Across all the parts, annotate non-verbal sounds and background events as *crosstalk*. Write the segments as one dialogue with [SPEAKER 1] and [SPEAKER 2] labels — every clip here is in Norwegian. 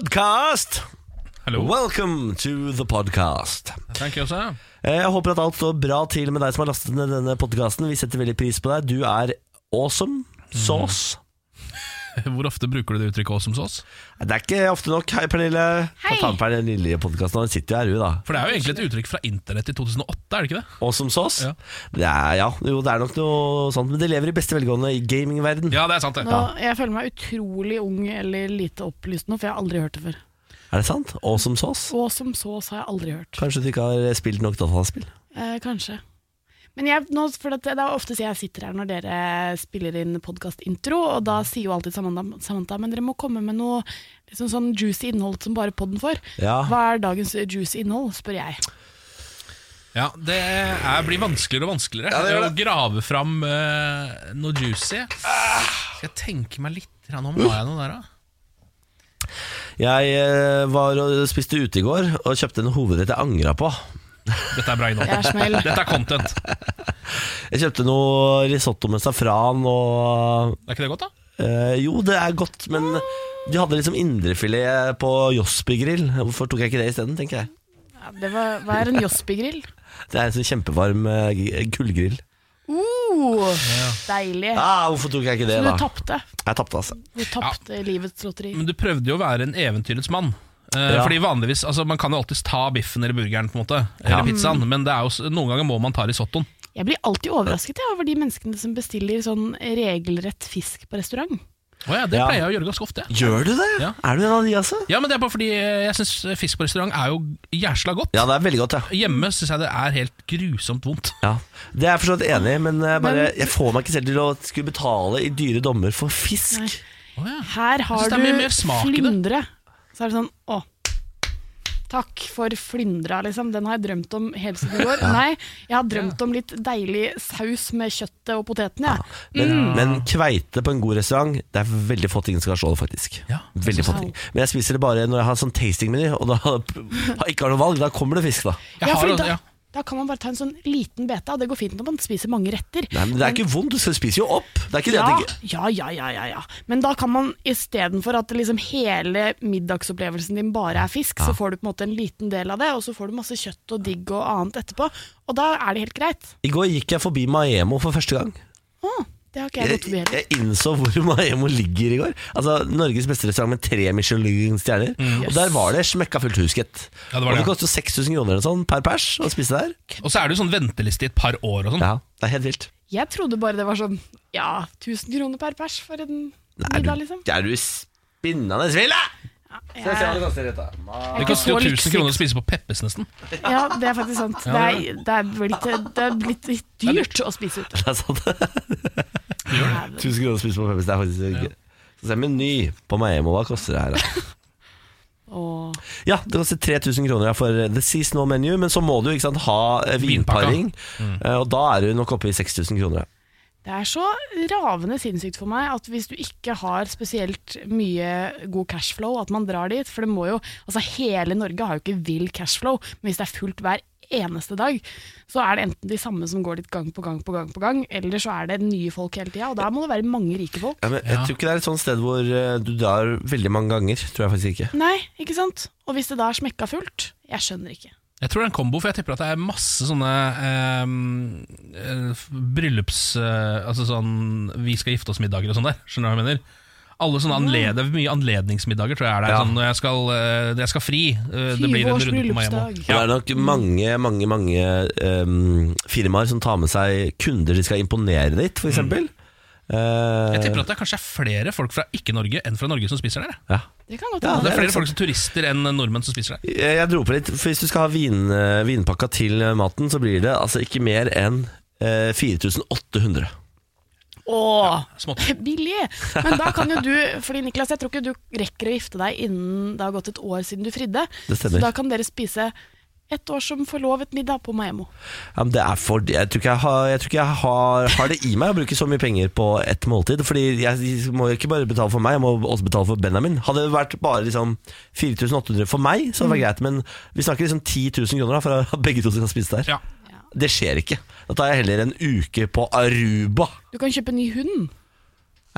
[SPEAKER 1] podcast!
[SPEAKER 2] Hallo.
[SPEAKER 1] Welcome to the podcast.
[SPEAKER 2] Thank you også.
[SPEAKER 1] Eh, Jeg håper at alt står bra til med deg som har lastet ned denne podcasten. Vi setter veldig pris på deg. Du er awesome. Sauce.
[SPEAKER 2] *laughs* Hvor ofte bruker du det uttrykket også som sås?
[SPEAKER 1] Nei, Mm. Det er ikke ofte nok. Hei, Pernille.
[SPEAKER 3] Hei.
[SPEAKER 1] Ta med Pernille lille podcasten. Hun sitter jo her, hun da.
[SPEAKER 2] For det er jo egentlig et uttrykk fra internett i 2008, er det ikke det?
[SPEAKER 1] Awesome sauce.
[SPEAKER 2] Ja.
[SPEAKER 1] Det er, ja, jo, det er nok noe sånt. Men det lever i beste velgående i gamingverden.
[SPEAKER 2] Ja, det er sant det.
[SPEAKER 3] Nå, jeg føler meg utrolig ung eller lite opplyst nå, for jeg har aldri hørt det før.
[SPEAKER 1] Er det sant? Awesome sauce?
[SPEAKER 3] Og som så, så har jeg aldri hørt.
[SPEAKER 1] Kanskje du ikke har spilt nok dataspill?
[SPEAKER 3] Eh, kanskje. Men jeg, nå, for det, det er ofte så jeg sitter her når dere spiller inn podkastintro, og da sier jo alltid Samantha, Samantha men dere må komme med noe liksom sånn juicy innhold som bare podden får.
[SPEAKER 1] Ja.
[SPEAKER 3] Hva er dagens juicy innhold, spør jeg.
[SPEAKER 2] Ja, Det er, blir vanskeligere og vanskeligere
[SPEAKER 1] Ja, det gjør
[SPEAKER 2] å grave fram eh, noe juicy. Skal jeg tenke meg litt grann om Har jeg noe der, da?
[SPEAKER 1] Jeg eh, var og spiste ute i går og kjøpte en hovedrett jeg angra på.
[SPEAKER 2] Dette er bra innhold.
[SPEAKER 3] Jeg er smell.
[SPEAKER 2] *laughs* Dette er content.
[SPEAKER 1] Jeg kjøpte noe risotto med safran og
[SPEAKER 2] Er ikke det godt, da?
[SPEAKER 1] eh, Jo, det er godt, men de hadde liksom indrefilet på Josby grill. Hvorfor tok jeg ikke det isteden, tenker jeg.
[SPEAKER 3] Ja, det var, hva er en Josby-grill?
[SPEAKER 1] Det er en sånn kjempevarm eh, g- kullgrill.
[SPEAKER 3] Uh, deilig.
[SPEAKER 1] Ah, hvorfor tok jeg ikke det,
[SPEAKER 3] Så du
[SPEAKER 1] da?
[SPEAKER 3] tapte.
[SPEAKER 1] Jeg tapte, altså.
[SPEAKER 3] Du tapte livets lotteri.
[SPEAKER 2] Men du prøvde jo å være en eventyrets mann. Eh,
[SPEAKER 1] Ja.
[SPEAKER 2] Fordi vanligvis, altså Man kan jo alltids ta biffen eller burgeren, på en måte eller
[SPEAKER 1] Ja.
[SPEAKER 2] pizzaen men det er jo, s- noen ganger må man ta risottoen.
[SPEAKER 3] Jeg blir alltid overrasket jeg, over de menneskene som bestiller sånn regelrett fisk på restaurant.
[SPEAKER 2] Å ja, det
[SPEAKER 1] Ja.
[SPEAKER 2] pleier jeg å gjøre ganske ofte. jeg.
[SPEAKER 1] Gjør du det?
[SPEAKER 2] Ja.
[SPEAKER 1] Er du en av de, altså?
[SPEAKER 2] Ja, men det er bare fordi eh, jeg syns fisk på restaurant er jo jæsla godt.
[SPEAKER 1] Ja, det er veldig godt, ja.
[SPEAKER 2] Hjemme syns jeg det er helt grusomt vondt.
[SPEAKER 1] ja. Det er jeg forstått enig i, men jeg, bare,
[SPEAKER 3] Men-
[SPEAKER 1] jeg får meg ikke selv til å skulle betale i dyre dommer for fisk.
[SPEAKER 3] Nei.
[SPEAKER 2] Å ja.
[SPEAKER 3] Her
[SPEAKER 2] Jeg synes
[SPEAKER 3] har
[SPEAKER 2] det er mye
[SPEAKER 3] du
[SPEAKER 2] mer smak i det.
[SPEAKER 3] flyndre. Så er det sånn Å, takk for flyndra, liksom. Den har jeg drømt om hele siden i går. Nei, jeg har drømt om litt deilig saus med kjøttet og potetene, jeg.
[SPEAKER 1] Men, men kveite på en god restaurant, det er veldig få ting som kan slå det, faktisk.
[SPEAKER 2] Ja.
[SPEAKER 1] veldig få ting. Men jeg spiser det bare når jeg har sånn tastingmeny, og da *laughs* har ikke har noe valg. Da kommer det fisk, da.
[SPEAKER 2] Jeg
[SPEAKER 3] Ja,
[SPEAKER 2] har
[SPEAKER 3] fordi
[SPEAKER 2] jo- ja.
[SPEAKER 3] da, da kan man bare ta en sånn liten bete, og det går fint når man spiser mange retter.
[SPEAKER 1] Nei, men Det er ikke vondt, du skal spise jo opp. Det er ikke det
[SPEAKER 3] ja,
[SPEAKER 1] at det ikke
[SPEAKER 3] ja, ja, ja, ja, ja. Men da kan man istedenfor at liksom hele middagsopplevelsen din bare er fisk, så får du på en måte en liten del av det, og så får du masse kjøtt og digg og annet etterpå. Og da er det helt greit.
[SPEAKER 1] I går gikk jeg forbi Maemo for første gang.
[SPEAKER 3] Å, det har ikke jeg
[SPEAKER 1] Ah. Jeg,
[SPEAKER 3] gått forbi heller.
[SPEAKER 1] jeg innså hvor *laughs* Maemo ligger i går. Altså, Norges beste restaurant med tre Michelin-stjerner. Og der var det smekka fullt hus, gitt.
[SPEAKER 2] Ja, det var
[SPEAKER 1] og det
[SPEAKER 2] det.
[SPEAKER 1] koster 6000 kroner eller sånn per pers å spise der.
[SPEAKER 2] Og så er det jo sånn venteliste i et par år og sånn.
[SPEAKER 1] Ja, Det er helt vilt.
[SPEAKER 3] Jeg trodde bare det var sånn ja, 1000 kroner per pers for en
[SPEAKER 1] Er du,
[SPEAKER 3] middag, liksom.
[SPEAKER 1] er du spinnende sville? Se, se hva det koster, dette. Ma-
[SPEAKER 2] Det koster jo 1000 kroner å spise på Peppes nesten.
[SPEAKER 3] Ja, det er faktisk sant. Det er, det er, blitt, det er blitt litt dyrt å spise ute.
[SPEAKER 1] Det er sant.
[SPEAKER 3] Herregud.
[SPEAKER 1] 1000 kroner å spise på Peppes, det er faktisk gøy. Så ser jeg meny på Maemo, hva koster det her? da?
[SPEAKER 3] Og
[SPEAKER 1] Ja, det koster 3000 kroner ja, for eh, the seasonal menu, men så må du ikke sant, ha eh,
[SPEAKER 2] Vinpakka. Mm.
[SPEAKER 1] vinparing, eh, og da er du nok oppe i 6000 kroner. ja.
[SPEAKER 3] det er så ravende sinnssykt for meg at hvis du ikke har spesielt mye god cashflow, at man drar dit, for det må jo Altså, hele Norge har jo ikke vill cashflow, men hvis det er fullt hver eneste dag, så er det enten de samme som går dit gang på gang på gang på gang, eller så er det nye folk hele tida, og da må det være mange rike folk.
[SPEAKER 1] Ja, men jeg tror ikke det er et sånt sted hvor eh, du drar veldig mange ganger, tror jeg faktisk ikke.
[SPEAKER 3] Nei, ikke sant? Og hvis det da er smekka fullt, jeg skjønner ikke.
[SPEAKER 2] Jeg tror det er en kombo, for jeg tipper at det er masse sånne ehm, eh, bryllups... Eh, altså sånn vi skal gifte oss-middager og sånn der. Skjønner du hva jeg mener? Alle sånne anled, det er mye anledningsmiddager, tror jeg er der.
[SPEAKER 1] Ja.
[SPEAKER 2] Sånn, når jeg skal, eh, jeg skal fri, eh, det blir en
[SPEAKER 3] 20-års
[SPEAKER 2] runde på meg hjemme.
[SPEAKER 1] Og
[SPEAKER 3] bryllupsdag.
[SPEAKER 1] Det er nok mange mange, mange ehm, firmaer som tar med seg kunder de skal imponere ditt, f.eks. Mm.
[SPEAKER 2] Jeg tipper at det kanskje er flere folk fra ikke-Norge enn fra Norge som spiser der. jeg.
[SPEAKER 1] Eh, ja.
[SPEAKER 3] Det kan godt
[SPEAKER 1] Ja, er
[SPEAKER 2] Det er
[SPEAKER 3] hende.
[SPEAKER 2] liksom- flere
[SPEAKER 1] sant.
[SPEAKER 2] folk som turister enn nordmenn som spiser der.
[SPEAKER 1] Jeg jeg dro på litt, for hvis du skal ha vin, eh, vinpakka til eh, maten, så blir det altså ikke mer enn eh, 4800.
[SPEAKER 3] Åh,
[SPEAKER 2] Smått.
[SPEAKER 3] billig! Men da kan jo du, fordi Niklas, jeg tror ikke du rekker å gifte deg innen det har gått et år siden du fridde.
[SPEAKER 1] Det
[SPEAKER 3] Så
[SPEAKER 1] stemmer.
[SPEAKER 3] da kan dere spise et år som forlovet middag på Maemmo.
[SPEAKER 1] Ja, men det er for, jeg tror ikke jeg, har, jeg, tror ikke jeg har, har det i meg å bruke så mye penger på ett måltid. Fordi jeg må jo ikke bare betale for meg, jeg må også betale for Benjamin. Hadde det vært bare liksom 4800 for meg, så hadde det vært greit. Men vi snakker liksom 10 000 kroner da, for at begge to skal spise der.
[SPEAKER 2] Ja.
[SPEAKER 1] Det skjer ikke. Da tar jeg heller en uke på Aruba.
[SPEAKER 3] Du kan kjøpe en ny hund.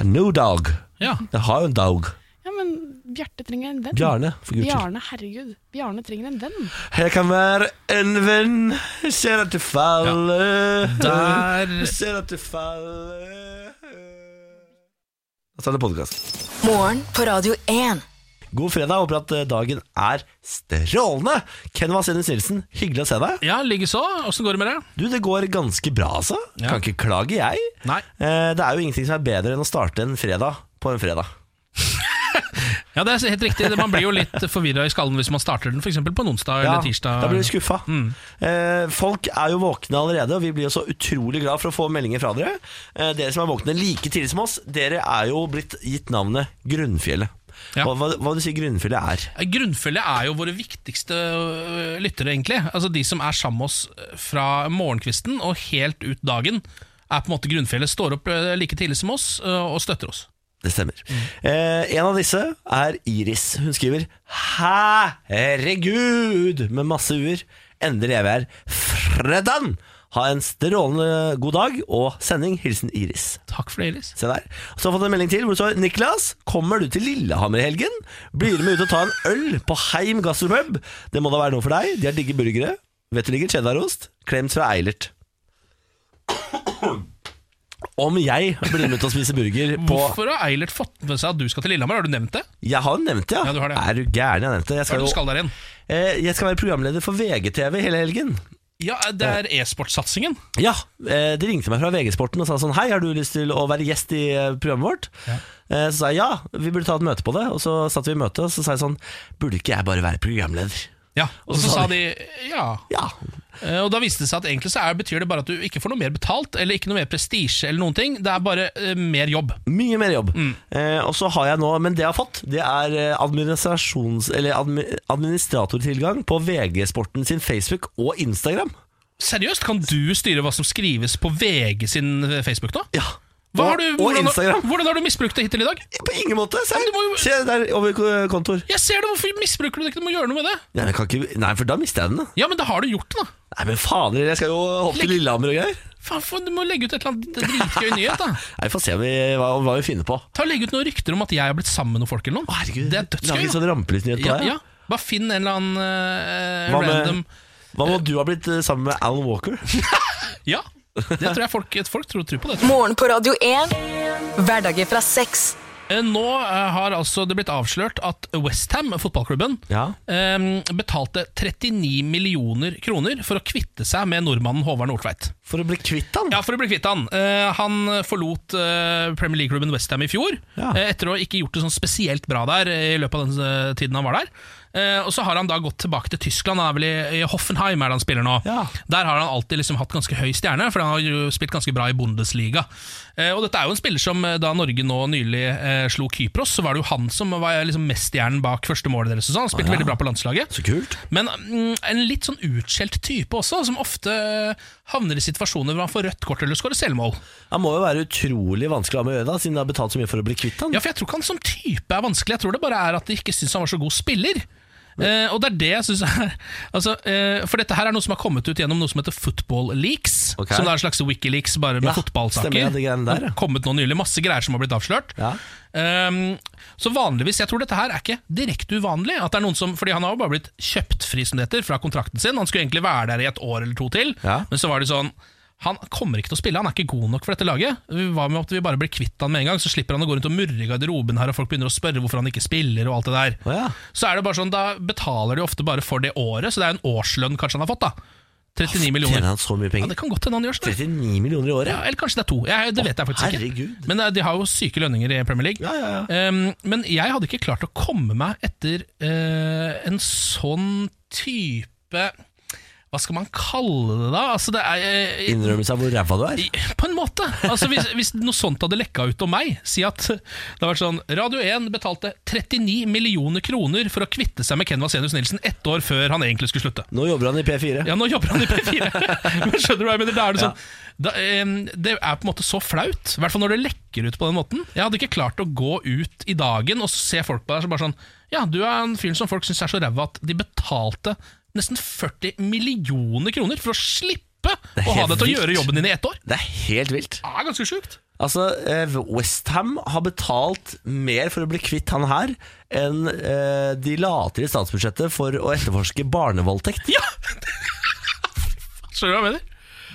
[SPEAKER 1] No dog.
[SPEAKER 2] ja.
[SPEAKER 1] Jeg har jo en dog.
[SPEAKER 3] Ja, men Bjarte trenger en venn.
[SPEAKER 1] Bjarne, for guds skyld.
[SPEAKER 3] Bjarne, herregud. Bjarne trenger en venn.
[SPEAKER 1] Jeg kan være en venn, jeg ser at det faller
[SPEAKER 2] Der
[SPEAKER 1] Jeg ser at det faller Da er det podkast.
[SPEAKER 4] Morgen på Radio 1.
[SPEAKER 1] God fredag, håper at eh, dagen er strålende! Ken Vasenus Nilsen, hyggelig å se deg.
[SPEAKER 2] Ja, likeså. Åssen går det med deg?
[SPEAKER 1] Du, det går ganske bra, altså.
[SPEAKER 2] Ja.
[SPEAKER 1] Kan ikke klage, jeg.
[SPEAKER 2] Nei.
[SPEAKER 1] Eh, Det er jo ingenting som er bedre enn å starte en fredag på en fredag.
[SPEAKER 2] Ja, det er helt riktig. Man blir jo litt forvirra i skallen hvis man starter den for eksempel på en onsdag
[SPEAKER 1] Ja,
[SPEAKER 2] eller tirsdag. Mm.
[SPEAKER 1] Da blir vi skuffa. Eh, folk er jo våkne allerede, og vi blir jo så utrolig glad for å få meldinger fra dere. Eh, dere som er våkne like tidlig som oss, dere er jo blitt gitt navnet Grunnfjellet.
[SPEAKER 2] Ja.
[SPEAKER 1] Hva, hva, hva du sier Grunnfjellet er?
[SPEAKER 2] Grunnfølge er jo våre viktigste øh, lyttere, egentlig. Altså De som er sammen med oss øh, fra morgenkvisten og helt ut dagen, er på en måte grunnfjellet. Står opp øh, like tidlig som oss øh, og støtter oss.
[SPEAKER 1] Det stemmer.
[SPEAKER 2] Mm.
[SPEAKER 1] Eh, en av disse er Iris. Hun skriver 'Herregud!' med masse u-er. Endelig er vi her. Fredan! Ha en strålende god dag og sending. Hilsen Iris.
[SPEAKER 2] Takk for det, Iris.
[SPEAKER 1] Se der. Så har jeg fått en melding til hvor det står Niklas, kommer du til Lillehammer i helgen? Blir du med ut og ta en øl på Heim Gasselmøb? Det må da være noe for deg. De har digge burgere. Vet du ligger cheddarost? Klemt fra Eilert. Om jeg blir med ut og spise burger på
[SPEAKER 2] Hvorfor har Eilert fått med seg at du skal til Lillehammer? Har du nevnt det?
[SPEAKER 1] Jeg har jo nevnt det, ja.
[SPEAKER 2] Ja, du har det.
[SPEAKER 1] Er du gæren? Jeg har nevnt det. Jeg
[SPEAKER 2] Hva er
[SPEAKER 1] skal,
[SPEAKER 2] det du
[SPEAKER 1] jo,
[SPEAKER 2] skal der igjen?
[SPEAKER 1] eh, jeg skal være programleder for VGTV hele helgen.
[SPEAKER 2] Ja, Det er e-sportsatsingen.
[SPEAKER 1] Ja, eh, De ringte meg fra VG-sporten og sa sånn Hei, har du lyst til å være gjest i eh, programmet vårt? Eh, Så sa jeg ja, vi burde ta et møte på det. Og så satt vi i møte, og så sa jeg sånn Burde ikke jeg bare være programleder?
[SPEAKER 2] Ja, Og så
[SPEAKER 1] sa
[SPEAKER 2] sa de ja.
[SPEAKER 1] Ja.
[SPEAKER 2] Eh, Og da viste det seg at egentlig så er, betyr det bare at du ikke får noe mer betalt, eller ikke noe mer prestisje, eller noen ting. Det er bare eh, mer jobb.
[SPEAKER 1] Mye mer jobb.
[SPEAKER 2] Mm.
[SPEAKER 1] Eh, og så har jeg nå, men det jeg har fått, det er eh, administrasjons... Eller admi, administratortilgang på VG-sporten sin Facebook og Instagram.
[SPEAKER 2] Seriøst, kan du styre hva som skrives på VG sin eh, Facebook nå?
[SPEAKER 1] Ja.
[SPEAKER 2] Hva har
[SPEAKER 1] og,
[SPEAKER 2] du,
[SPEAKER 1] og
[SPEAKER 2] hvordan, har,
[SPEAKER 1] Instagram.
[SPEAKER 2] hvordan har du misbrukt det hittil i dag?
[SPEAKER 1] På ingen måte! Se,
[SPEAKER 2] Men du må jo-
[SPEAKER 1] se der over ko- kontor.
[SPEAKER 2] Jeg ser det, Hvorfor misbruker du det ikke? Du må gjøre noe med det.
[SPEAKER 1] Nei, men jeg kan ikke, nei, for da mister jeg den. da.
[SPEAKER 2] Ja, men da har du gjort det, da.
[SPEAKER 1] Nei, men fader, jeg skal jo hoppe til Lillehammer og greier.
[SPEAKER 2] Faen, for, Du må legge ut et eller annet dritgøy nyhet. da
[SPEAKER 1] Nei, Vi får se om vi, hva, hva vi finner på.
[SPEAKER 2] Ta og Legg ut noen rykter om at jeg har blitt sammen med noen folk. eller noe
[SPEAKER 1] Herregud,
[SPEAKER 2] Det er
[SPEAKER 1] lag
[SPEAKER 2] dødsgøy.
[SPEAKER 1] en sånn rampelysnyhet på
[SPEAKER 2] Ja,
[SPEAKER 1] deg.
[SPEAKER 2] ja. Bare finn en eller annen eh,
[SPEAKER 1] Hva med-
[SPEAKER 2] random
[SPEAKER 1] Hva må du ha blitt eh, sammen med Alan
[SPEAKER 2] *laughs*
[SPEAKER 1] Walker?
[SPEAKER 2] Ja, det tror jeg folk, folk tror, tror på. det tror jeg.
[SPEAKER 4] Morgen på Radio 1. Hverdager fra seks.
[SPEAKER 2] Eh, Nå eh, har altså det blitt avslørt at Westham, fotballklubben,
[SPEAKER 1] Ja.
[SPEAKER 2] eh, betalte 39 millioner kroner for å kvitte seg med nordmannen Håvard Nordtveit.
[SPEAKER 1] For å bli kvitt han?
[SPEAKER 2] Ja, for å bli kvitt han. Eh, han forlot eh, Premier League-klubben Westham i fjor,
[SPEAKER 1] Ja.
[SPEAKER 2] eh, etter å ha ikke gjort det sånn spesielt bra der eh, i løpet av den eh, tiden han var der. Eh, og så har han da gått tilbake til Tyskland, han er vel i, i Hoffenheim er det han spiller nå.
[SPEAKER 1] Ja.
[SPEAKER 2] Der har han alltid liksom hatt ganske høy stjerne, for han har jo spilt ganske bra i Bundesliga. Eh, og dette er jo en spiller som eh, da Norge nå nylig eh, slo Kypros, så var det jo han som var liksom meststjernen bak første målet deres. og sånn. Han spilte veldig bra på landslaget.
[SPEAKER 1] Så kult.
[SPEAKER 2] Men mm, en litt sånn utskjelt type også, som ofte havner i situasjoner hvor han får rødt kort eller skårer selvmål.
[SPEAKER 1] Han må jo være utrolig vanskelig å ha med å gjøre, da, siden de har betalt så mye for å bli kvitt han.
[SPEAKER 2] Ja, for jeg tror ikke han som type er vanskelig, jeg tror det bare er at de ikke syns han var så god spiller. Eh, og det er det jeg syns er altså, eh, For dette her er noe som har kommet ut gjennom noe som heter Football Leaks.
[SPEAKER 1] Ok.
[SPEAKER 2] Som det er en slags Wikileaks, bare med
[SPEAKER 1] Ja,
[SPEAKER 2] fotballsaker.
[SPEAKER 1] stemmer, ja, de greiene der, ja.
[SPEAKER 2] Det har kommet noe nylig, Masse greier som har blitt avslørt.
[SPEAKER 1] Ja.
[SPEAKER 2] Ehm, så vanligvis, jeg tror dette her er ikke direkte uvanlig At det er noen som, fordi han har jo bare blitt kjøptfri som det heter Fra kontrakten sin, han skulle egentlig være der i et år eller to til
[SPEAKER 1] Ja.
[SPEAKER 2] Men så var det sånn han kommer ikke til å spille, han er ikke god nok for dette laget Hva med at vi bare blir kvitt han med en gang Så slipper han å gå rundt og murre i garderoben her Og folk begynner å spørre hvorfor han ikke spiller og alt det der
[SPEAKER 1] Å ja.
[SPEAKER 2] Så er det bare sånn, da betaler de ofte bare for det året Så det er en årslønn kanskje han har fått da 39
[SPEAKER 1] Tjener
[SPEAKER 2] millioner
[SPEAKER 1] han så mye
[SPEAKER 2] Ja,
[SPEAKER 1] penger?
[SPEAKER 2] det kan godt hende han gjør sånn
[SPEAKER 1] 39 millioner i
[SPEAKER 2] ja,
[SPEAKER 1] året?
[SPEAKER 2] eller kanskje det er to. Jeg, det vet jeg faktisk
[SPEAKER 1] herregud.
[SPEAKER 2] ikke. Men eh, de har jo syke lønninger i Premier League.
[SPEAKER 1] Ja, ja, ja.
[SPEAKER 2] Ehm, men jeg hadde ikke klart å komme meg etter eh, en sånn type Hva skal man kalle det, da? Altså, det er eh,
[SPEAKER 1] Innrømmelse av hvor ræva du er?
[SPEAKER 2] i- på en måte. Altså, hvis, hvis noe sånt hadde lekka ut om meg Si at det hadde vært sånn Radio 1 betalte 39 millioner kroner for å kvitte seg med Ken Vasenius Nilsen ett år før han egentlig skulle slutte.
[SPEAKER 1] Nå jobber han i P4.
[SPEAKER 2] Ja, nå jobber han i P4. Men skjønner du hva jeg mener? Da er det, sånn, da, em, det er på en måte så flaut. I hvert fall når det lekker ut på den måten. Jeg hadde ikke klart å gå ut i dagen og se folk på deg som bare sånn Ja, du er en fyr som folk syns er så ræva at de betalte nesten 40 millioner kroner for å slippe
[SPEAKER 1] er
[SPEAKER 2] å ha
[SPEAKER 1] helt
[SPEAKER 2] deg til å
[SPEAKER 1] vilt.
[SPEAKER 2] gjøre jobben din i ett år.
[SPEAKER 1] Det er helt vilt.
[SPEAKER 2] Det er ganske sjukt.
[SPEAKER 1] Altså, Westham har betalt mer for å bli kvitt han her enn eh, de later i statsbudsjettet for å etterforske barnevoldtekt.
[SPEAKER 2] Ja! *laughs* Skjønner du hva jeg mener?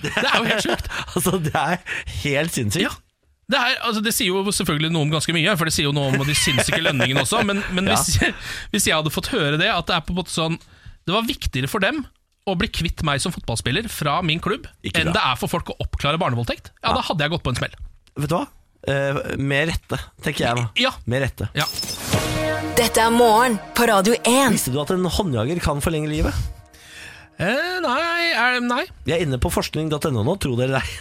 [SPEAKER 2] Det er jo helt sjukt.
[SPEAKER 1] *laughs* altså, det er helt sinnssykt.
[SPEAKER 2] Ja. Det, er, altså, det sier jo selvfølgelig noe om ganske mye, for det sier jo noe om de sinnssyke lønningene også. Men, men
[SPEAKER 1] Ja.
[SPEAKER 2] hvis, *laughs* hvis jeg hadde fått høre det, at det er på en måte sånn Det var viktigere for dem å bli kvitt meg som fotballspiller fra min klubb,
[SPEAKER 1] Ikke
[SPEAKER 2] enn
[SPEAKER 1] bra.
[SPEAKER 2] det er for folk å oppklare barnevoldtekt. Ja, Da hadde jeg gått på en smell.
[SPEAKER 1] Vet du hva? Eh, med rette, tenker jeg nå.
[SPEAKER 2] Ja.
[SPEAKER 1] Med rette.
[SPEAKER 2] Ja.
[SPEAKER 4] Dette er morgen på Radio 1.
[SPEAKER 1] Visste du at en håndjager kan forlenge livet?
[SPEAKER 2] Eh, nei, er, nei.
[SPEAKER 1] Vi er inne på forskning.no nå, tro det eller ei.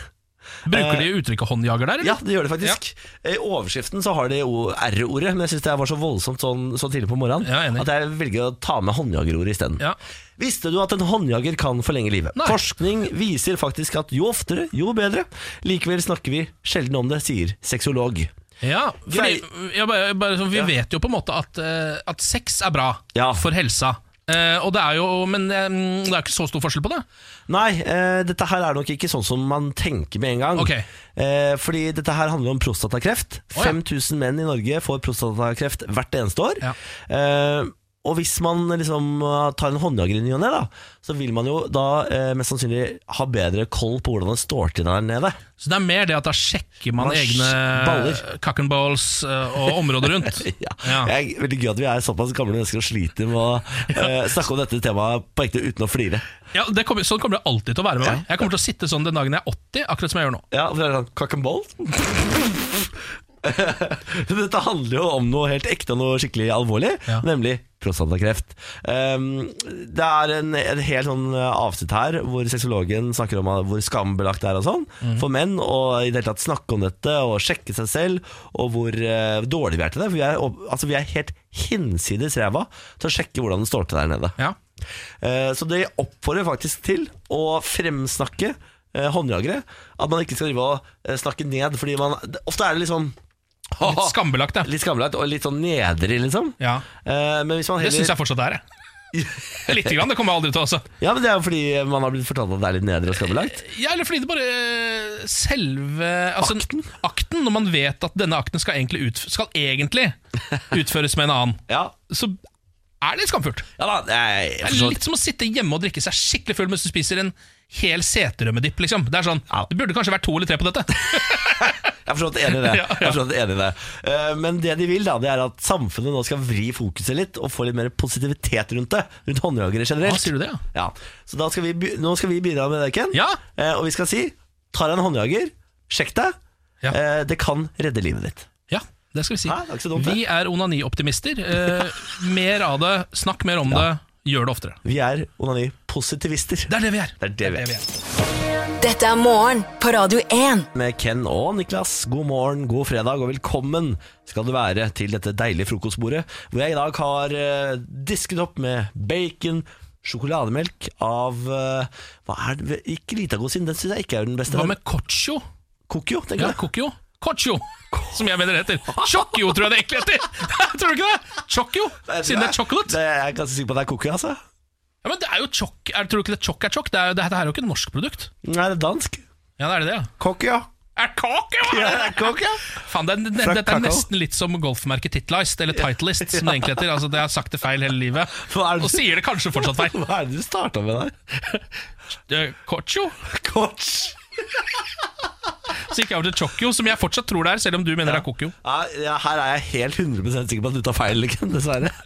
[SPEAKER 2] Bruker de uttrykket håndjager
[SPEAKER 1] *laughs*
[SPEAKER 2] der,
[SPEAKER 1] Eh. Ja,
[SPEAKER 2] eller?
[SPEAKER 1] det gjør det faktisk. I overskriften så har de jo R-ordet, men jeg syns det var så voldsomt sånn, så tidlig på morgenen
[SPEAKER 2] Ja, enig.
[SPEAKER 1] at jeg velger å ta med håndjagerordet isteden.
[SPEAKER 2] Ja.
[SPEAKER 1] Visste du at en håndjager kan forlenge livet?
[SPEAKER 2] Nei.
[SPEAKER 1] Forskning viser faktisk at jo oftere, jo bedre. Likevel snakker vi sjelden om det, sier sexolog.
[SPEAKER 2] Ja, fordi, ja, bare, bare, sånn, vi
[SPEAKER 1] Ja.
[SPEAKER 2] vet jo på en måte at, eh, at sex er bra
[SPEAKER 1] Ja.
[SPEAKER 2] for helsa. Eh, og det er jo, men eh, det er ikke så stor forskjell på det.
[SPEAKER 1] Nei, eh, dette her er nok ikke sånn som man tenker med en gang.
[SPEAKER 2] Ok.
[SPEAKER 1] Eh, fordi dette her handler om prostatakreft.
[SPEAKER 2] Å, ja.
[SPEAKER 1] 5000 menn i Norge får prostatakreft hvert eneste år.
[SPEAKER 2] Ja.
[SPEAKER 1] Eh, og hvis man liksom eh, tar en håndjager i ny og ne, da, så vil man jo da eh, mest sannsynlig ha bedre koll på hvordan det står til der nede.
[SPEAKER 2] Så det er mer det at da sjekker man,
[SPEAKER 1] Man
[SPEAKER 2] egne
[SPEAKER 1] sj- baller.
[SPEAKER 2] cock and balls eh, og områder rundt.
[SPEAKER 1] *laughs* Ja.
[SPEAKER 2] *laughs* Ja.
[SPEAKER 1] Det er veldig gøy at vi er såpass gamle mennesker og sliter med
[SPEAKER 2] *laughs*
[SPEAKER 1] å eh, snakke om dette temaet på ekte uten å flire.
[SPEAKER 2] Ja, det kommer, sånn kommer det alltid til å være med meg. Jeg kommer til å sitte sånn den dagen jeg er 80, akkurat som jeg gjør nå.
[SPEAKER 1] Ja, for det er sånn Cock and *laughs* balls? Dette handler jo om noe helt ekte og noe skikkelig alvorlig,
[SPEAKER 2] Ja.
[SPEAKER 1] nemlig prostatakreft. Um, det er en, en helt sånn eh, avsnitt her hvor sexologen snakker om eh, hvor skambelagt det er og sånn for menn, og i det hele tatt snakke om dette og sjekke seg selv, og hvor eh, dårlig vi er til det. For vi er, opp- altså, vi er helt hinsides ræva til å sjekke hvordan det står til der nede.
[SPEAKER 2] Ja.
[SPEAKER 1] Eh, Så det oppfordrer faktisk til å fremsnakke eh, håndjagere. At man ikke skal drive og eh, snakke ned, fordi man Ofte er det liksom
[SPEAKER 2] *laughs* Litt skambelagt, det.
[SPEAKER 1] litt skamlagt og litt sånn nedrig, liksom.
[SPEAKER 2] Ja.
[SPEAKER 1] Eh, Men hvis man
[SPEAKER 2] Det
[SPEAKER 1] heller
[SPEAKER 2] syns jeg fortsatt det er. jeg. Lite grann, det kommer jeg aldri til å altså. også.
[SPEAKER 1] Ja, men det er jo fordi man har blitt fortalt at det er litt nedrig og skambelagt.
[SPEAKER 2] Ja, eller fordi det bare eh, Selve altså,
[SPEAKER 1] Akten?
[SPEAKER 2] akten? Når man vet at denne akten skal egentlig, utf skal egentlig utføres med en annen,
[SPEAKER 1] Ja.
[SPEAKER 2] så er det litt skamfullt.
[SPEAKER 1] ja da, jeg,
[SPEAKER 2] Det
[SPEAKER 1] jeg
[SPEAKER 2] er
[SPEAKER 1] forstår.
[SPEAKER 2] litt som å sitte hjemme og drikke seg skikkelig full mens du spiser en hel seterømmedipp. Liksom. Det er sånn,
[SPEAKER 1] Ja.
[SPEAKER 2] det burde kanskje vært to eller tre på dette.
[SPEAKER 1] *laughs* Jeg er forstått enig i det.
[SPEAKER 2] *laughs* Ja, ja.
[SPEAKER 1] Jeg er forstått enig i det. Eh, Men det de vil, da, det er at samfunnet nå skal vri fokuset litt og få litt mer positivitet rundt det. Rundt håndjagere generelt.
[SPEAKER 2] Hva sier du det, ja?
[SPEAKER 1] Ja, så da skal vi, be- nå skal vi bidra med det, Ken.
[SPEAKER 2] Ja.
[SPEAKER 1] Eh, og vi skal si, tar en håndjager, sjekk deg.
[SPEAKER 2] Ja.
[SPEAKER 1] Eh, det kan redde livet ditt.
[SPEAKER 2] Ja, det skal vi si.
[SPEAKER 1] Hæ? Det er ikke så dumt, det.
[SPEAKER 2] vi er onanioptimister. Eh, mer av det, snakk mer om det, gjør det oftere.
[SPEAKER 1] Vi er onani-positivister.
[SPEAKER 2] Det er det vi er.
[SPEAKER 1] Det er det vi er.
[SPEAKER 4] Dette er morgen på Radio 1.
[SPEAKER 1] Med Ken og Niklas, god morgen, god fredag og velkommen skal du være til dette deilige frokostbordet, hvor jeg i dag har eh, disket opp med bacon, sjokolademelk av eh, Hva er det? Ikke Litagosin, den syns jeg ikke er den beste.
[SPEAKER 2] Hva med Kocho?
[SPEAKER 1] Kokio, tenker
[SPEAKER 2] Ja,
[SPEAKER 1] jeg.
[SPEAKER 2] Kokyo. Kocho, som jeg mener det heter. Chokyo tror jeg det egentlig heter! *laughs* tror du ikke det? Chokyo, siden det er chocolate.
[SPEAKER 1] Det er jeg er ganske sikker på at det er kokio, altså.
[SPEAKER 2] Ja, men det er jo chok, er, Tror du ikke det chok er chok? Det, er, jo- det, her er jo ikke et norsk produkt.
[SPEAKER 1] Nei, det er dansk.
[SPEAKER 2] Ja, det er det det, ja.
[SPEAKER 1] Kokio.
[SPEAKER 2] Er kake, hva
[SPEAKER 1] Ja,
[SPEAKER 2] er
[SPEAKER 1] det
[SPEAKER 2] det?
[SPEAKER 1] er kokk, ja.
[SPEAKER 2] Faen, det er, det,
[SPEAKER 1] Fra
[SPEAKER 2] dette er
[SPEAKER 1] kakao.
[SPEAKER 2] nesten litt som golfmerket Titleist, eller Titleist, som det egentlig heter. Altså, det har jeg sagt det feil hele livet,
[SPEAKER 1] *laughs* Hva er det-
[SPEAKER 2] og sier det kanskje
[SPEAKER 1] *laughs*
[SPEAKER 2] fortsatt feil.
[SPEAKER 1] Hva er det du starta med der?
[SPEAKER 2] Eh, Kocho.
[SPEAKER 1] Coach.
[SPEAKER 2] Så gikk jeg over til Chokyo, som jeg fortsatt tror det er, selv om du mener det er Kokyo.
[SPEAKER 1] Ja, ja, her er jeg helt 100 sikker på at du tar feil, Ken, dessverre. *laughs*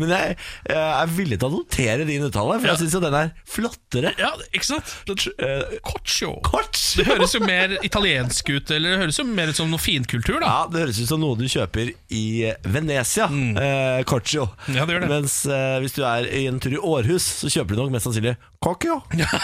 [SPEAKER 1] Men jeg, jeg er villig til å notere din uttale, for
[SPEAKER 2] Ja.
[SPEAKER 1] jeg syns jo den er flottere.
[SPEAKER 2] Ja, ikke sant?
[SPEAKER 1] Eh,
[SPEAKER 2] Kocho.
[SPEAKER 1] Coach.
[SPEAKER 2] Det høres jo mer italiensk ut, eller det høres jo mer ut som noe finkultur, da.
[SPEAKER 1] Ja, Det høres ut som noe du kjøper i Venezia, eh, Corcio.
[SPEAKER 2] Mm. Ja, det gjør det.
[SPEAKER 1] Mens eh, hvis du er i en tur i Århus, så kjøper du nok mest sannsynlig Corcio.
[SPEAKER 2] *laughs*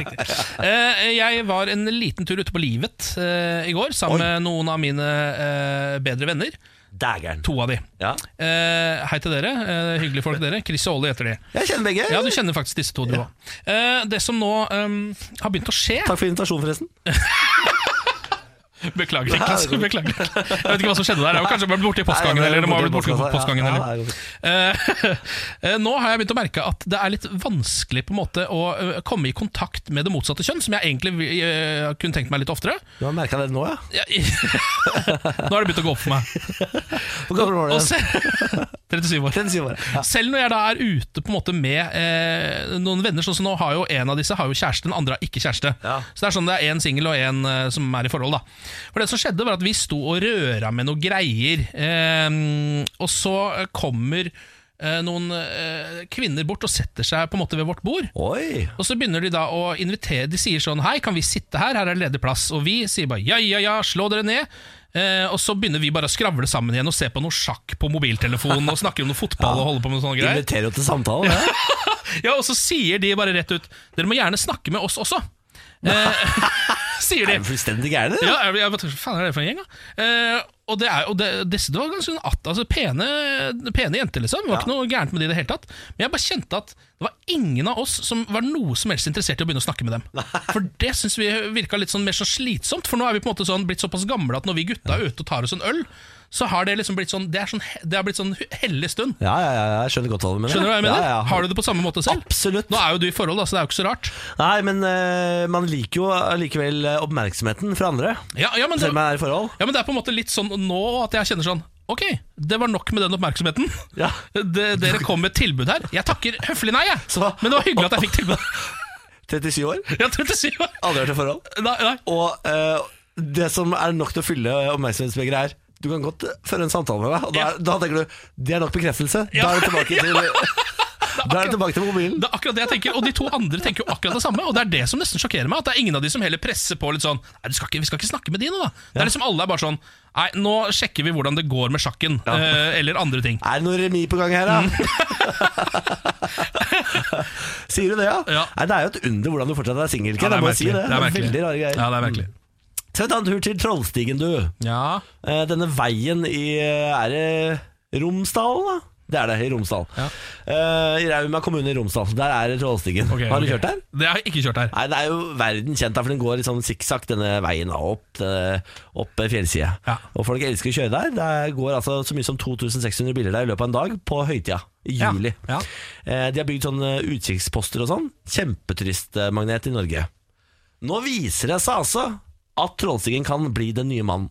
[SPEAKER 2] Eh, jeg var en liten tur ute på livet eh, i går, sammen
[SPEAKER 1] Oi.
[SPEAKER 2] med noen av mine eh, bedre venner.
[SPEAKER 1] Dægeren.
[SPEAKER 2] To av de.
[SPEAKER 1] Ja.
[SPEAKER 2] Eh, hei til dere. Eh, hyggelige folk, dere. Chris og Olli heter de.
[SPEAKER 1] Jeg kjenner begge.
[SPEAKER 2] Ja, du kjenner faktisk disse to, du òg. Eh, det som nå eh, har begynt å skje
[SPEAKER 1] Takk for invitasjonen, forresten. *laughs*
[SPEAKER 2] Beklager, Niklas. Beklager. Jeg vet ikke hva som skjedde der. Det var kanskje bare borti postgangen.
[SPEAKER 1] Nei, det
[SPEAKER 2] eller det må ha blitt borti
[SPEAKER 1] postkassa.
[SPEAKER 2] postgangen
[SPEAKER 1] Ja,
[SPEAKER 2] eller.
[SPEAKER 1] ja, det er godt.
[SPEAKER 2] Eh, *laughs* Nå har jeg begynt å merke at det er litt vanskelig på en måte å eh, komme i kontakt med det motsatte kjønn, som jeg egentlig eh, kunne tenkt meg litt oftere.
[SPEAKER 1] Du har merka det nå, ja?
[SPEAKER 2] Ja, i- *laughs* Nå har det begynt å gå opp for meg.
[SPEAKER 1] Hvor gammel var du?
[SPEAKER 2] Og
[SPEAKER 1] igjen?
[SPEAKER 2] se, *laughs* 37 år.
[SPEAKER 1] 37 år. Ja.
[SPEAKER 2] Selv når jeg da er ute på en måte med eh, noen venner Sånn som nå har jo en av disse har jo kjæreste, den andre har ikke kjæreste.
[SPEAKER 1] Ja.
[SPEAKER 2] Så det er sånn det er én singel og én eh, som er i forhold. da For Det som skjedde, var at vi sto og røra med noen greier, eh, og så eh, kommer eh, noen eh, kvinner bort og setter seg på en måte ved vårt bord.
[SPEAKER 1] Oi!
[SPEAKER 2] Og så begynner de da å invitere De sier sånn Hei, kan vi sitte her? Her er det ledig plass. Og vi sier bare ja, ja, ja, slå dere ned. Eh, og så begynner vi bare å skravle sammen igjen og se på noe sjakk på mobiltelefonen og snakke om noe fotball og holde på med sånne greier.
[SPEAKER 1] Inviterer jo til samtale. Ja.
[SPEAKER 2] Ja, Og så sier de bare rett ut Dere må gjerne snakke med oss også. Eh, *laughs* sier
[SPEAKER 1] Er
[SPEAKER 2] de.
[SPEAKER 1] du fullstendig gæren? eller?
[SPEAKER 2] Ja, jeg, jeg, hva faen er det for en gjeng, da? Eh, og det, er, og det, disse det var ganske sånn at, altså, pene, pene jenter, liksom. Det var ikke noe gærent med det i det hele tatt. Men jeg bare kjente at det var ingen av oss som var noe som helst interessert i å begynne å snakke med dem. For det syns vi virka litt sånn mer sånn slitsomt, for nå er vi på en måte sånn blitt såpass gamle at når vi gutta er ute og tar oss en øl, så har det liksom blitt sånn Det, er sånn, he- det har blitt sånn hellig stund.
[SPEAKER 1] Ja, ja, ja, jeg skjønner godt hva du mener.
[SPEAKER 2] Skjønner du hva jeg mener?
[SPEAKER 1] Ja, ja.
[SPEAKER 2] Har du det på samme måte selv?
[SPEAKER 1] Absolutt.
[SPEAKER 2] Nå er jo du i forhold, da, så det er jo ikke så rart.
[SPEAKER 1] Nei, men eh, man liker jo allikevel eh, oppmerksomheten fra andre.
[SPEAKER 2] Ja, ja, men det,
[SPEAKER 1] Selv om man er i forhold.
[SPEAKER 2] Ja, men det er på en måte litt sånn nå at jeg kjenner sånn Ok, det var nok med den oppmerksomheten.
[SPEAKER 1] Ja.
[SPEAKER 2] *laughs* Det- dere kom med et tilbud her. Jeg takker høflig nei, jeg.
[SPEAKER 1] Så-
[SPEAKER 2] Men det var hyggelig at jeg fikk tilbud. *laughs*
[SPEAKER 1] 37 år,
[SPEAKER 2] Jeg trodde si
[SPEAKER 1] aldri vært i forhold.
[SPEAKER 2] Nei, nei.
[SPEAKER 1] Og eh, det som er nok til å fylle oppmerksomhetsbegeret, er du kan godt føre en samtale med meg. Og da,
[SPEAKER 2] Ja.
[SPEAKER 1] da tenker du det er nok bekreftelse.
[SPEAKER 2] *laughs* Ja.
[SPEAKER 1] Da er du tilbake til, da er du tilbake til *laughs* mobilen.
[SPEAKER 2] Det er akkurat det jeg tenker, og de to andre tenker jo akkurat det samme. Og det er det som nesten sjokkerer meg, at det er ingen av de som heller presser på litt sånn Nei, du skal ikke, vi skal ikke snakke med de nå, da. Det er liksom alle er bare sånn Nei, nå sjekker vi hvordan det går med sjakken, eh, eller andre ting.
[SPEAKER 1] Er det noe remis på gang her,
[SPEAKER 2] Mm.
[SPEAKER 1] da? *laughs* Sier du det, ja?
[SPEAKER 2] Ja.
[SPEAKER 1] Nei, det er jo et under hvordan du fortsatt er singel.
[SPEAKER 2] Ja,
[SPEAKER 1] Ja, jeg må si
[SPEAKER 2] merkelig.
[SPEAKER 1] det.
[SPEAKER 2] Det er merkelig.
[SPEAKER 1] Veldig rare greier.
[SPEAKER 2] Ja, det er merkelig.
[SPEAKER 1] Skal vi ta en tur til Trollstigen, du?
[SPEAKER 2] Ja.
[SPEAKER 1] Eh, Denne veien i eh, Er det Romsdalen, da? Det er det, i Romsdal.
[SPEAKER 2] Ja.
[SPEAKER 1] Eh, I Rauma kommune i Romsdal. Der er Trollstigen.
[SPEAKER 2] ok,
[SPEAKER 1] Har du
[SPEAKER 2] ok.
[SPEAKER 1] kjørt der?
[SPEAKER 2] Det har jeg ikke kjørt her.
[SPEAKER 1] Nei, det er jo verden kjent da, for den går litt sånn sikksakk denne veien da, opp, eh, opp eh, fjellsida.
[SPEAKER 2] Ja.
[SPEAKER 1] Og folk elsker å kjøre der. Det går altså så mye som 2600 biler der i løpet av en dag på høytida. I
[SPEAKER 2] Ja,
[SPEAKER 1] juli.
[SPEAKER 2] ja.
[SPEAKER 1] Eh, De har bygd sånne utkikksposter og sånn. Kjempeturistmagnet i Norge. Nå viser det seg altså at Trollstigen kan bli den nye mannen.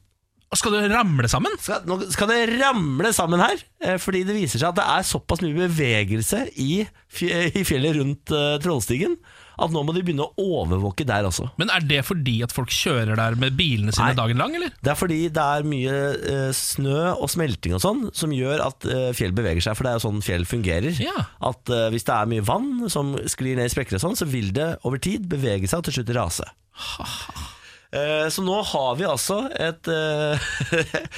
[SPEAKER 2] Og Skal du ramle sammen?
[SPEAKER 1] Skal, nå skal det ramle sammen her, eh, fordi det viser seg at det er såpass mye bevegelse i, fj- i fjellet rundt eh, Trollstigen at nå må de begynne å overvåke der også.
[SPEAKER 2] Men er det fordi at folk kjører der med bilene sine
[SPEAKER 1] Nei.
[SPEAKER 2] dagen lang, eller?
[SPEAKER 1] Det er fordi det er mye eh, snø og smelting og sånn som gjør at eh, fjell beveger seg, for det er jo sånn fjell fungerer.
[SPEAKER 2] Ja.
[SPEAKER 1] At eh, hvis det er mye vann som sklir ned i sprekker og sånn, så vil det over tid bevege seg og til slutt rase. Eh, Så nå har vi altså et, eh,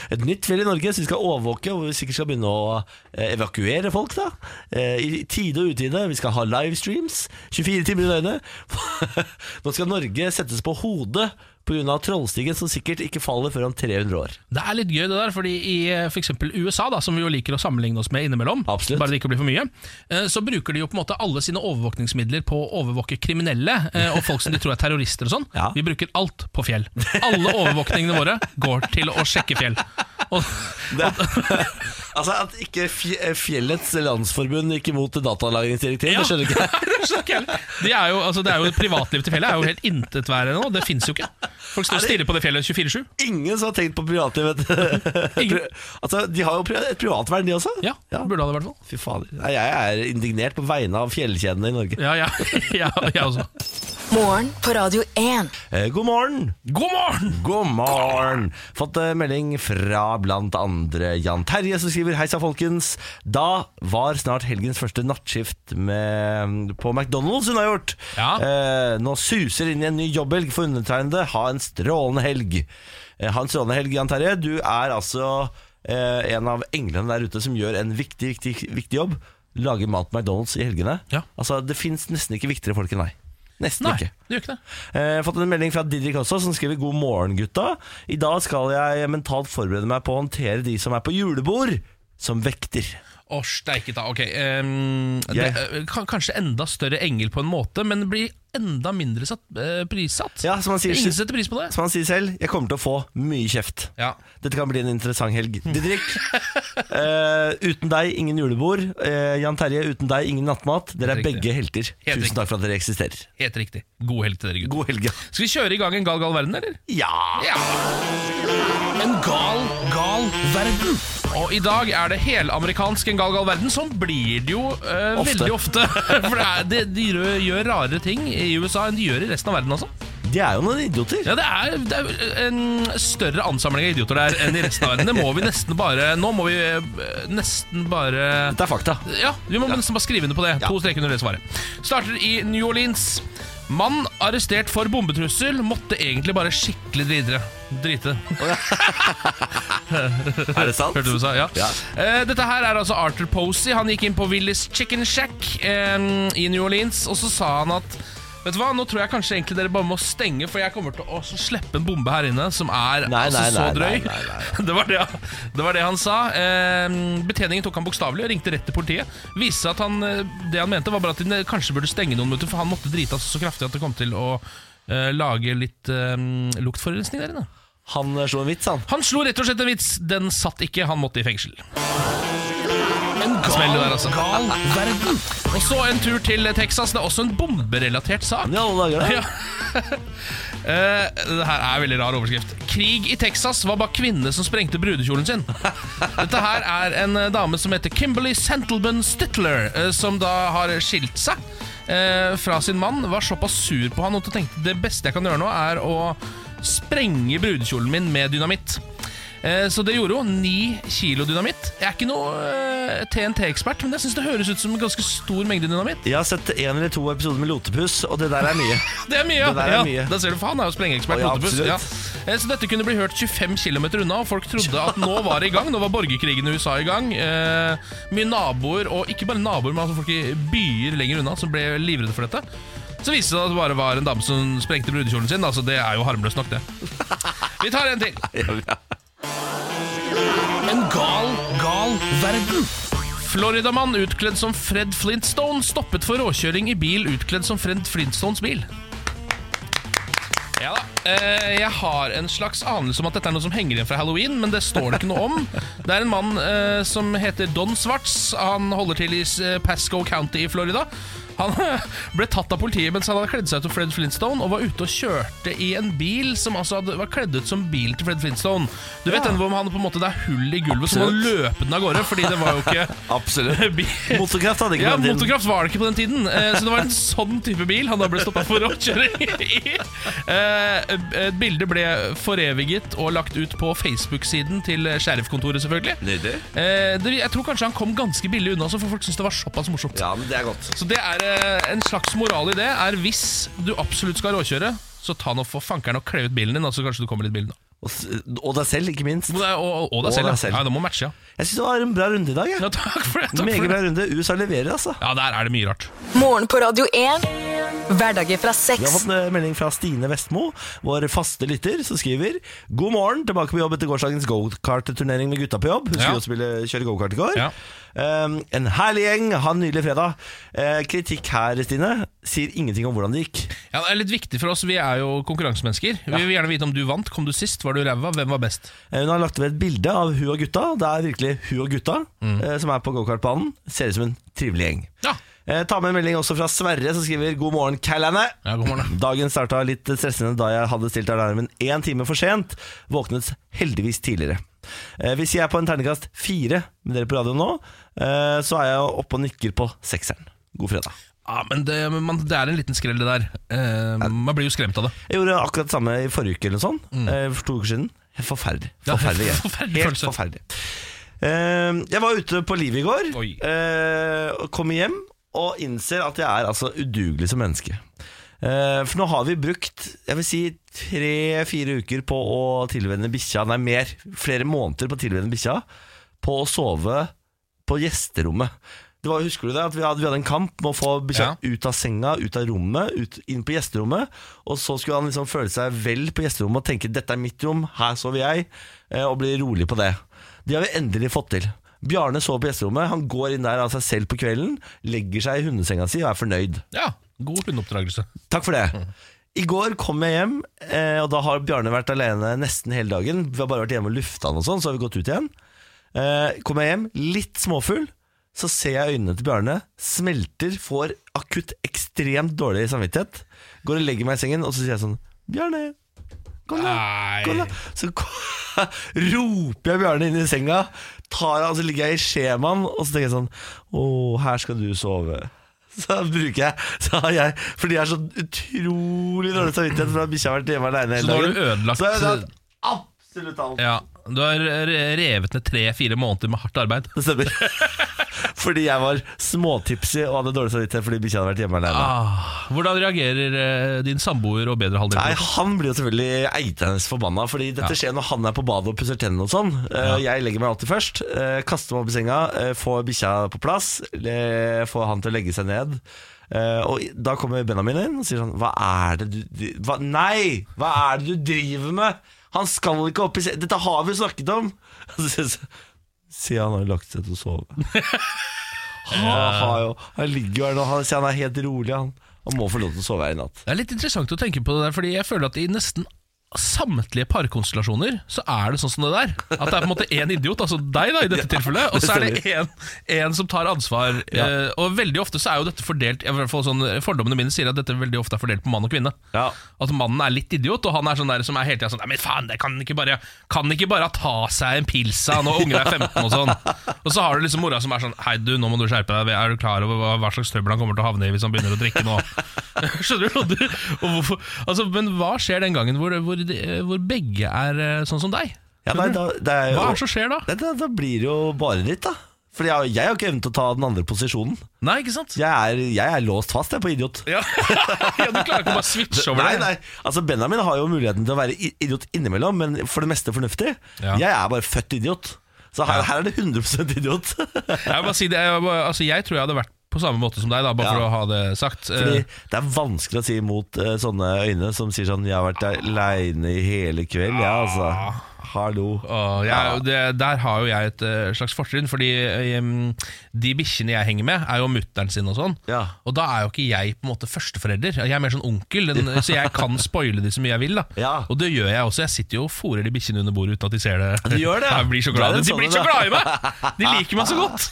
[SPEAKER 1] *laughs* et nytt fjell i Norge som vi skal overvåke, og hvor vi sikkert skal begynne å eh, evakuere folk. da Eh, I tide og utide. Vi skal ha livestreams 24 timer i døgnet. *laughs* Nå skal Norge settes på hodet pga. Trollstigen, som sikkert ikke faller før om 300 år.
[SPEAKER 2] Det er litt gøy det der, fordi i eh, for eksempel USA, da, som vi jo liker å sammenligne oss med innimellom,
[SPEAKER 1] Absolutt.
[SPEAKER 2] bare det ikke blir for mye, eh, så bruker de jo på en måte alle sine overvåkningsmidler på å overvåke kriminelle eh, og folk som de tror er terrorister og sånn.
[SPEAKER 1] *laughs* Ja.
[SPEAKER 2] Vi bruker alt på fjell. Alle overvåkningene våre går til å sjekke fjell. Og,
[SPEAKER 1] *laughs* Altså At ikke fj- Fjellets landsforbund gikk imot datalagringsdirektivet,
[SPEAKER 2] Ja.
[SPEAKER 1] det skjønner ikke jeg.
[SPEAKER 2] *laughs* det er så gøy. de er jo, altså, det er jo privatlivet til fjellet er jo helt intetværende nå. Det fins jo ikke. Folk står og stirrer på det fjellet 24-7.
[SPEAKER 1] Ingen som har tenkt på privatlivet.
[SPEAKER 2] *laughs* Ingen.
[SPEAKER 1] altså, de har jo pri- et privatvern, de også.
[SPEAKER 2] Ja, burde ha det i hvert fall.
[SPEAKER 1] Fy fader. Nei, jeg er indignert på vegne av fjellkjedene i Norge.
[SPEAKER 2] Ja, *laughs* ja, ja, jeg også.
[SPEAKER 4] Morgen på Radio 1.
[SPEAKER 1] Eh, god morgen!
[SPEAKER 2] God morgen!
[SPEAKER 1] God morgen! Fått eh, melding fra blant andre Jan Terje som skriver Hei sann, folkens. Da var snart helgens første nattskift med, mm, på McDonald's hun har gjort.
[SPEAKER 2] Ja.
[SPEAKER 1] Eh, nå suser inn i en ny jobbhelg for undertegnede. Ha en strålende helg. Eh, ha en strålende helg, Jan Terje. Du er altså eh, en av englene der ute som gjør en viktig, viktig, viktig jobb. Lager mat på McDonald's i helgene.
[SPEAKER 2] Ja.
[SPEAKER 1] Altså, det fins nesten ikke viktigere folk enn deg. Nesten
[SPEAKER 2] Nei,
[SPEAKER 1] ikke.
[SPEAKER 2] det gjør ikke det.
[SPEAKER 1] Eh, Jeg har fått en melding fra Didrik også, som skriver God morgen, gutta. I dag skal jeg mentalt forberede meg på å håndtere de som er på julebord som vekter.
[SPEAKER 2] Å, steike ta. Ok. ehm, det,
[SPEAKER 1] Jeg-
[SPEAKER 2] eh, kan- kanskje enda større engel på en måte, men blir enda mindre satt, eh, prissatt.
[SPEAKER 1] Ja, som han sier,
[SPEAKER 2] Ingen setter pris på det.
[SPEAKER 1] som han sier selv, jeg kommer til å få mye kjeft.
[SPEAKER 2] Ja.
[SPEAKER 1] Dette kan bli en interessant helg.
[SPEAKER 2] *laughs*
[SPEAKER 1] Didrik, eh, uten deg ingen julebord. Eh, Jan Terje, uten deg ingen nattmat. Dere er
[SPEAKER 2] Helt riktig.
[SPEAKER 1] begge helter.
[SPEAKER 2] Helt
[SPEAKER 1] Tusen
[SPEAKER 2] riktig.
[SPEAKER 1] takk for at dere eksisterer.
[SPEAKER 2] Helt riktig. God helg til dere, gutter.
[SPEAKER 1] God helg. ja.
[SPEAKER 2] Skal vi kjøre i gang en gal, gal verden, eller?
[SPEAKER 1] Ja!
[SPEAKER 2] Ja. En gal, gal verden. Og i dag er det helamerikansk en gal, gal verden. Sånn blir det jo eh,
[SPEAKER 1] Ofte.
[SPEAKER 2] veldig ofte. *laughs* For det er, de, de gjør- gjør rarere ting i USA enn de gjør i resten av verden, altså.
[SPEAKER 1] De er jo noen idioter.
[SPEAKER 2] Ja, det er, det er en større ansamling av idioter der enn i resten av verden. Det må vi nesten bare Nå må vi eh, nesten bare
[SPEAKER 1] Dette er fakta.
[SPEAKER 2] *laughs* ja, vi må nesten bare skrive under på det. To streker under det svaret. Starter i New Orleans. Mann arrestert for bombetrussel måtte egentlig bare skikkelig dritere. Drite.
[SPEAKER 1] Er det sant?
[SPEAKER 2] Hørte du hva du sa? Ja.
[SPEAKER 1] Ja.
[SPEAKER 2] Eh, dette her er altså Arthur Posey. Han gikk inn på Willis Chicken Shack eh, i New Orleans, og så sa han at Vet du hva, Nå tror jeg kanskje egentlig dere bare må stenge, for jeg kommer til å også slippe en bombe her inne som er
[SPEAKER 1] Nei,
[SPEAKER 2] altså
[SPEAKER 1] nei,
[SPEAKER 2] så
[SPEAKER 1] nei,
[SPEAKER 2] drøy.
[SPEAKER 1] nei, nei, nei,
[SPEAKER 2] *laughs* Det, var det, han- det var det han sa. Eh, betjeningen tok han bokstavelig og ringte rett til politiet. Viste seg at han, eh, det han mente, var bare at de kanskje burde stenge noen minutter, for han måtte drite altså så kraftig at det kom til å eh, lage litt eh, luktforurensning der inne.
[SPEAKER 1] Han eh, slo en vits, han.
[SPEAKER 2] Han slo rett og slett en vits. Den satt ikke, han måtte i fengsel. En gal, der, altså. gal verden. Og så en tur til Texas. Det er også en bomberelatert sak.
[SPEAKER 1] Men i alle dager, da.
[SPEAKER 2] Ja. Eh, det her er en veldig rar overskrift. Krig i Texas var bare kvinnene som sprengte brudekjolen sin. Dette her er en eh, dame som heter Kimberly Santelman Stittler, eh, som da har skilt seg eh, fra sin mann. Var såpass sur på han at hun tenkte det beste jeg kan gjøre nå, er å sprenge brudekjolen min med dynamitt. Eh, Så det gjorde hun. Ni kilo dynamitt. Jeg er ikke noe eh, TNT-ekspert, men jeg syns det høres ut som en ganske stor mengde dynamitt.
[SPEAKER 1] Jeg har sett en eller to episoder med Lotepus, og det der er mye.
[SPEAKER 2] Det er mye, ja.
[SPEAKER 1] Det der er
[SPEAKER 2] ja.
[SPEAKER 1] mye.
[SPEAKER 2] Da ser du, for han er jo sprengeekspert.
[SPEAKER 1] Å, ja,
[SPEAKER 2] Lotepus.
[SPEAKER 1] absolutt.
[SPEAKER 2] ja. Eh, Så dette kunne bli hørt 25 km unna, og folk trodde at nå var det i gang. Nå var borgerkrigen i USA i gang. Eh, mye naboer, og ikke bare naboer, men altså folk i byer lenger unna, som ble livredde for dette. Så viste det seg at det bare var en dame som sprengte brudekjolen sin. Altså, Det er jo harmløst nok, det. Vi tar en
[SPEAKER 1] *laughs*
[SPEAKER 2] til. En gal, gal verden. Floridamann utkledd som Fred Flintstone stoppet for råkjøring i bil utkledd som Fred Flintstones bil. Ja da. Eh, jeg har en slags anelse om at dette er noe som henger igjen fra halloween, men det står det ikke noe om. Det er en mann eh, som heter Don Svarts. Han holder til i eh, Pasco County i Florida. Han *laughs* ble tatt av politiet mens han hadde kledd seg ut som Fred Flintstone og var ute og kjørte i en bil som altså hadde, var kledd ut som bil til Fred Flintstone. Du vet den hvor han på en måte det er hull i gulvet, så må han løpe den av gårde, fordi det var jo ikke
[SPEAKER 1] *laughs* Absolutt.
[SPEAKER 2] *laughs* bil.
[SPEAKER 1] Motorkraft hadde ikke
[SPEAKER 2] Ja,
[SPEAKER 1] den tiden.
[SPEAKER 2] Motorkraft var det ikke på den tiden, eh, så det var en sånn type bil han da ble stoppa for råkjøring i. Eh, Et bilde ble foreviget og lagt ut på Facebook-siden til sheriffkontoret, selvfølgelig.
[SPEAKER 1] Nydelig.
[SPEAKER 2] Eh, det- Jeg tror kanskje han kom ganske billig unna, så for folk syntes det var såpass morsomt.
[SPEAKER 1] Ja, men det er godt.
[SPEAKER 2] Så det er eh, en slags moral i det, er hvis du absolutt skal råkjøre, så ta nå for fankeren og kle ut bilen din, da, så kanskje du kommer litt i bilen. da.
[SPEAKER 1] Og, s- og deg selv, ikke minst.
[SPEAKER 2] Og, det er- og, og deg
[SPEAKER 1] Og
[SPEAKER 2] selv.
[SPEAKER 1] deg
[SPEAKER 2] ja.
[SPEAKER 1] selv.
[SPEAKER 2] Ja, det må matche, ja.
[SPEAKER 1] Jeg syns det var en bra runde i dag. Jeg.
[SPEAKER 2] ja takk for det. Takk
[SPEAKER 1] Meget
[SPEAKER 2] for
[SPEAKER 1] bra
[SPEAKER 2] det.
[SPEAKER 1] runde. USA leverer, altså.
[SPEAKER 2] Ja, der er det mye rart.
[SPEAKER 4] Morgen på Radio 1. Hverdager fra
[SPEAKER 1] Vi har
[SPEAKER 4] seks.
[SPEAKER 1] fått en eh, melding fra Stine Vestmo, vår faste lytter, som skriver God morgen, tilbake på jobb etter gårsdagens gokart-turnering med gutta på jobb. Hun skulle
[SPEAKER 2] Ja.
[SPEAKER 1] jo spille, kjøre gokart i går.
[SPEAKER 2] Ja.
[SPEAKER 1] Um, en herlig gjeng, ha en nydelig fredag. Eh, kritikk her, Stine, sier ingenting om hvordan det gikk.
[SPEAKER 2] Ja, Det er litt viktig for oss. Vi er jo konkurransemennesker. Vi vil gjerne vite om du vant. Kom du sist? Var du ræva? Hvem var best?
[SPEAKER 1] Eh, Hun har lagt ved et bilde av hun og gutta. Det er virkelig hun og gutta eh, som er på gokartbanen. Ser ut som en trivelig gjeng.
[SPEAKER 2] Mm. Ja.
[SPEAKER 1] Eh, ta med en melding også fra Sverre, som skriver God morgen, Kallane.
[SPEAKER 2] Ja, god morgen.
[SPEAKER 1] Dagen starta litt stressende da jeg hadde stilt alarmen én time for sent. Våknet heldigvis tidligere. Eh, hvis jeg er på en terningkast fire med dere på radioen nå, eh, så er jeg oppe og nikker på sekseren. God fredag.
[SPEAKER 2] Ja, men det, men man, det er en liten skrell, det der. Eh, man blir jo skremt av det.
[SPEAKER 1] Jeg gjorde akkurat det samme i forrige uke eller noe sånt. eh, For to uker siden. Forferdelig.
[SPEAKER 2] Mm. Ja,
[SPEAKER 1] Forferdelig, jeg.
[SPEAKER 2] forferdelig
[SPEAKER 1] Helt
[SPEAKER 2] følelse.
[SPEAKER 1] forferdelig. Eh, jeg var ute på livet i går.
[SPEAKER 2] Oi.
[SPEAKER 1] eh, og kom hjem og innser at jeg er altså udugelig som menneske. Eh, for nå har vi brukt jeg vil si tre-fire uker på å tilvenne bikkja Nei, mer. Flere måneder på å tilvenne bikkja på å sove på gjesterommet. Det var, husker du det? At vi hadde, vi hadde en kamp med å få bikkja
[SPEAKER 2] Ja.
[SPEAKER 1] ut av senga, ut av rommet, ut, inn på gjesterommet. Og så skulle han liksom føle seg vel på gjesterommet og tenke 'dette er mitt rom, her sover jeg', eh, og bli rolig på det. Det har vi endelig fått til. Bjarne sover på gjesterommet. Han går inn der av seg selv på kvelden, legger seg i hundesenga si og er fornøyd.
[SPEAKER 2] Ja, God hundeoppdragelse.
[SPEAKER 1] Takk for det. I går kom jeg hjem, eh, og da har Bjarne vært alene nesten hele dagen. Vi har bare vært hjemme og lufta han og sånn, så har vi gått ut igjen. Eh, kom jeg hjem, litt småfull, så ser jeg øynene til Bjarne smelter, får akutt ekstremt dårlig samvittighet. Går og legger meg i sengen, og så sier jeg sånn Bjarne, kom da. Kom da.
[SPEAKER 2] Nei.
[SPEAKER 1] Så ko- *laughs* roper jeg Bjarne inn i senga, tar han, så ligger jeg i skjemaen, og så tenker jeg sånn Å, her skal du sove. *laughs* Så bruker jeg, så har jeg Fordi jeg er så utrolig dårlig samvittighet for at bikkja har vært hjemme alene hele
[SPEAKER 2] Så da har
[SPEAKER 1] dagen.
[SPEAKER 2] du ødelagt
[SPEAKER 1] Så har jeg ødelagt absolutt alt.
[SPEAKER 2] ja, Du har re- revet ned tre-fire måneder med hardt arbeid.
[SPEAKER 1] Det stemmer.
[SPEAKER 2] *laughs*
[SPEAKER 1] Fordi jeg var småtipsy og hadde dårlig samvittighet fordi bikkja hadde vært hjemme alene.
[SPEAKER 2] Ah, hvordan reagerer eh, din samboer og bedre halvdel? på
[SPEAKER 1] Nei,
[SPEAKER 2] det?
[SPEAKER 1] Han blir jo selvfølgelig eiternes forbanna, Fordi dette
[SPEAKER 2] Ja.
[SPEAKER 1] skjer når han er på badet og pusser tennene. og sånn Eh, Jeg legger meg alltid først, eh, kaster meg opp i senga, eh, får bikkja på plass, eh, får han til å legge seg ned. Eh, og i- da kommer Benjamin inn og sier sånn Hva er det du dri- hva, Nei! Hva er det du driver med?! Han skal ikke opp i senga! Dette har vi jo snakket om! *laughs* Så- så- Sier han har lagt seg til å sove.
[SPEAKER 2] *laughs*
[SPEAKER 1] han, har jo, han ligger jo her nå, han, sier han er helt rolig. Han, han må få lov til å sove her i natt.
[SPEAKER 2] Det er litt interessant å tenke på det der, fordi jeg føler at i nesten samtlige parkonstellasjoner så er det sånn som det der. At det er på en måte én idiot, altså deg da i dette tilfellet, og så er det én, én som tar ansvar. Eh, og veldig ofte så er jo dette fordelt i hvert fall sånn, Fordommene mine sier at dette veldig ofte er fordelt på mann og kvinne.
[SPEAKER 1] Ja.
[SPEAKER 2] At mannen er litt idiot, og han er sånn der som er hele tida sånn Nei, men faen, det kan ikke bare Kan ikke bare ta seg en pilsa når ungen er 15 og sånn. Og så har du liksom mora som er sånn Hei, du, nå må du skjerpe deg. Er du klar over hva, hva slags trøbbel han kommer til å havne i hvis han begynner å drikke nå? *laughs* Skjønner du? Og du og hvorfor, altså, men hva skjer den gangen hvor, hvor, hvor begge er eh, sånn som deg?
[SPEAKER 1] Ja, nei, da, det er jo,
[SPEAKER 2] Hva er det som skjer da?
[SPEAKER 1] Nei, da, da blir det jo bare ditt, da. For jeg, har- jeg har ikke evnet å ta den andre posisjonen.
[SPEAKER 2] Nei, ikke sant?
[SPEAKER 1] Jeg er, jeg er låst fast jeg, på idiot.
[SPEAKER 2] Ja. *laughs* ja, Du klarer ikke å bare switche over
[SPEAKER 1] Nei,
[SPEAKER 2] det?
[SPEAKER 1] nei, altså Benjamin har jo muligheten til å være i- idiot innimellom, men for det meste fornuftig.
[SPEAKER 2] Ja.
[SPEAKER 1] Jeg er bare født idiot. Så her, her er det 100 idiot. *laughs*
[SPEAKER 2] Jeg, vil bare si det, jeg, bare- altså, jeg tror jeg hadde vært på samme måte som deg, da, bare
[SPEAKER 1] Ja.
[SPEAKER 2] for å ha det sagt.
[SPEAKER 1] Fordi
[SPEAKER 2] Eh,
[SPEAKER 1] Det er vanskelig å si imot eh, sånne øyne som sier sånn 'Jeg har vært aleine i hele kveld', ja, altså. Hallo.
[SPEAKER 2] Og jeg, det, der har jo jeg et eh, slags fortrinn, fordi eh, em, de bikkjene jeg henger med, er jo mutter'n sin og sånn.
[SPEAKER 1] Ja.
[SPEAKER 2] Og da er jo ikke jeg på en måte førsteforelder, jeg er mer sånn onkel, den, så jeg kan spoile de så mye jeg vil. da
[SPEAKER 1] Ja.
[SPEAKER 2] Og det gjør jeg også, jeg sitter jo og fôrer de bikkjene under bordet uten at de ser det.
[SPEAKER 1] Du gjør
[SPEAKER 2] *laughs*
[SPEAKER 1] det, ja.
[SPEAKER 2] Jeg blir så
[SPEAKER 1] Du er
[SPEAKER 2] glad,
[SPEAKER 1] en
[SPEAKER 2] de
[SPEAKER 1] sånn
[SPEAKER 2] blir
[SPEAKER 1] en,
[SPEAKER 2] så
[SPEAKER 1] da.
[SPEAKER 2] glad i meg!
[SPEAKER 1] *laughs*
[SPEAKER 2] De liker meg så godt!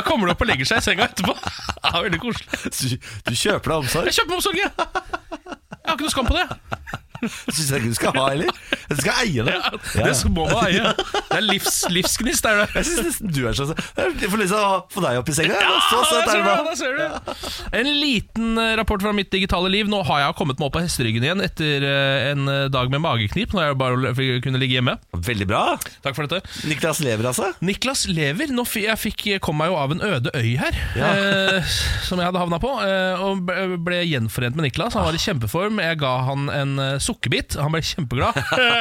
[SPEAKER 2] Da kommer de opp og legger seg i senga etterpå. *laughs* Det er veldig koselig.
[SPEAKER 1] Du, du kjøper deg omsorg.
[SPEAKER 2] Jeg kjøper meg omsorg, jeg! Jeg har ikke noe skam på det.
[SPEAKER 1] Syns jeg ikke du skal ha heller. Du skal eie det.
[SPEAKER 2] Ja,
[SPEAKER 1] Ja.
[SPEAKER 2] *laughs* det må man eie. Det er livs, livsgnist, er det.
[SPEAKER 1] Jeg syns nesten du er sånn Jeg får lyst til å få deg opp i senga. Ja, så
[SPEAKER 2] Ah,
[SPEAKER 1] søt
[SPEAKER 2] der
[SPEAKER 1] er det
[SPEAKER 2] ser du,
[SPEAKER 1] bra.
[SPEAKER 2] der ser du. En liten eh, rapport fra mitt digitale liv. Nå har jeg kommet meg opp av hesteryggen igjen etter eh, en eh, dag med mageknip. Nå har jeg bare l- kunne ligge hjemme.
[SPEAKER 1] Veldig bra.
[SPEAKER 2] Takk for dette.
[SPEAKER 1] Niklas lever, altså.
[SPEAKER 2] Niklas lever. Nå f jeg fikk, eh, kom meg jo av en øde øy her,
[SPEAKER 1] Ja.
[SPEAKER 2] eh, som jeg hadde havna på. Eh, og ble, ble gjenforent med Niklas. Han var i kjempeform. Jeg ga han en eh, sukkerbit. Han ble kjempeglad. *laughs*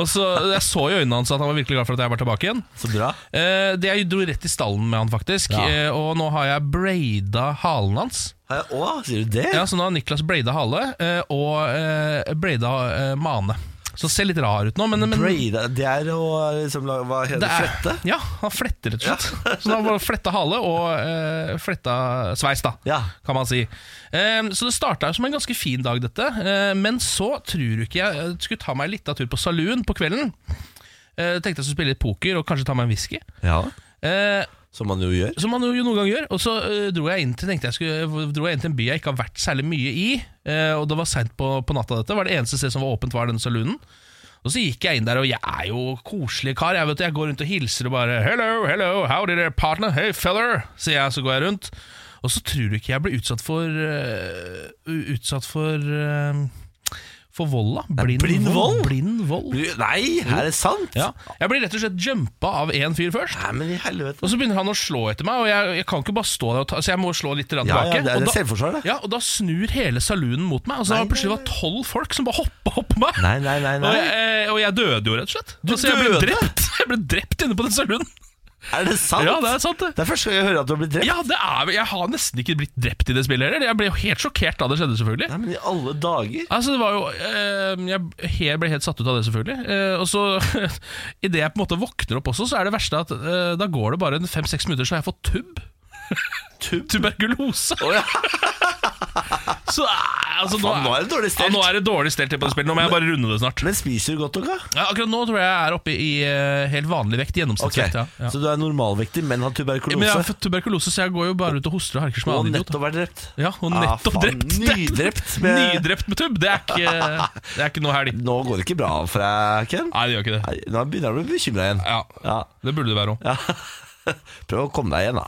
[SPEAKER 2] og så, Jeg så i øynene hans at han var virkelig glad for at jeg var tilbake igjen.
[SPEAKER 1] Så bra.
[SPEAKER 2] Eh, det jeg dro rett i stallen med han, faktisk.
[SPEAKER 1] Ja.
[SPEAKER 2] Eh, og nå har jeg braida halen hans.
[SPEAKER 1] Har jeg- Å, sier du det?
[SPEAKER 2] Ja, Så nå har Niklas braida hale eh, og eh, braida eh, mane. Så ser litt rar ut nå, men, men
[SPEAKER 1] Braida Det er å liksom la- Hva heter det? Flette?
[SPEAKER 2] Ja, han fletter rett og slett. *laughs* så han har bare fletta hale og eh, fletta sveis, da,
[SPEAKER 1] Ja.
[SPEAKER 2] kan man si. Eh, så det starta som en ganske fin dag, dette. Eh, men så tror du ikke jeg eh, skulle ta meg en liten tur på saluen på kvelden. Eh, tenkte jeg skulle spille litt poker og kanskje ta meg en whisky.
[SPEAKER 1] ja.
[SPEAKER 2] Eh,
[SPEAKER 1] Som man jo gjør.
[SPEAKER 2] Som man jo noen gang gjør. Og så øh, dro, jeg inn til, tenkte jeg skulle, eh, dro jeg inn til en by jeg ikke har vært særlig mye i. eh, og det var seint på, på natta, dette. var Det eneste stedet som var åpent, var denne saloonen. Og så gikk jeg inn der, og jeg er jo koselig kar. Jeg vet, jeg går rundt og hilser og bare 'Hello, hello, howdy there, partner. Hey, feller', sier jeg, så går jeg rundt. Og så tror du ikke jeg ble utsatt for øh, Utsatt for øh, For vold, da. Blind,
[SPEAKER 1] blind vold?
[SPEAKER 2] Blind vold.
[SPEAKER 1] Nei, er det sant?
[SPEAKER 2] Ja. Jeg ble rett og slett jumpa av én fyr først.
[SPEAKER 1] Nei, men i helvete.
[SPEAKER 2] Og så begynner han å slå etter meg, og jeg, jeg kan ikke bare stå der og ta, så jeg må slå litt grann
[SPEAKER 1] Ja,
[SPEAKER 2] tilbake.
[SPEAKER 1] ja, det er
[SPEAKER 2] Og
[SPEAKER 1] det
[SPEAKER 2] da-
[SPEAKER 1] selvforsvar, det.
[SPEAKER 2] Ja, og da snur hele saloonen mot meg, og så
[SPEAKER 1] Nei,
[SPEAKER 2] har det plutselig
[SPEAKER 1] nei,
[SPEAKER 2] var tolv folk som bare hoppa opp på meg.
[SPEAKER 1] Nei, nei, nei.
[SPEAKER 2] Og,
[SPEAKER 1] nei.
[SPEAKER 2] jeg, eh, og jeg døde jo, rett og slett.
[SPEAKER 1] Du
[SPEAKER 2] altså, jeg ble
[SPEAKER 1] døde?
[SPEAKER 2] drept *laughs* Jeg ble drept inne på den saloonen.
[SPEAKER 1] Er det sant?
[SPEAKER 2] Ja, det er sant, det.
[SPEAKER 1] Det er første gang jeg hører at du har blitt drept.
[SPEAKER 2] Ja, det er, vel- jeg har nesten ikke blitt drept i det spillet heller. Jeg ble jo helt sjokkert da det skjedde, selvfølgelig.
[SPEAKER 1] Nei, men i alle dager.
[SPEAKER 2] Altså det var jo eh, Jeg he- ble helt satt ut av det, selvfølgelig. Eh, og så *laughs* Idet jeg på en måte våkner opp også, så er det verste at eh, da går det *laughs* bare en fem-seks minutter, så har jeg fått tubb. Tuberkulose. *laughs* Så eh, altså,
[SPEAKER 1] Faen, nå er det dårlig stelt.
[SPEAKER 2] Ja, nå er det dårlig stelt her på det spillet. Nå må jeg bare runde det snart.
[SPEAKER 1] Men spiser du godt nok, da?
[SPEAKER 2] Ja, akkurat nå tror jeg jeg er oppe i eh, helt vanlig vekt.
[SPEAKER 1] Ok,
[SPEAKER 2] Gjennomsnittsvekt. Ja.
[SPEAKER 1] Så du er normalvektig, men har
[SPEAKER 2] Ja.
[SPEAKER 1] tuberkulose?
[SPEAKER 2] Men jeg har fått tuberkulose, så jeg går jo bare ut og hoster og harker som en
[SPEAKER 1] og
[SPEAKER 2] annen idiot.
[SPEAKER 1] nettopp vært drept.
[SPEAKER 2] Ja, og
[SPEAKER 1] Ah,
[SPEAKER 2] nettopp
[SPEAKER 1] faen,
[SPEAKER 2] drept. *laughs*
[SPEAKER 1] Nydrept. Med...
[SPEAKER 2] Nydrept med tubb! Det er *laughs* ikke, det er ikke noe helg.
[SPEAKER 1] Nå går det ikke bra for deg, Ken.
[SPEAKER 2] Nei, det gjør ikke det.
[SPEAKER 1] Nei, Nå begynner jeg å bli bekymra igjen.
[SPEAKER 2] Ah. Ja,
[SPEAKER 1] Ja. *laughs*
[SPEAKER 2] Det burde det være òg.
[SPEAKER 1] Prøv å komme deg igjen, da.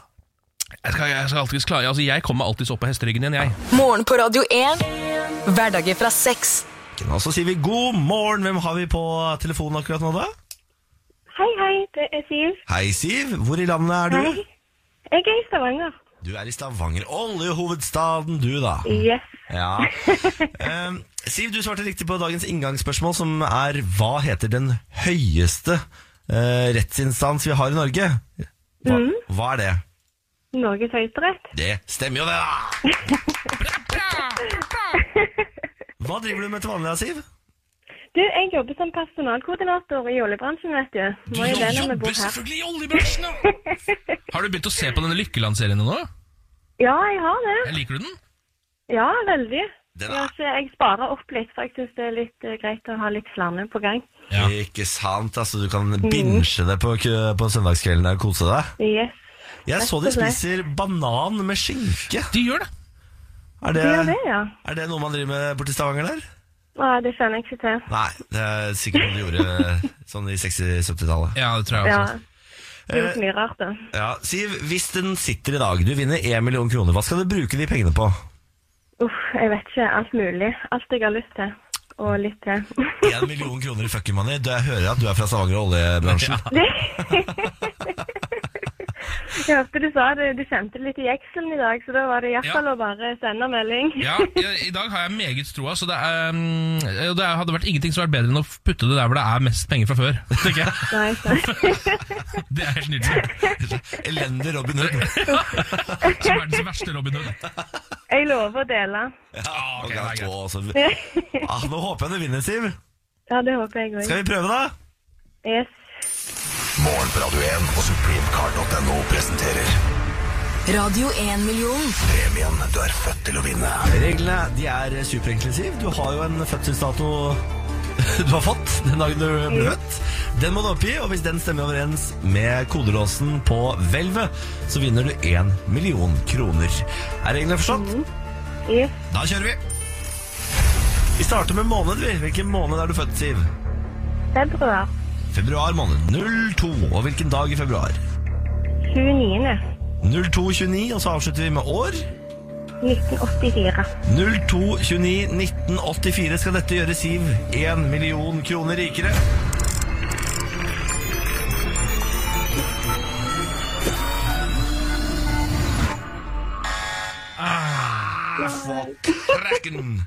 [SPEAKER 2] Jeg, skal- jeg, skal alltids klare- altså, jeg kommer alltids opp på hesteryggen igjen, jeg.
[SPEAKER 4] Morgen på Radio 1. Hverdager fra seks.
[SPEAKER 1] Og så sier vi god morgen. Hvem har vi på telefonen akkurat nå, da?
[SPEAKER 5] Hei, hei, det er Siv.
[SPEAKER 1] Hei, Siv. Hvor i landet er du?
[SPEAKER 5] Hei. Jeg er i Stavanger.
[SPEAKER 1] Du er i Stavanger. Oljehovedstaden, du, da.
[SPEAKER 5] Yes.
[SPEAKER 1] Ja. Ehm, Siv, du svarte riktig på dagens inngangsspørsmål, som er hva heter den høyeste eh, rettsinstans vi har i Norge? Hva,
[SPEAKER 5] Mm.
[SPEAKER 1] hva er det?
[SPEAKER 5] Norges høyesterett.
[SPEAKER 1] Det stemmer jo, det! da!
[SPEAKER 5] *laughs*
[SPEAKER 1] Hva driver du med til vanlig, da, Siv?
[SPEAKER 5] Du, jeg jobber som personalkoordinator i oljebransjen, vet du. Må jo det når vi bor her.
[SPEAKER 2] selvfølgelig i oljebransjen, da! *laughs* Har du begynt å se på denne Lykkeland-serien nå?
[SPEAKER 5] Ja, jeg har
[SPEAKER 2] Jeg
[SPEAKER 5] det.
[SPEAKER 2] liker du den?
[SPEAKER 5] Ja, veldig.
[SPEAKER 1] Den er-
[SPEAKER 5] Jeg, har ikke, jeg sparer opp litt, for jeg syns det er litt eh, greit å ha litt flere på gang.
[SPEAKER 2] Ja.
[SPEAKER 1] Ikke sant, altså. Du kan
[SPEAKER 5] Mm.
[SPEAKER 1] binge det på, kø- på søndagskvelden der og kose deg.
[SPEAKER 5] Yes.
[SPEAKER 1] Jeg så de
[SPEAKER 5] Rett og slett.
[SPEAKER 1] spiser banan med skinke.
[SPEAKER 2] De gjør det.
[SPEAKER 1] Er det,
[SPEAKER 5] Du gjør det, ja.
[SPEAKER 1] er det noe man driver med borti Stavanger der?
[SPEAKER 5] Nei, det kjenner jeg ikke til.
[SPEAKER 1] Nei, det er sikkert noe de gjorde *laughs* sånn i 60-70-tallet.
[SPEAKER 2] Ja, det tror jeg
[SPEAKER 5] Ja.
[SPEAKER 2] også.
[SPEAKER 5] Det er jo mye rart, det.
[SPEAKER 1] Ja, Siv, hvis den sitter i dag, du vinner 1 million kroner, hva skal du bruke de pengene på?
[SPEAKER 5] Uff, jeg vet ikke. Alt mulig. Alt jeg har lyst til. Og litt til.
[SPEAKER 1] 1 million kroner i fucking money, du, jeg hører at du er fra Stavanger og *laughs* oljebransjen.
[SPEAKER 5] *laughs* Jeg hørte du sa det, du kjente litt i jekselen i dag, så da var det iallfall
[SPEAKER 2] Ja.
[SPEAKER 5] å bare sende melding.
[SPEAKER 2] Ja, jeg, I dag har jeg meget troa, så det, er, mm, det er- hadde vært ingenting som hadde vært bedre enn å putte det der hvor det er mest penger fra før. tenker jeg.
[SPEAKER 5] *laughs*
[SPEAKER 2] *laughs*
[SPEAKER 5] Nei, sant.
[SPEAKER 2] Det er helt nydelig.
[SPEAKER 1] Elendig Robin Hood.
[SPEAKER 2] Som verdens verste Robin *laughs* Hood.
[SPEAKER 5] Jeg lover å dele.
[SPEAKER 1] Ja,
[SPEAKER 2] ok, det er greit.
[SPEAKER 1] og så- altså. ah, nå håper jeg du vinner, Siv.
[SPEAKER 5] Ja, det håper jeg òg.
[SPEAKER 1] Skal vi prøve, da?
[SPEAKER 5] Yes.
[SPEAKER 6] Morgen på Radio 1 og supremecard.no presenterer
[SPEAKER 4] Radio 1-million.
[SPEAKER 6] premien du er født til å vinne.
[SPEAKER 1] Reglene de er superenkle, Siv. Du har jo en fødselsdato *laughs* du har fått den dagen du ble født. Den må du oppgi, og hvis den stemmer overens med kodelåsen på hvelvet, så vinner du 1 million kroner. Er reglene forstått?
[SPEAKER 5] yes.
[SPEAKER 1] Da kjører vi. Vi starter med måned. vi. Hvilken måned er du født, Siv?
[SPEAKER 5] Februar
[SPEAKER 1] Februar måned. 02. Og hvilken dag i februar?
[SPEAKER 5] 29.
[SPEAKER 1] 0229, og så avslutter vi med år.
[SPEAKER 5] 1984.
[SPEAKER 1] 02291984 skal dette gjøre Siv 1 million kroner rikere. Ah, fuck. Kraken.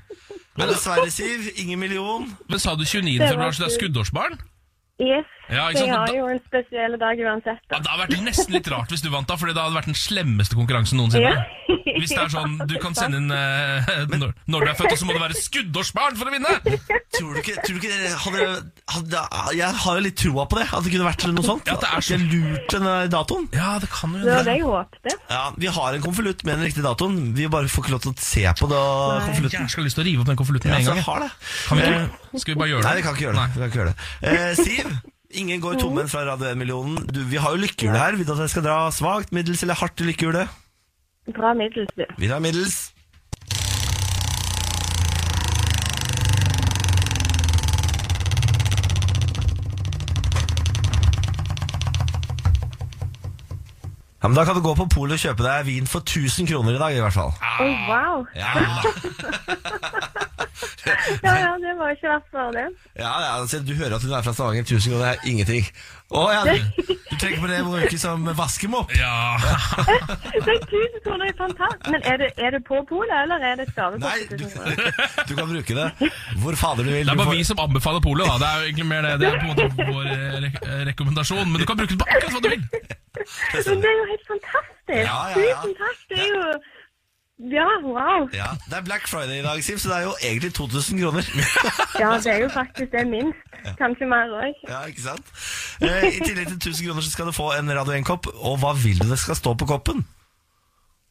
[SPEAKER 1] Men dessverre, Siv, ingen million.
[SPEAKER 2] Men sa du 29. februar, så det er skuddårsbarn?
[SPEAKER 5] Yes.
[SPEAKER 2] Ja, ikke
[SPEAKER 5] Så jeg
[SPEAKER 2] sant,
[SPEAKER 5] har
[SPEAKER 2] da-
[SPEAKER 5] jo en spesiell dag uansett.
[SPEAKER 2] Ja,
[SPEAKER 5] Da.
[SPEAKER 2] det hadde vært nesten litt rart hvis du vant, da, for det hadde vært den slemmeste konkurransen noensinne.
[SPEAKER 5] Ja.
[SPEAKER 2] Hvis det er sånn, du
[SPEAKER 5] *laughs*
[SPEAKER 2] kan sende inn eh, når, når du er født, og så må det være skuddårsbarn for å vinne!
[SPEAKER 1] Tror du ikke, tror du ikke dere hadde, hadde, Jeg har jo litt troa på det, at det kunne vært noe sånt.
[SPEAKER 2] Ja, det er så-
[SPEAKER 1] Jeg lurte den der datoen.
[SPEAKER 2] Ja, det kan jo
[SPEAKER 5] Det var
[SPEAKER 2] hende.
[SPEAKER 5] det jeg håpte.
[SPEAKER 1] Ja, Vi har en konvolutt med den riktige datoen. Vi bare får ikke lov til å se på det.
[SPEAKER 2] Jeg
[SPEAKER 1] konvolutten.
[SPEAKER 2] skal ha lyst til å rive opp den konvolutten
[SPEAKER 1] Ja,
[SPEAKER 2] med en
[SPEAKER 1] så
[SPEAKER 2] gang.
[SPEAKER 1] jeg har det.
[SPEAKER 2] Kan vi
[SPEAKER 1] Eh,
[SPEAKER 2] ikke? Skal vi bare gjøre det?
[SPEAKER 1] Nei, vi kan ikke gjøre det. Vi kan ikke gjøre det. Eh, Siv, ingen går tomhendt fra Radio 1-millionen. Du, Vi har jo lykkehjulet her. Vil du at jeg skal dra svakt, middels eller hardt i lykkehjulet?
[SPEAKER 5] Bra middels, du.
[SPEAKER 1] Vi drar middels. Ja, men Da kan du gå på polet og kjøpe deg vin for 1000 kroner i dag, i hvert fall.
[SPEAKER 5] Oi, wow.
[SPEAKER 1] Ja, ja,
[SPEAKER 5] Ja, ja, det var ikke verst for det.
[SPEAKER 1] ja altså, Du hører at hun er fra Stavanger. 1000 kroner er ingenting. Å ja, du, du tenker på det bruket som vaskemopp?
[SPEAKER 2] Ja,
[SPEAKER 5] Så 1000 kroner er fantastisk. Men er det, er det på polet, eller er det et
[SPEAKER 1] Nei,
[SPEAKER 5] gavekort? på
[SPEAKER 1] du,
[SPEAKER 5] 1000 kroner?
[SPEAKER 1] du kan bruke det hvor fader du vil.
[SPEAKER 2] Det er
[SPEAKER 1] Du
[SPEAKER 2] bare
[SPEAKER 1] får-
[SPEAKER 2] vi som anbefaler polet, da. Det er jo egentlig mer det. Det er på en måte vår eh, rek- eh, rekommendasjon. Men du kan bruke det på akkurat hva du vil.
[SPEAKER 5] Men altså, det er jo helt fantastisk.
[SPEAKER 1] Ja, ja, ja.
[SPEAKER 5] Tusen takk. Det er jo Ja, wow.
[SPEAKER 1] ja, det er Black Friday i dag, Siv, så det er jo egentlig 2000 kroner. *laughs*
[SPEAKER 5] Ja, det er jo faktisk det minst. Kanskje mer òg.
[SPEAKER 1] Ja, ikke sant? Eh, I tillegg til 1000 kroner så skal du få en Radio 1-kopp. Og hva vil du det skal stå på koppen?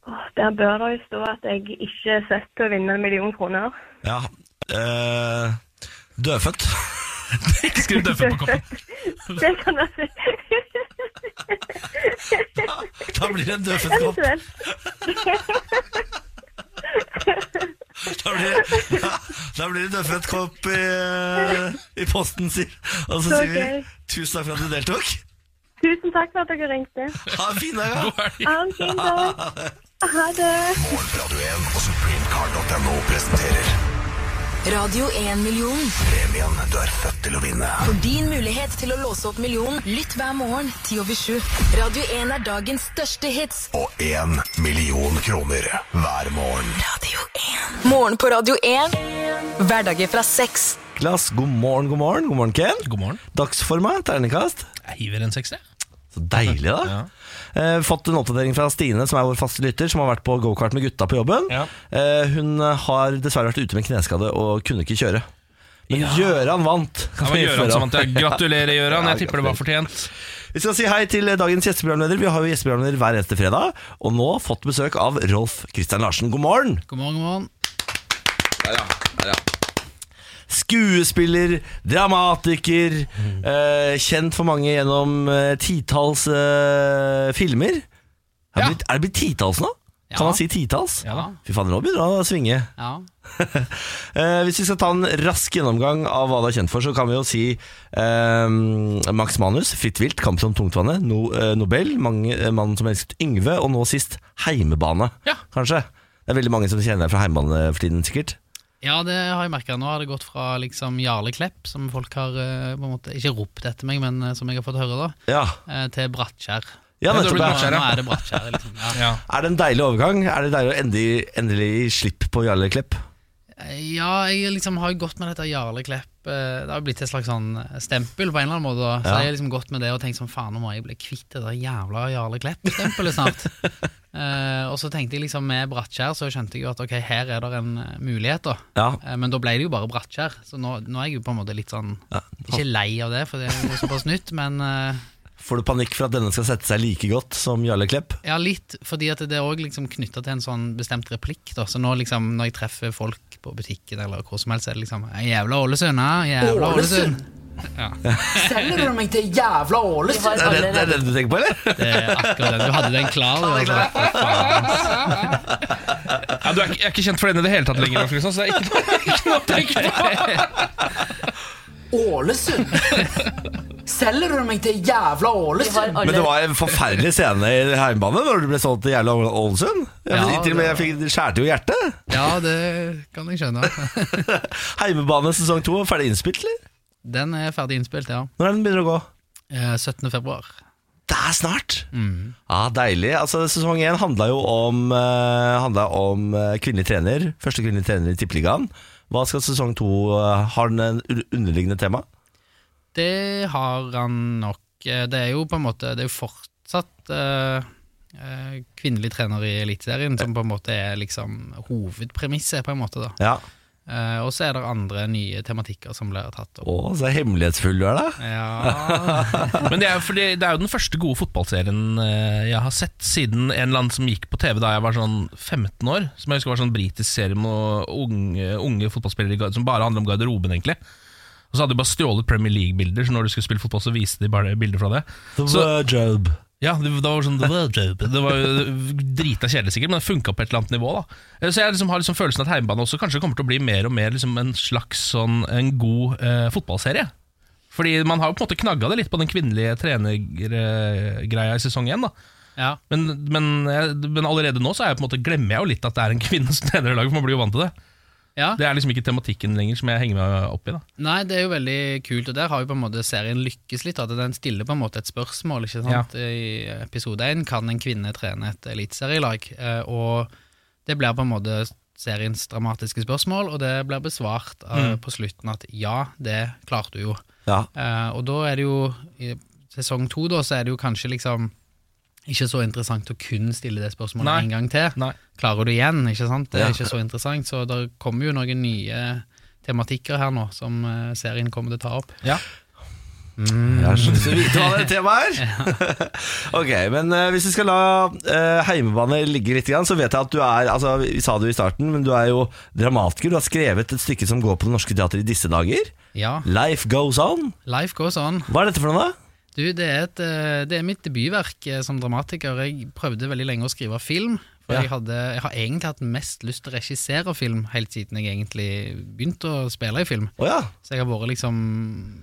[SPEAKER 5] Å, Åh, Der bør det jo stå at jeg ikke er født til å vinne en million kroner.
[SPEAKER 1] Ja. eh, dødfødt.
[SPEAKER 2] *laughs* Ikke skriv dødfødt på koppen.
[SPEAKER 5] *laughs* Det kan være
[SPEAKER 1] Da blir det en dødfødt kopp.
[SPEAKER 5] eventuelt.
[SPEAKER 1] Da blir, ja, *laughs* da blir det dødfødt kopp i, i posten, sier Og så
[SPEAKER 5] Så
[SPEAKER 1] sier vi
[SPEAKER 5] gøy.
[SPEAKER 1] tusen takk for at du deltok.
[SPEAKER 5] Tusen takk for at dere ringte.
[SPEAKER 1] Ha en fin dag. Ja.
[SPEAKER 2] God helg.
[SPEAKER 5] Ha en fin dag. Ha det.
[SPEAKER 6] Morgen på Radio 1 og supremecard.no presenterer
[SPEAKER 4] Radio 1-million.
[SPEAKER 6] premien du er født til å vinne.
[SPEAKER 4] For din mulighet til å låse opp millionen, lytt hver morgen 10 over 7. Radio 1 er dagens største hits.
[SPEAKER 6] Og én million kroner hver morgen.
[SPEAKER 4] Radio 1. Morgen på Radio 1. Hverdager fra seks.
[SPEAKER 1] Niklas, god morgen, god morgen. God morgen, Ken.
[SPEAKER 2] God morgen.
[SPEAKER 1] Dagsforma, terningkast.
[SPEAKER 2] Jeg hiver en seks, jeg.
[SPEAKER 1] Så deilig, da. Eh, fått en oppdatering fra Stine, som er vår faste lytter, som har vært på gokart med gutta på jobben.
[SPEAKER 2] Ja.
[SPEAKER 1] Eh, hun har dessverre vært ute med kneskade og kunne ikke kjøre. Men Gjøran vant.
[SPEAKER 2] Det var Gjøran som vant. ja. Gratulerer, Gjøran.
[SPEAKER 1] Ja,
[SPEAKER 2] Jeg tipper det var fortjent.
[SPEAKER 1] Vi skal si hei til dagens gjesteprogramleder. Vi har jo gjesteprogramleder hver eneste fredag, og nå fått besøk av Rolf Kristian Larsen. God morgen!
[SPEAKER 7] God morgen, god morgen.
[SPEAKER 1] Skuespiller, dramatiker, eh, kjent for mange gjennom eh, titalls eh, filmer. Er det,
[SPEAKER 7] Ja.
[SPEAKER 1] blitt, er det blitt titalls nå?
[SPEAKER 7] Ja.
[SPEAKER 1] Kan man si titalls?
[SPEAKER 7] Ja da.
[SPEAKER 1] Fy faen, nå begynner han å svinge.
[SPEAKER 7] Ja.
[SPEAKER 1] Eh, hvis vi skal ta en rask gjennomgang av hva du er kjent for, så kan vi jo si eh, Max Manus, Fritt vilt, Kamp om tungtvannet, no, eh, Nobel, mange, eh, Mannen som elsket Yngve, og nå sist Heimebane,
[SPEAKER 7] Ja.
[SPEAKER 1] kanskje. Det er veldig mange som kjenner deg fra heimebane for tiden, sikkert.
[SPEAKER 7] ja, det har jeg merka. Nå har det gått fra liksom Jarle Klepp, som folk har eh, på en måte, ikke ropt etter meg, men eh, som jeg har fått høre, da,
[SPEAKER 1] Ja,
[SPEAKER 7] eh, til Brattkjær.
[SPEAKER 1] ja
[SPEAKER 2] Men du har
[SPEAKER 1] nettopp. ja.
[SPEAKER 2] blitt Brattkjær,
[SPEAKER 7] Nå,
[SPEAKER 2] ja.
[SPEAKER 7] nå er det Brattkjær, liksom. Ja.
[SPEAKER 2] Ja.
[SPEAKER 1] Er det en deilig overgang? Er det deilig å endelig, endelig gi slipp på Jarle Klepp?
[SPEAKER 7] ja, jeg liksom har jo gått med dette Jarle Klepp. eh, Det har jo blitt et slags sånn stempel, på en eller annen måte. Da. Så
[SPEAKER 1] Ja.
[SPEAKER 7] jeg har liksom gått med det og tenkt sånn, faen, nå må jeg bli kvitt det der jævla Jarle Klepp-stempelet snart.
[SPEAKER 1] *laughs*
[SPEAKER 7] Eh, og så tenkte jeg liksom med Brattkjær, så skjønte jeg jo at ok, her er det en eh, mulighet, da.
[SPEAKER 1] Ja.
[SPEAKER 7] Eh, Men da ble det jo bare Brattkjær, så nå, nå er jeg jo på en måte litt sånn
[SPEAKER 1] ja.
[SPEAKER 7] Ikke lei av det, for det er jo såpass nytt, men eh,
[SPEAKER 1] Får du panikk for at denne skal sette seg like godt som Jarle Klepp?
[SPEAKER 7] ja, litt. Fordi at det er òg liksom knytta til en sånn bestemt replikk. Da. Så nå liksom, når jeg treffer folk på butikken eller hvor som helst, så er det liksom «Ei, Jævla Ålesund, hæ? Jævla Ålesund.
[SPEAKER 4] Selger du meg til jævla Ålesund?
[SPEAKER 1] Det er det, det er det du tenker på, eller?
[SPEAKER 7] Det er akkurat den. Du hadde den klar. Du, altså.
[SPEAKER 2] Ja, du er, ikke- jeg er ikke kjent for den i det hele tatt lenger, Lars Kristian, så det er ikke noe, *laughs* ikke noe å tenke på.
[SPEAKER 4] Ålesund? Selger du meg til jævla Ålesund?
[SPEAKER 1] Men det var en forferdelig scene i heimebane når du ble solgt til Jarle Ålesund. Jeg,
[SPEAKER 7] Ja,
[SPEAKER 1] til og med jeg
[SPEAKER 7] det-
[SPEAKER 1] fikk, det skjærte jo hjertet. *laughs*
[SPEAKER 7] Ja, det kan jeg skjønne.
[SPEAKER 1] Heimebane sesong to, ferdig innspilt, eller?
[SPEAKER 7] Den er ferdig innspilt, ja.
[SPEAKER 1] Når er den begynner å gå?
[SPEAKER 7] Eh, 17. februar.
[SPEAKER 1] Det er snart!
[SPEAKER 7] Mm.
[SPEAKER 1] Ja, deilig. Altså, sesong én handla jo om, eh, handla om eh, kvinnelig trener. Første kvinnelige trener i Tippeligaen. Hva skal sesong to eh, Har den en u- underliggende tema?
[SPEAKER 7] Det har han nok. Eh, Det er jo på en måte Det er jo fortsatt eh, eh, kvinnelig trener i Eliteserien som på en måte er liksom hovedpremisset, på en måte. da
[SPEAKER 1] Ja.
[SPEAKER 7] Eh, Og så er det andre nye tematikker som blir tatt opp.
[SPEAKER 1] Å, så hemmelighetsfull du er, da.
[SPEAKER 7] Ja,
[SPEAKER 2] Men det er, jo fordi, det er jo den første gode fotballserien eh, jeg har sett siden en eller annen som gikk på TV da jeg var sånn 15 år. Som jeg husker var sånn britisk serie med noen unge, unge fotballspillere i gar- som bare handler om garderoben, egentlig. Og så hadde de bare stjålet Premier League-bilder, så når du skulle spille fotball, så viste de bare bilder fra det. Så,
[SPEAKER 1] job.
[SPEAKER 2] ja, det, det var sånn Det var, det var jo drita kjedelig, sikkert, men det funka på et eller annet nivå. da Så jeg liksom har liksom følelsen at heimebane også kanskje kommer til å bli mer og mer liksom en slags sånn En god eh, fotballserie. Fordi man har jo på en måte knagga det litt på den kvinnelige trenergreia i sesong én. da.
[SPEAKER 7] ja.
[SPEAKER 2] Men, men, jeg- men allerede nå så er jeg på en måte glemmer jeg jo litt at det er en kvinne som *laughs* trener i laget, for man blir jo vant til det.
[SPEAKER 7] ja.
[SPEAKER 2] Det er liksom ikke tematikken lenger som jeg henger meg opp i. da
[SPEAKER 7] Nei, det er jo veldig kult, og der har jo på en måte serien lykkes litt. At den stiller på en måte et spørsmål. ikke sant? I episode én kan en kvinne trene et eliteserielag. eh, Og det blir på en måte seriens dramatiske spørsmål, og det blir besvart eh, på slutten at ja, det klarte du jo.
[SPEAKER 1] Ja.
[SPEAKER 7] Eh, og da er det jo i sesong to, da, så er det jo kanskje liksom ikke så interessant å kun stille det spørsmålet
[SPEAKER 2] Nei.
[SPEAKER 7] en gang til.
[SPEAKER 2] Nei.
[SPEAKER 7] Klarer du igjen, ikke sant? Det
[SPEAKER 1] Ja.
[SPEAKER 7] er ikke så interessant, så det kommer jo noen nye tematikker her nå som eh, serien kommer til å ta opp.
[SPEAKER 1] Jeg har så lyst til å vite
[SPEAKER 7] *laughs*
[SPEAKER 1] hva det temaet er. *laughs* ok, men eh, hvis vi skal la eh, heimebane ligge litt, grann, så vet jeg at du er altså, Vi sa det jo i starten, men du er jo dramatiker. Du har skrevet et stykke som går på Det Norske Teatret i disse dager.
[SPEAKER 7] Ja,
[SPEAKER 1] Life Goes On.
[SPEAKER 7] life goes on.
[SPEAKER 1] Hva er dette for noe, da?
[SPEAKER 7] Du, det er, et, eh, det er mitt debutverk eh, som dramatiker. Jeg prøvde veldig lenge å skrive film. For
[SPEAKER 1] Ja.
[SPEAKER 7] jeg, hadde, jeg har egentlig hatt mest lyst til å regissere film helt siden jeg egentlig begynte å spille i film.
[SPEAKER 1] Å ja.
[SPEAKER 7] Så jeg har vært liksom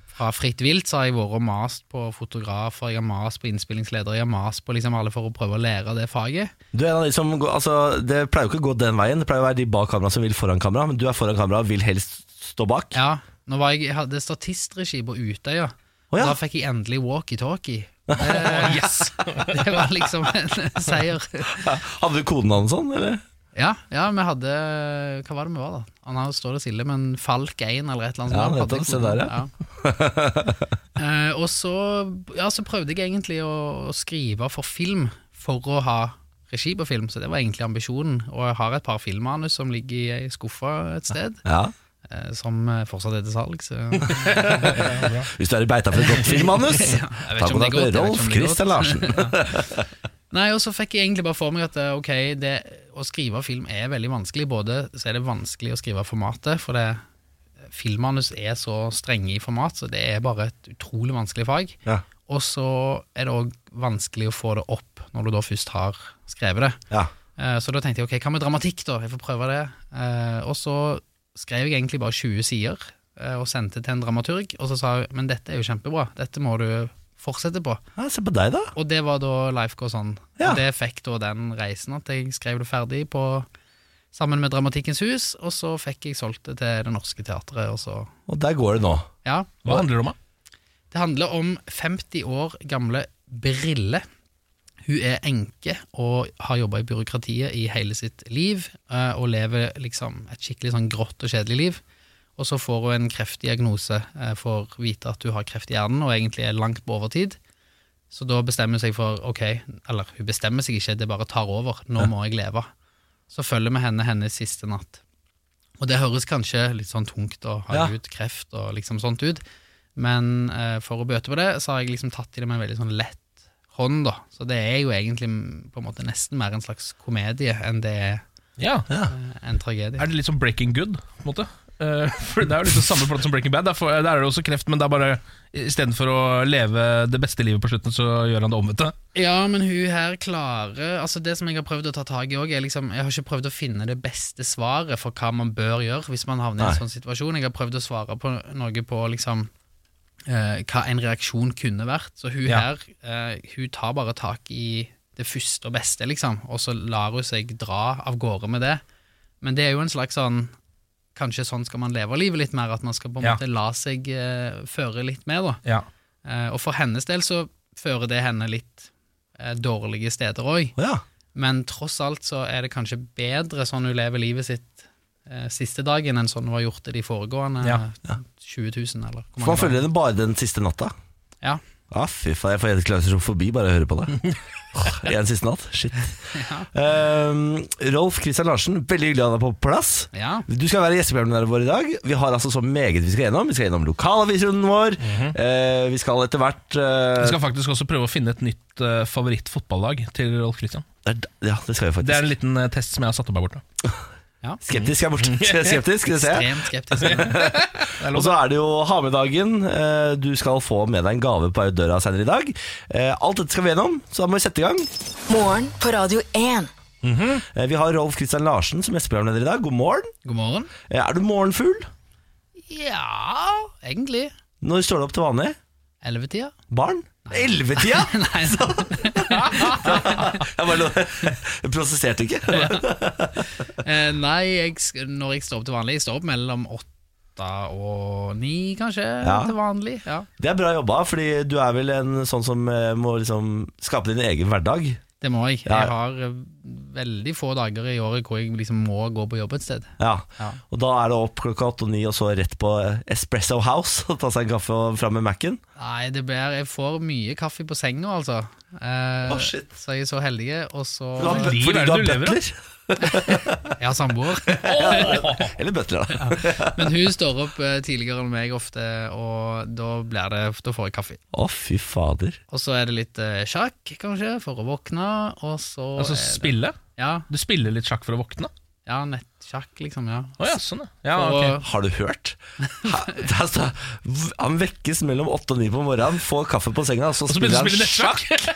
[SPEAKER 7] Fra fritt vilt så har jeg vært og mast på fotografer, jeg har mast på innspillingsledere, jeg har mast på liksom alle for å prøve å lære det faget.
[SPEAKER 1] Du er en av de som går, altså, det pleier jo ikke å gå den veien. Det pleier å være de bak kamera som vil foran kamera, men du er foran kamera og vil helst stå bak.
[SPEAKER 7] Ja, nå var jeg, jeg hadde statistregi på Utøya.
[SPEAKER 1] Å, ja.
[SPEAKER 7] Da fikk jeg endelig walkietalkie.
[SPEAKER 1] *laughs*
[SPEAKER 7] Eh, yes! *laughs* Det var liksom en seier.
[SPEAKER 1] Hadde du kodenavn sånn, eller?
[SPEAKER 7] Ja, ja, vi hadde Hva var det vi var, da? Han her står det stille, men Falk 1 eller et eller annet.
[SPEAKER 1] Ja,
[SPEAKER 7] sånt,
[SPEAKER 1] nettopp,
[SPEAKER 7] hadde
[SPEAKER 1] se der, ja. *laughs*
[SPEAKER 7] ja. Eh, og så, ja, så prøvde jeg egentlig å, å skrive for film for å ha regi på film, så det var egentlig ambisjonen. Og jeg har et par filmmanus som ligger i ei skuffe et sted,
[SPEAKER 1] Ja.
[SPEAKER 7] eh, som eh, fortsatt er til salg. Så.
[SPEAKER 1] Hvis du er i beita for et godt filmmanus,
[SPEAKER 7] *laughs* Ja, jeg vet
[SPEAKER 1] ta
[SPEAKER 7] ikke om det
[SPEAKER 1] kontakt
[SPEAKER 7] er godt, jeg
[SPEAKER 1] med
[SPEAKER 7] vet ikke
[SPEAKER 1] Rolf
[SPEAKER 7] om det er
[SPEAKER 1] Christian
[SPEAKER 7] godt.
[SPEAKER 1] Larsen.
[SPEAKER 7] *laughs* Nei, og så fikk jeg egentlig bare for meg at eh, ok, det, å skrive film er veldig vanskelig. Både så er det vanskelig å skrive formatet, for det, filmmanus er så strenge i format, så det er bare et utrolig vanskelig fag.
[SPEAKER 1] Ja.
[SPEAKER 7] Og så er det òg vanskelig å få det opp når du da først har skrevet det.
[SPEAKER 1] Ja.
[SPEAKER 7] Eh, Så da tenkte jeg ok, hva med dramatikk, da? Jeg får prøve det. Eh, Og så skrev jeg egentlig bare 20 sider eh, og sendte til en dramaturg, og så sa hun men dette er jo kjempebra, dette må du fortsette på.
[SPEAKER 1] ja, se på deg, da.
[SPEAKER 7] Og det var da Life Goes On.
[SPEAKER 1] Ja.
[SPEAKER 7] Og det fikk da den reisen at jeg skrev det ferdig på sammen med Dramatikkens hus, og så fikk jeg solgt det til Det Norske Teatret. Og så,
[SPEAKER 1] Og der går det nå.
[SPEAKER 7] ja.
[SPEAKER 2] Hva handler det om, da?
[SPEAKER 7] Det handler om 50 år gamle Brille. Hun er enke og har jobba i byråkratiet i hele sitt liv, eh, og lever liksom et skikkelig sånn grått og kjedelig liv. Og så får hun en kreftdiagnose, eh, får vite at hun har kreft i hjernen og egentlig er langt på overtid. Så da bestemmer hun seg for ok, eller hun bestemmer seg ikke, det bare tar over. Nå må jeg leve. Så følger vi henne hennes siste natt. Og det høres kanskje litt sånn tungt og har
[SPEAKER 1] Ja.
[SPEAKER 7] ut kreft og liksom sånt ut, men eh, for å bøte på det, så har jeg liksom tatt i det med en veldig sånn lett hånd, da. Så det er jo egentlig mm, på en måte nesten mer en slags komedie enn det er
[SPEAKER 2] Ja.
[SPEAKER 7] eh, en tragedie.
[SPEAKER 2] Er det litt som Breaking Good? På en måte? Eh, *laughs* for Det er jo litt det samme plate som Breaking Bad. Der, får- der er det også kreft, men det er bare istedenfor å leve det beste livet på slutten, så gjør han det omvendte.
[SPEAKER 7] Ja, men hun her klarer Altså Det som jeg har prøvd å ta tak i òg, er liksom Jeg har ikke prøvd å finne det beste svaret for hva man bør gjøre hvis man havner i
[SPEAKER 1] Nei.
[SPEAKER 7] en sånn situasjon. Jeg har prøvd å svare på noe på liksom eh, hva en reaksjon kunne vært. Så hun
[SPEAKER 2] Ja.
[SPEAKER 7] her eh, Hun tar bare tak i det første og beste, liksom, og så lar hun seg dra av gårde med det. Men det er jo en slags sånn Kanskje sånn skal man leve livet litt mer, at man skal på en
[SPEAKER 2] Ja.
[SPEAKER 7] måte la seg eh, føre litt med, da.
[SPEAKER 2] Ja.
[SPEAKER 7] Eh, Og for hennes del så fører det henne litt eh, dårlige steder òg.
[SPEAKER 1] Å ja.
[SPEAKER 7] Men tross alt så er det kanskje bedre sånn hun lever livet sitt eh, siste dagen, enn sånn hun har gjort det de foregående
[SPEAKER 2] Ja,
[SPEAKER 7] eh, 20 000, eller hvor
[SPEAKER 1] For man
[SPEAKER 7] mange
[SPEAKER 1] følger henne bare den siste natta.
[SPEAKER 7] dager. Ja.
[SPEAKER 1] Ja, fy faen, jeg får helt klausofobi bare jeg hører på
[SPEAKER 2] *laughs*
[SPEAKER 1] det. Åh, En siste natt, shit. Ehm, Rolf Christian Larsen, veldig hyggelig å ha deg på plass.
[SPEAKER 7] ja.
[SPEAKER 1] Du skal være gjesteplanerne våre i dag. Vi har altså så meget vi skal gjennom. Vi skal gjennom lokalavisrunden vår. Eh, vi skal etter hvert eh,
[SPEAKER 2] Vi skal faktisk også prøve å finne et nytt eh, favorittfotballag til Rolf Christian.
[SPEAKER 1] Ja, det skal vi faktisk.
[SPEAKER 2] Det er en liten eh, test som jeg har satt opp her borte.
[SPEAKER 1] Skeptisk er
[SPEAKER 2] *laughs*
[SPEAKER 1] borte. Skeptisk, det ser jeg.
[SPEAKER 7] Ekstremt skeptisk.
[SPEAKER 1] Og så er det jo ha med dagen. Eh, Du skal få med deg en gave på døra senere i dag. Eh, Alt dette skal vi gjennom, så da må vi sette i gang.
[SPEAKER 4] Morgen på Radio 1.
[SPEAKER 1] Eh, Vi har Rolf Christian Larsen som gjesteprogramleder i dag. God morgen.
[SPEAKER 7] God morgen.
[SPEAKER 1] Eh, Er du morgenfugl?
[SPEAKER 7] Ja, egentlig.
[SPEAKER 1] Når står du opp til vanlig?
[SPEAKER 7] Ellevetida? *laughs*
[SPEAKER 1] Barn?
[SPEAKER 2] *laughs*
[SPEAKER 1] Ellevetida?
[SPEAKER 7] Nei, nei.
[SPEAKER 1] Jeg bare lo- Jeg prosesserte ikke.
[SPEAKER 7] Eh, nei jeg, sk- når jeg står opp til vanlig Jeg står opp mellom åtte og ni, kanskje,
[SPEAKER 1] Ja.
[SPEAKER 7] til vanlig. Ja.
[SPEAKER 1] Det er bra jobba, fordi du er vel en sånn som eh, må liksom skape din egen hverdag.
[SPEAKER 7] Det må jeg.
[SPEAKER 1] Ja.
[SPEAKER 7] Jeg har eh, veldig få dager i året hvor jeg liksom må gå på jobb et sted.
[SPEAKER 1] Ja.
[SPEAKER 7] Ja.
[SPEAKER 1] Og da er det opp klokka åtte og ni, og så rett på Espresso House og ta seg en kaffe og fram med Mac-en.
[SPEAKER 7] Nei, det blir, jeg får mye kaffe på senga, altså. Eh,
[SPEAKER 1] Å, shit.
[SPEAKER 7] Så jeg er så heldig, og så
[SPEAKER 1] Du har-
[SPEAKER 2] liv
[SPEAKER 1] Fordi du
[SPEAKER 2] er det
[SPEAKER 1] har
[SPEAKER 2] du lever, da?
[SPEAKER 1] butler?
[SPEAKER 7] Jeg har samboer,
[SPEAKER 1] *laughs* Eller butler, da.
[SPEAKER 7] men hun står opp eh, tidligere enn meg ofte, og da, blir det, da får jeg kaffe.
[SPEAKER 1] Å, fy fader.
[SPEAKER 7] Og så er det litt eh, sjakk, kanskje, for å våkne, og så
[SPEAKER 2] Altså
[SPEAKER 7] er det-
[SPEAKER 2] spille?
[SPEAKER 7] Ja,
[SPEAKER 2] Du spiller litt sjakk for å våkne?
[SPEAKER 7] ja nettsjakk, liksom, ja.
[SPEAKER 2] Å ja, sånn ja. ja
[SPEAKER 7] Og-
[SPEAKER 2] ok.
[SPEAKER 1] Har du hørt? Ha, altså, v- han vekkes mellom åtte og ni på morgenen, får kaffe på senga, og så,
[SPEAKER 2] Og så
[SPEAKER 1] spiller
[SPEAKER 2] begynner du å
[SPEAKER 1] han
[SPEAKER 2] spille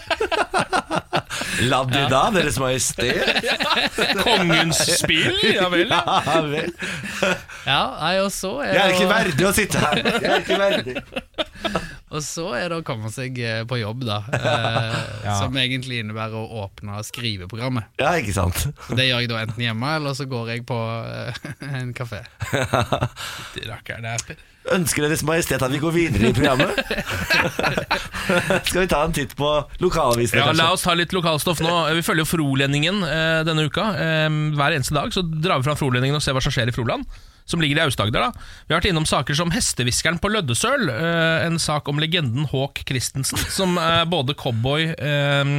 [SPEAKER 2] *laughs* nettsjakk!
[SPEAKER 1] Labdida, Deres *laughs* Majestet.
[SPEAKER 2] Kongens spill, ja vel. ja.
[SPEAKER 1] Ja, vel.
[SPEAKER 7] Ja, nei, og så er
[SPEAKER 1] Jeg er ikke
[SPEAKER 7] det å-
[SPEAKER 1] verdig å sitte her. Jeg er ikke verdig.
[SPEAKER 7] Og så er det å komme seg eh, på jobb,
[SPEAKER 1] *laughs*
[SPEAKER 7] da. Eh, Som egentlig innebærer å åpne skriveprogrammet.
[SPEAKER 1] Ja, ikke sant.
[SPEAKER 7] Så det gjør jeg da enten hjemme, eller så går jeg på eh, *laughs* en kafé.
[SPEAKER 2] Rakkeren, det er-
[SPEAKER 1] Ønsker Deres Majestet at vi går videre i *laughs* programmet? Skal vi ta en titt på lokalavisene,
[SPEAKER 2] Ja,
[SPEAKER 1] kanskje?
[SPEAKER 2] La oss ta litt lokalstoff nå. Vi følger jo Frolendingen eh, denne uka. Eh, hver eneste dag så drar vi fra Frolendingen og ser hva som skjer i Froland. Som ligger i Aust-Agder. da. Vi har vært innom saker som Hestehviskeren på Løddesøl. Eh, en sak om legenden Håk Christensen, *laughs* som er både cowboy eh,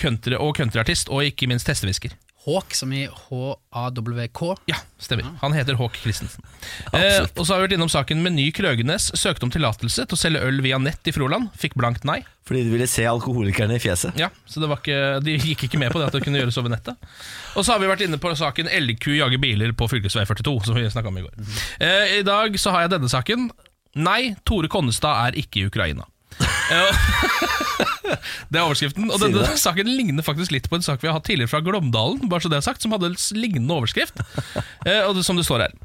[SPEAKER 2] country og countryartist, og ikke minst hestehvisker.
[SPEAKER 7] Hawk, som i H-A-W-K.
[SPEAKER 2] Ja, stemmer. Han heter Håk Christensen. Eh, og så har vi vært innom saken Meny Krøgenes søkte om tillatelse til å selge øl via nett i Froland. Fikk blankt nei.
[SPEAKER 1] Fordi du ville se alkoholikerne i fjeset.
[SPEAKER 2] Ja, så det var ikke, De gikk ikke med på det at det kunne gjøres over nettet. Og så har vi vært inne på saken elgku jager biler på fv. 42, som vi snakka om i går. Eh, I dag så har jeg denne saken. Nei, Tore Konnestad er ikke i Ukraina. Eh, *laughs* det er overskriften. Og
[SPEAKER 1] Sier du
[SPEAKER 2] denne
[SPEAKER 1] det?
[SPEAKER 2] saken ligner faktisk litt på en sak vi har hatt tidligere fra Glåmdalen, bare så det er sagt, som hadde en lignende overskrift, eh, og det, som det står her.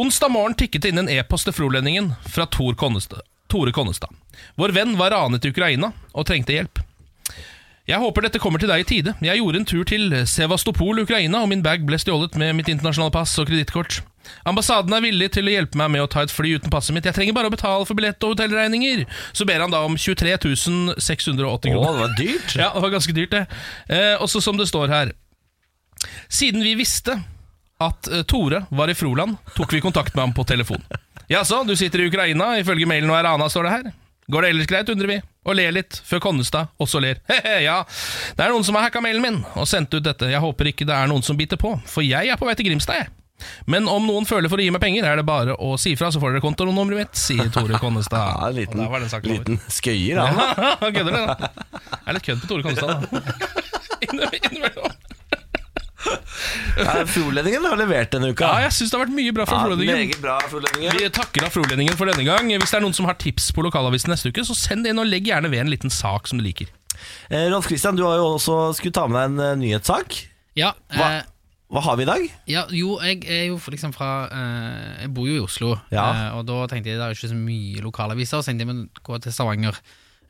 [SPEAKER 2] Onsdag morgen tikket det inn en e-post til Frolendingen fra Tor Konnestad. Tore Konnestad. Vår venn var ranet i Ukraina og trengte hjelp. Jeg håper dette kommer til deg i tide. Jeg gjorde en tur til Sevastopol, Ukraina, og min bag ble stjålet med mitt internasjonale pass og kredittkort. Ambassaden er villig til å hjelpe meg med å ta et fly uten passet mitt. Jeg trenger bare å betale for billett og hotellregninger. Så ber han da om 23 680
[SPEAKER 1] Å,
[SPEAKER 2] kroner.
[SPEAKER 1] det var dyrt.
[SPEAKER 2] Ja, det var ganske dyrt det eh, Også som det står her Siden vi visste at eh, Tore var i Froland Tok vi kontakt med ham på telefon Jaså, du sitter i Ukraina Ifølge mailen og er Rana står det her Går det ellers greit, undrer vi Og ler litt, før Konnestad også ler *laughs* Hehe, ja Det er noen som har hacka mailen min Og sendt ut dette Jeg håper ikke det er noen som biter på For jeg er på vei til Grimstad, jeg men om noen føler for å gi meg penger, er det bare å si fra, så får dere kontonummeret mitt, sier Tore Konnestad.
[SPEAKER 1] Ja, en
[SPEAKER 2] Og
[SPEAKER 1] liten,
[SPEAKER 2] der var den saken over.
[SPEAKER 1] liten skøyer, da.
[SPEAKER 2] Han kødder det, da. Det er litt kødd på Tore Konstad, da. Inne- Innimellom.
[SPEAKER 1] Ja, Frolendingen har levert denne uka.
[SPEAKER 2] Ja, jeg syns det har vært mye bra fra Frolendingen.
[SPEAKER 1] meget bra, Frolendingen.
[SPEAKER 2] Vi takker av Frolendingen for denne gang. Hvis det er noen som har tips på lokalavisen neste uke, så send det inn, og legg gjerne ved en liten sak som du liker.
[SPEAKER 1] Eh, Rolf Christian, du har jo også skulle ta med deg en eh, nyhetssak.
[SPEAKER 7] Ja,
[SPEAKER 1] Hva?
[SPEAKER 7] eh,
[SPEAKER 1] Hva har vi i dag?
[SPEAKER 7] ja, jo, jeg er jo liksom fra eh, Jeg bor jo i Oslo,
[SPEAKER 1] Ja.
[SPEAKER 7] eh, og da tenkte jeg det er jo ikke så mye lokalaviser, så tenkte jeg men gå til Stavanger.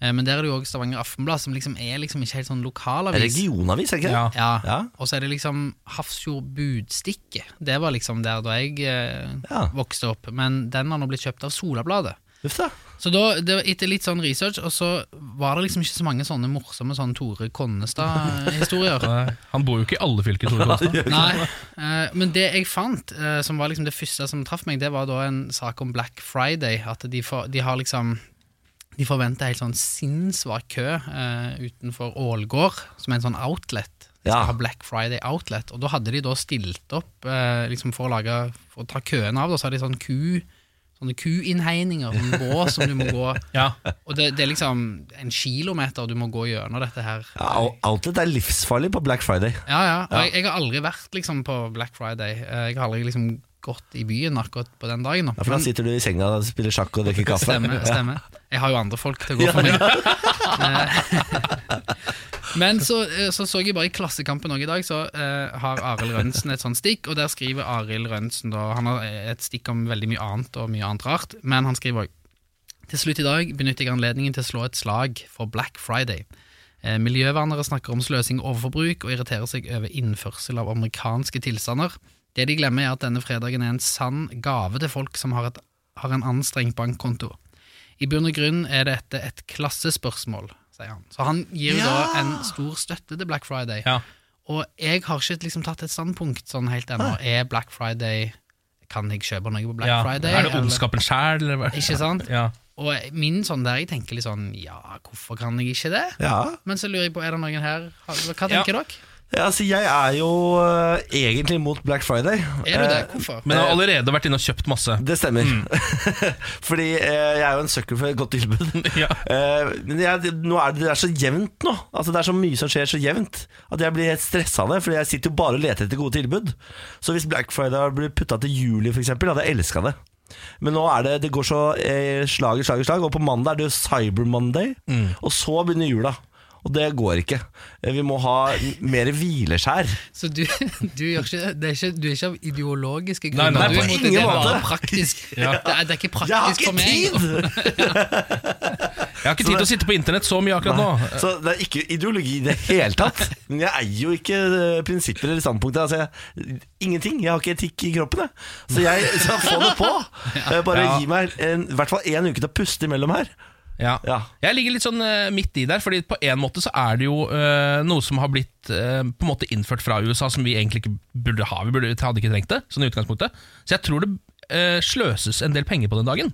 [SPEAKER 7] Eh, men der er det jo òg Stavanger Aftenblad, som liksom er liksom ikke helt sånn lokalavis.
[SPEAKER 1] Regionavis, er det ikke det?
[SPEAKER 7] Ja.
[SPEAKER 1] Ja.
[SPEAKER 7] Og så er det liksom Hafrsfjord Budstikke. Det var liksom der da jeg eh,
[SPEAKER 1] Ja.
[SPEAKER 7] vokste opp. Men den har nå blitt kjøpt av Solabladet.
[SPEAKER 1] Uff da.
[SPEAKER 7] Så da, det, var etter litt sånn research, og så var det liksom ikke så mange sånne morsomme sånn Tore
[SPEAKER 1] *laughs*
[SPEAKER 7] Konnestad-historier.
[SPEAKER 2] eh, Han bor jo ikke i alle fylker, Tore Konstad.
[SPEAKER 7] Nei, eh, men det jeg fant, eh, som var liksom det første som traff meg, det var da en sak om Black Friday. At de, for, de har liksom De forventer helt sånn sinnssvak kø eh, utenfor Ålgård, som er en sånn outlet. De
[SPEAKER 1] Ja.
[SPEAKER 7] skal ha Black Friday outlet, og da hadde de da stilt opp eh, liksom for å lage For å ta køen av, da, så har de sånn ku Sånne
[SPEAKER 1] *laughs*
[SPEAKER 7] kuinnhegninger, sånn bås som du må gå
[SPEAKER 2] Ja.
[SPEAKER 7] Og det, det er liksom en kilometer du må gå gjennom dette her.
[SPEAKER 1] Ja, ou- outlet er livsfarlig på Black Friday.
[SPEAKER 7] Ja, ja. Og Jeg, jeg har aldri vært liksom, på Black Friday. Eh, Jeg har aldri liksom, gått i byen akkurat på den dagen. Da.
[SPEAKER 1] Ja, for Da sitter du i senga og spiller sjakk og drikker kaffe.
[SPEAKER 7] Mm. Stemmer, stemmer. Jeg har jo andre folk til å gå for meg. Eh, *laughs* Men så eh, så, så jeg bare i Klassekampen også i dag, så eh, har Arild Rønsen et sånt stikk, og der skriver Arild Rønsen da, Han har eh, et stikk om veldig mye annet og mye annet rart, men han skriver òg Til slutt i dag benytter jeg anledningen til å slå et slag for Black Friday. Eh, Miljøvernere snakker om sløsing og overforbruk, og irriterer seg over innførsel av amerikanske tilstander. Det de glemmer, er at denne fredagen er en sann gave til folk som har, et, har en anstrengt bankkonto. I bunn og grunn er dette et klassespørsmål, sier han. Så han gir jo da en stor støtte til Black Friday.
[SPEAKER 2] Ja.
[SPEAKER 7] Og jeg har ikke liksom tatt et standpunkt sånn helt ennå. Er Black Friday Kan jeg kjøpe noe på Black
[SPEAKER 2] Ja.
[SPEAKER 7] Friday?
[SPEAKER 2] Er det
[SPEAKER 7] eller-
[SPEAKER 2] ondskapen sjæl, eller hva?
[SPEAKER 7] Ikke sant?
[SPEAKER 2] Ja.
[SPEAKER 7] Og min sånn der, jeg tenker litt sånn Ja, hvorfor kan jeg ikke det?
[SPEAKER 1] Ja,
[SPEAKER 7] Men så lurer jeg på, er det noen her Hva
[SPEAKER 2] Ja.
[SPEAKER 7] tenker dere?
[SPEAKER 1] Ja, altså, jeg er jo eh, egentlig mot Black Friday.
[SPEAKER 7] Er du det? Mm.
[SPEAKER 1] Eh,
[SPEAKER 7] Hvorfor?
[SPEAKER 2] Men jeg har allerede vært inne og kjøpt masse.
[SPEAKER 1] Det stemmer. *laughs* Fordi eh, jeg er jo en søkkel for et godt tilbud.
[SPEAKER 7] *laughs*
[SPEAKER 2] Ja.
[SPEAKER 1] Eh, men jeg, nå er det, det er så jevnt nå. Altså, det er så mye som skjer så jevnt at jeg blir helt stressa av det. Fordi jeg sitter jo bare og leter etter gode tilbud. Så hvis Black Friday blir putta til juli, f.eks., hadde jeg elska det. Men nå er det, det går så eh, slag i slag i slag, og på mandag er det jo Cyber Monday. Og så begynner jula. Og det går ikke. Eh, Vi må ha mer hvileskjær.
[SPEAKER 7] Så du, *laughs* du, gjør ikke, det er ikke, du er ikke av ideologiske
[SPEAKER 2] Nei,
[SPEAKER 7] grunner?
[SPEAKER 2] nei,
[SPEAKER 7] du
[SPEAKER 2] på
[SPEAKER 7] er imot
[SPEAKER 1] ingen
[SPEAKER 7] det, det er bare
[SPEAKER 1] måte.
[SPEAKER 7] praktisk.
[SPEAKER 1] *laughs*
[SPEAKER 7] det, er, det er
[SPEAKER 1] Jeg
[SPEAKER 7] ikke
[SPEAKER 1] har
[SPEAKER 7] praktisk
[SPEAKER 1] ikke
[SPEAKER 7] for meg.
[SPEAKER 1] tid!
[SPEAKER 2] Jeg har ikke tid til å sitte på internett så mye akkurat nå.
[SPEAKER 1] Nei, Så det er ikke ideologi i det hele
[SPEAKER 2] *laughs*
[SPEAKER 1] tatt. Men jeg eier jo ikke eh, prinsipper eller standpunkter. Altså, jeg, ingenting. Jeg har ikke etikk i kroppen, jeg. Så
[SPEAKER 2] *laughs*
[SPEAKER 1] jeg skal få det på. Eh, Bare
[SPEAKER 2] Ja.
[SPEAKER 1] gi meg en- i hvert fall én uke til å puste imellom her.
[SPEAKER 2] Ja.
[SPEAKER 1] Ja.
[SPEAKER 2] Jeg ligger litt sånn eh, midt i der, Fordi på en måte så er det jo eh, noe som har blitt eh, På en måte innført fra USA som vi egentlig ikke burde ha. Vi burde, hadde ikke trengt det, sånn i utgangspunktet. Så jeg tror det eh, sløses en del penger på den dagen.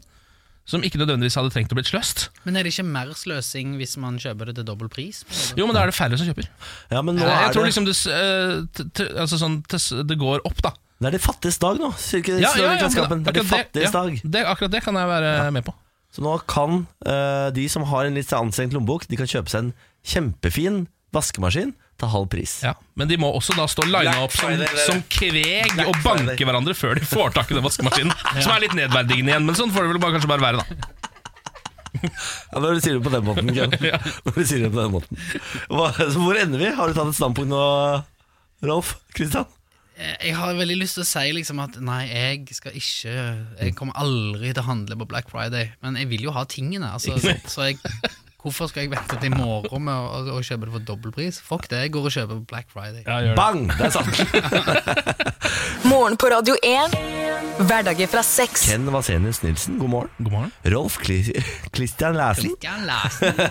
[SPEAKER 2] Som ikke nødvendigvis hadde trengt å blitt sløst.
[SPEAKER 7] Men er det ikke mer sløsing hvis man kjøper det til dobbel pris?
[SPEAKER 2] Jo, men da er det færre som kjøper.
[SPEAKER 1] Ja, men nå
[SPEAKER 2] jeg
[SPEAKER 1] er
[SPEAKER 2] tror
[SPEAKER 1] det,
[SPEAKER 2] liksom det, s- eh, t, t, altså sånn, t, s- det går opp, da.
[SPEAKER 1] det er de fattiges dag nå. Cirka,
[SPEAKER 2] men
[SPEAKER 1] det er de
[SPEAKER 2] akkurat det-
[SPEAKER 1] fattiges dag.
[SPEAKER 2] ja, det, akkurat det kan jeg være med på.
[SPEAKER 1] Så nå kan eh, de som har en litt anstrengt lommebok, de kan kjøpe seg en kjempefin vaskemaskin til halv pris.
[SPEAKER 2] Ja. Men de må også da stå lina
[SPEAKER 1] Black
[SPEAKER 2] opp som,
[SPEAKER 1] Friday, det-
[SPEAKER 2] som kveg
[SPEAKER 1] Black
[SPEAKER 2] og banke
[SPEAKER 1] Friday.
[SPEAKER 2] hverandre før de får tak i den
[SPEAKER 1] *laughs*
[SPEAKER 2] vaskemaskinen. Som er litt nedverdigende igjen, men sånn får det vel bare, kanskje bare være, da.
[SPEAKER 1] Ja, Når du sier det på den måten, Ken. Når du sier det på den måten. Hva, så hvor ender vi? Har du tatt et standpunkt nå, Rolf? Kristian?
[SPEAKER 7] Eh, Jeg har veldig lyst til å si liksom at nei, jeg skal ikke Jeg kommer aldri til å handle på Black Friday, men jeg vil jo ha tingene. Altså, så, så jeg, hvorfor skal jeg vente til i morgen med å, å kjøpe det for dobbel pris? Fuck det, jeg går og kjøper på Black Friday.
[SPEAKER 1] Bang! Det er sant.
[SPEAKER 4] Morgen på Radio 1. Hverdager fra seks.
[SPEAKER 1] Ken Vasenius Nilsen, god morgen.
[SPEAKER 2] God morgen.
[SPEAKER 1] Rolf Kli Christian
[SPEAKER 7] *laughs*
[SPEAKER 1] Læsen,
[SPEAKER 7] Ikke en lesen,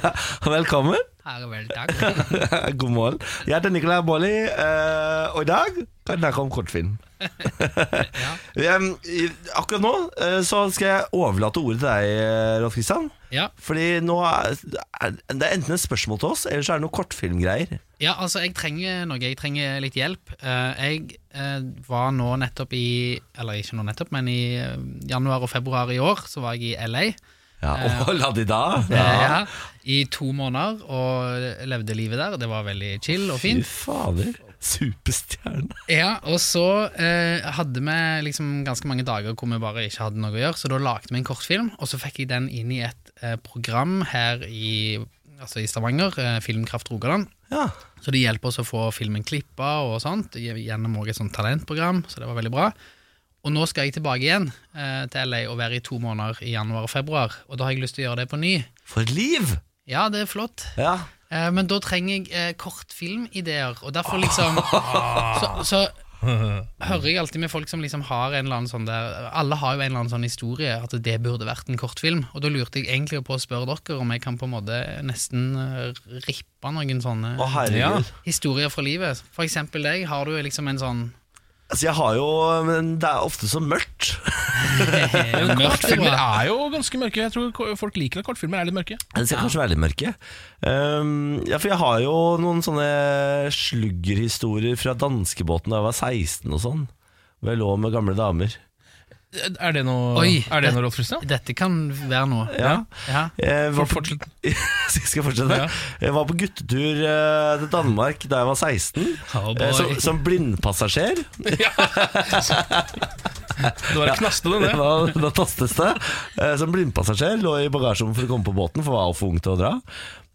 [SPEAKER 1] velkommen. *laughs*
[SPEAKER 7] her er vel takk.
[SPEAKER 1] god morgen. Jeg heter Nicolai Bolli, eh, og i dag kan jeg snakke om kortfilm. *laughs* Em, i- Akkurat nå eh, så skal jeg overlate ordet til deg, eh, Rolf Kristian.
[SPEAKER 7] Ja.
[SPEAKER 1] Fordi nå er, er det er enten et spørsmål til oss, eller så er det noen kortfilmgreier.
[SPEAKER 7] Ja, altså jeg trenger noe, jeg trenger litt hjelp. Eh, jeg eh, var nå nettopp i, eller ikke nå nettopp, men i eh, januar og februar i år, så var jeg i LA.
[SPEAKER 1] Ja, og la de da.
[SPEAKER 7] eh, ja, I to måneder, og levde livet der. Det var veldig chill og
[SPEAKER 1] Fy
[SPEAKER 7] fint.
[SPEAKER 1] fader. Superstjerne.
[SPEAKER 7] Ja, og så eh, hadde vi liksom ganske mange dager hvor vi bare ikke hadde noe å gjøre, så da lagde vi en kortfilm, og så fikk jeg den inn i et eh, program her i, altså i Stavanger, eh, Filmkraft Rogaland.
[SPEAKER 1] Ja.
[SPEAKER 7] Så de hjelper oss å få filmen klippa og sånt, gjennom også et sånt talentprogram, så det var veldig bra. Og nå skal jeg tilbake igjen eh, til LA og være i to måneder i januar og februar, og da har jeg lyst til å gjøre det på ny.
[SPEAKER 1] For et liv!
[SPEAKER 7] Ja, det er flott,
[SPEAKER 1] Ja.
[SPEAKER 7] eh, men da trenger jeg eh, kortfilmideer, og derfor liksom Så, så hører jeg alltid med folk som liksom har en eller annen sånn der Alle har jo en eller annen sånn historie at det burde vært en kortfilm, og da lurte jeg egentlig på å spørre dere om jeg kan på en måte nesten eh, rippe noen sånne
[SPEAKER 1] Å, herregud.
[SPEAKER 2] Ja.
[SPEAKER 7] historier fra livet. For eksempel deg, har du liksom en sånn
[SPEAKER 1] Altså, jeg har jo Men det er ofte så mørkt.
[SPEAKER 2] Kortfilmer er jo ganske mørke. Jeg tror ko- folk liker at kortfilmer er litt mørke.
[SPEAKER 1] Det ser kanskje være litt mørke. Um, ja, for jeg har jo noen sånne sluggerhistorier fra danskebåten da jeg var 16 og sånn. Hvor jeg lå med gamle damer.
[SPEAKER 2] Er det noe,
[SPEAKER 7] Oi.
[SPEAKER 2] er det noe Rolf *laughs* Christian?
[SPEAKER 7] Dette kan være noe.
[SPEAKER 1] Ja.
[SPEAKER 7] Ja.
[SPEAKER 1] Jeg var på,
[SPEAKER 2] For-
[SPEAKER 1] *laughs*
[SPEAKER 2] Fortsett.
[SPEAKER 1] skal jeg fortsette?
[SPEAKER 2] Ja.
[SPEAKER 1] Jeg var på guttetur eh, til Danmark da jeg var 16,
[SPEAKER 7] Oh boy.
[SPEAKER 1] eh, som, som blindpassasjer.
[SPEAKER 2] Det var knastende, det.
[SPEAKER 1] da, da tastes det. Eh, Som blindpassasjer lå i bagasjerommet for å komme på båten, for var for ung til å dra.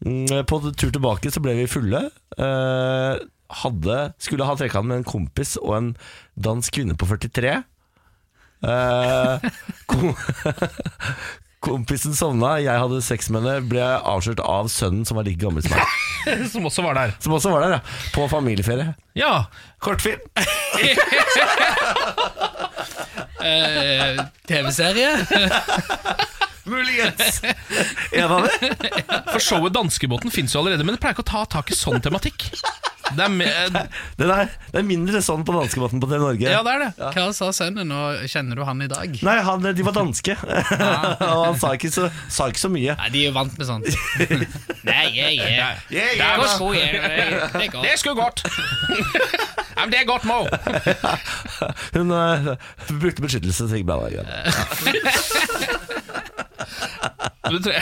[SPEAKER 1] Mm, På tur tilbake så ble vi fulle. Eh, Hadde, skulle ha trekant med en kompis og en dansk kvinne på 43. Eh, kom, *laughs* kompisen sovna, jeg hadde sex med henne, ble avslørt av sønnen som var like gammel som meg.
[SPEAKER 2] Som også var der.
[SPEAKER 1] Som også var der, ja. På familieferie.
[SPEAKER 2] Ja.
[SPEAKER 1] Kortfilm!
[SPEAKER 7] Eh, TV-serie?
[SPEAKER 1] Muligens! *laughs* En av dem.
[SPEAKER 2] For showet Danskebåten fins jo allerede, men det pleier ikke å ta tak i sånn tematikk. Det er,
[SPEAKER 1] *laughs*
[SPEAKER 2] me- eh,
[SPEAKER 1] Den er, det er mindre sånn på danskebåten på TV Norge.
[SPEAKER 2] ja, det er det.
[SPEAKER 7] Hva sa sønnen, og kjenner du han i dag?
[SPEAKER 1] Nei, han, de var danske, *laughs* og han sa ikke så, sa ikke så mye.
[SPEAKER 7] Nei, de er jo vant med sånt. Nei, jeg, jeg. Det går sko, jeg. Det går.
[SPEAKER 2] Det skulle *laughs* gått! Ja, men det er godt, Mo.
[SPEAKER 1] *laughs* Hun eh, brukte beskyttelse, så det gikk bra. det var greit.
[SPEAKER 2] Du tre-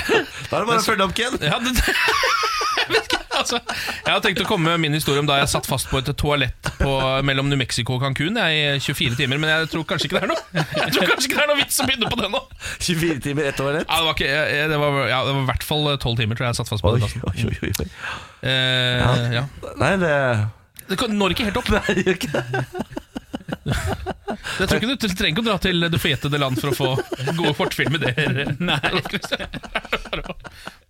[SPEAKER 1] Da er det bare å følge opp, Ken. *laughs*
[SPEAKER 2] Ja, det, jeg vet ikke, altså. Jeg har tenkt å komme med min historie om da jeg satt fast på et toalett på, mellom New Mexico og Cancún jeg, i 24 timer, men jeg tror kanskje ikke det er noe Jeg tror kanskje ikke det er noe vits å begynne på det nå.
[SPEAKER 1] 24 timer, ett år rett.
[SPEAKER 2] Ja, det var, ikke, jeg- det var, ja, det var i hvert fall 12 timer tror jeg jeg satt fast på
[SPEAKER 1] Oi,
[SPEAKER 2] den
[SPEAKER 1] oi,
[SPEAKER 2] plassen.
[SPEAKER 1] oi, oi, oi.
[SPEAKER 2] Eh, ja.
[SPEAKER 1] Nei, det *laughs*
[SPEAKER 2] Det kan- når ikke helt opp.
[SPEAKER 1] Nei, det gjør ikke det.
[SPEAKER 2] Jeg tror ikke Du du trenger ikke å dra til det forjettede land for å få gode fortfilmer der.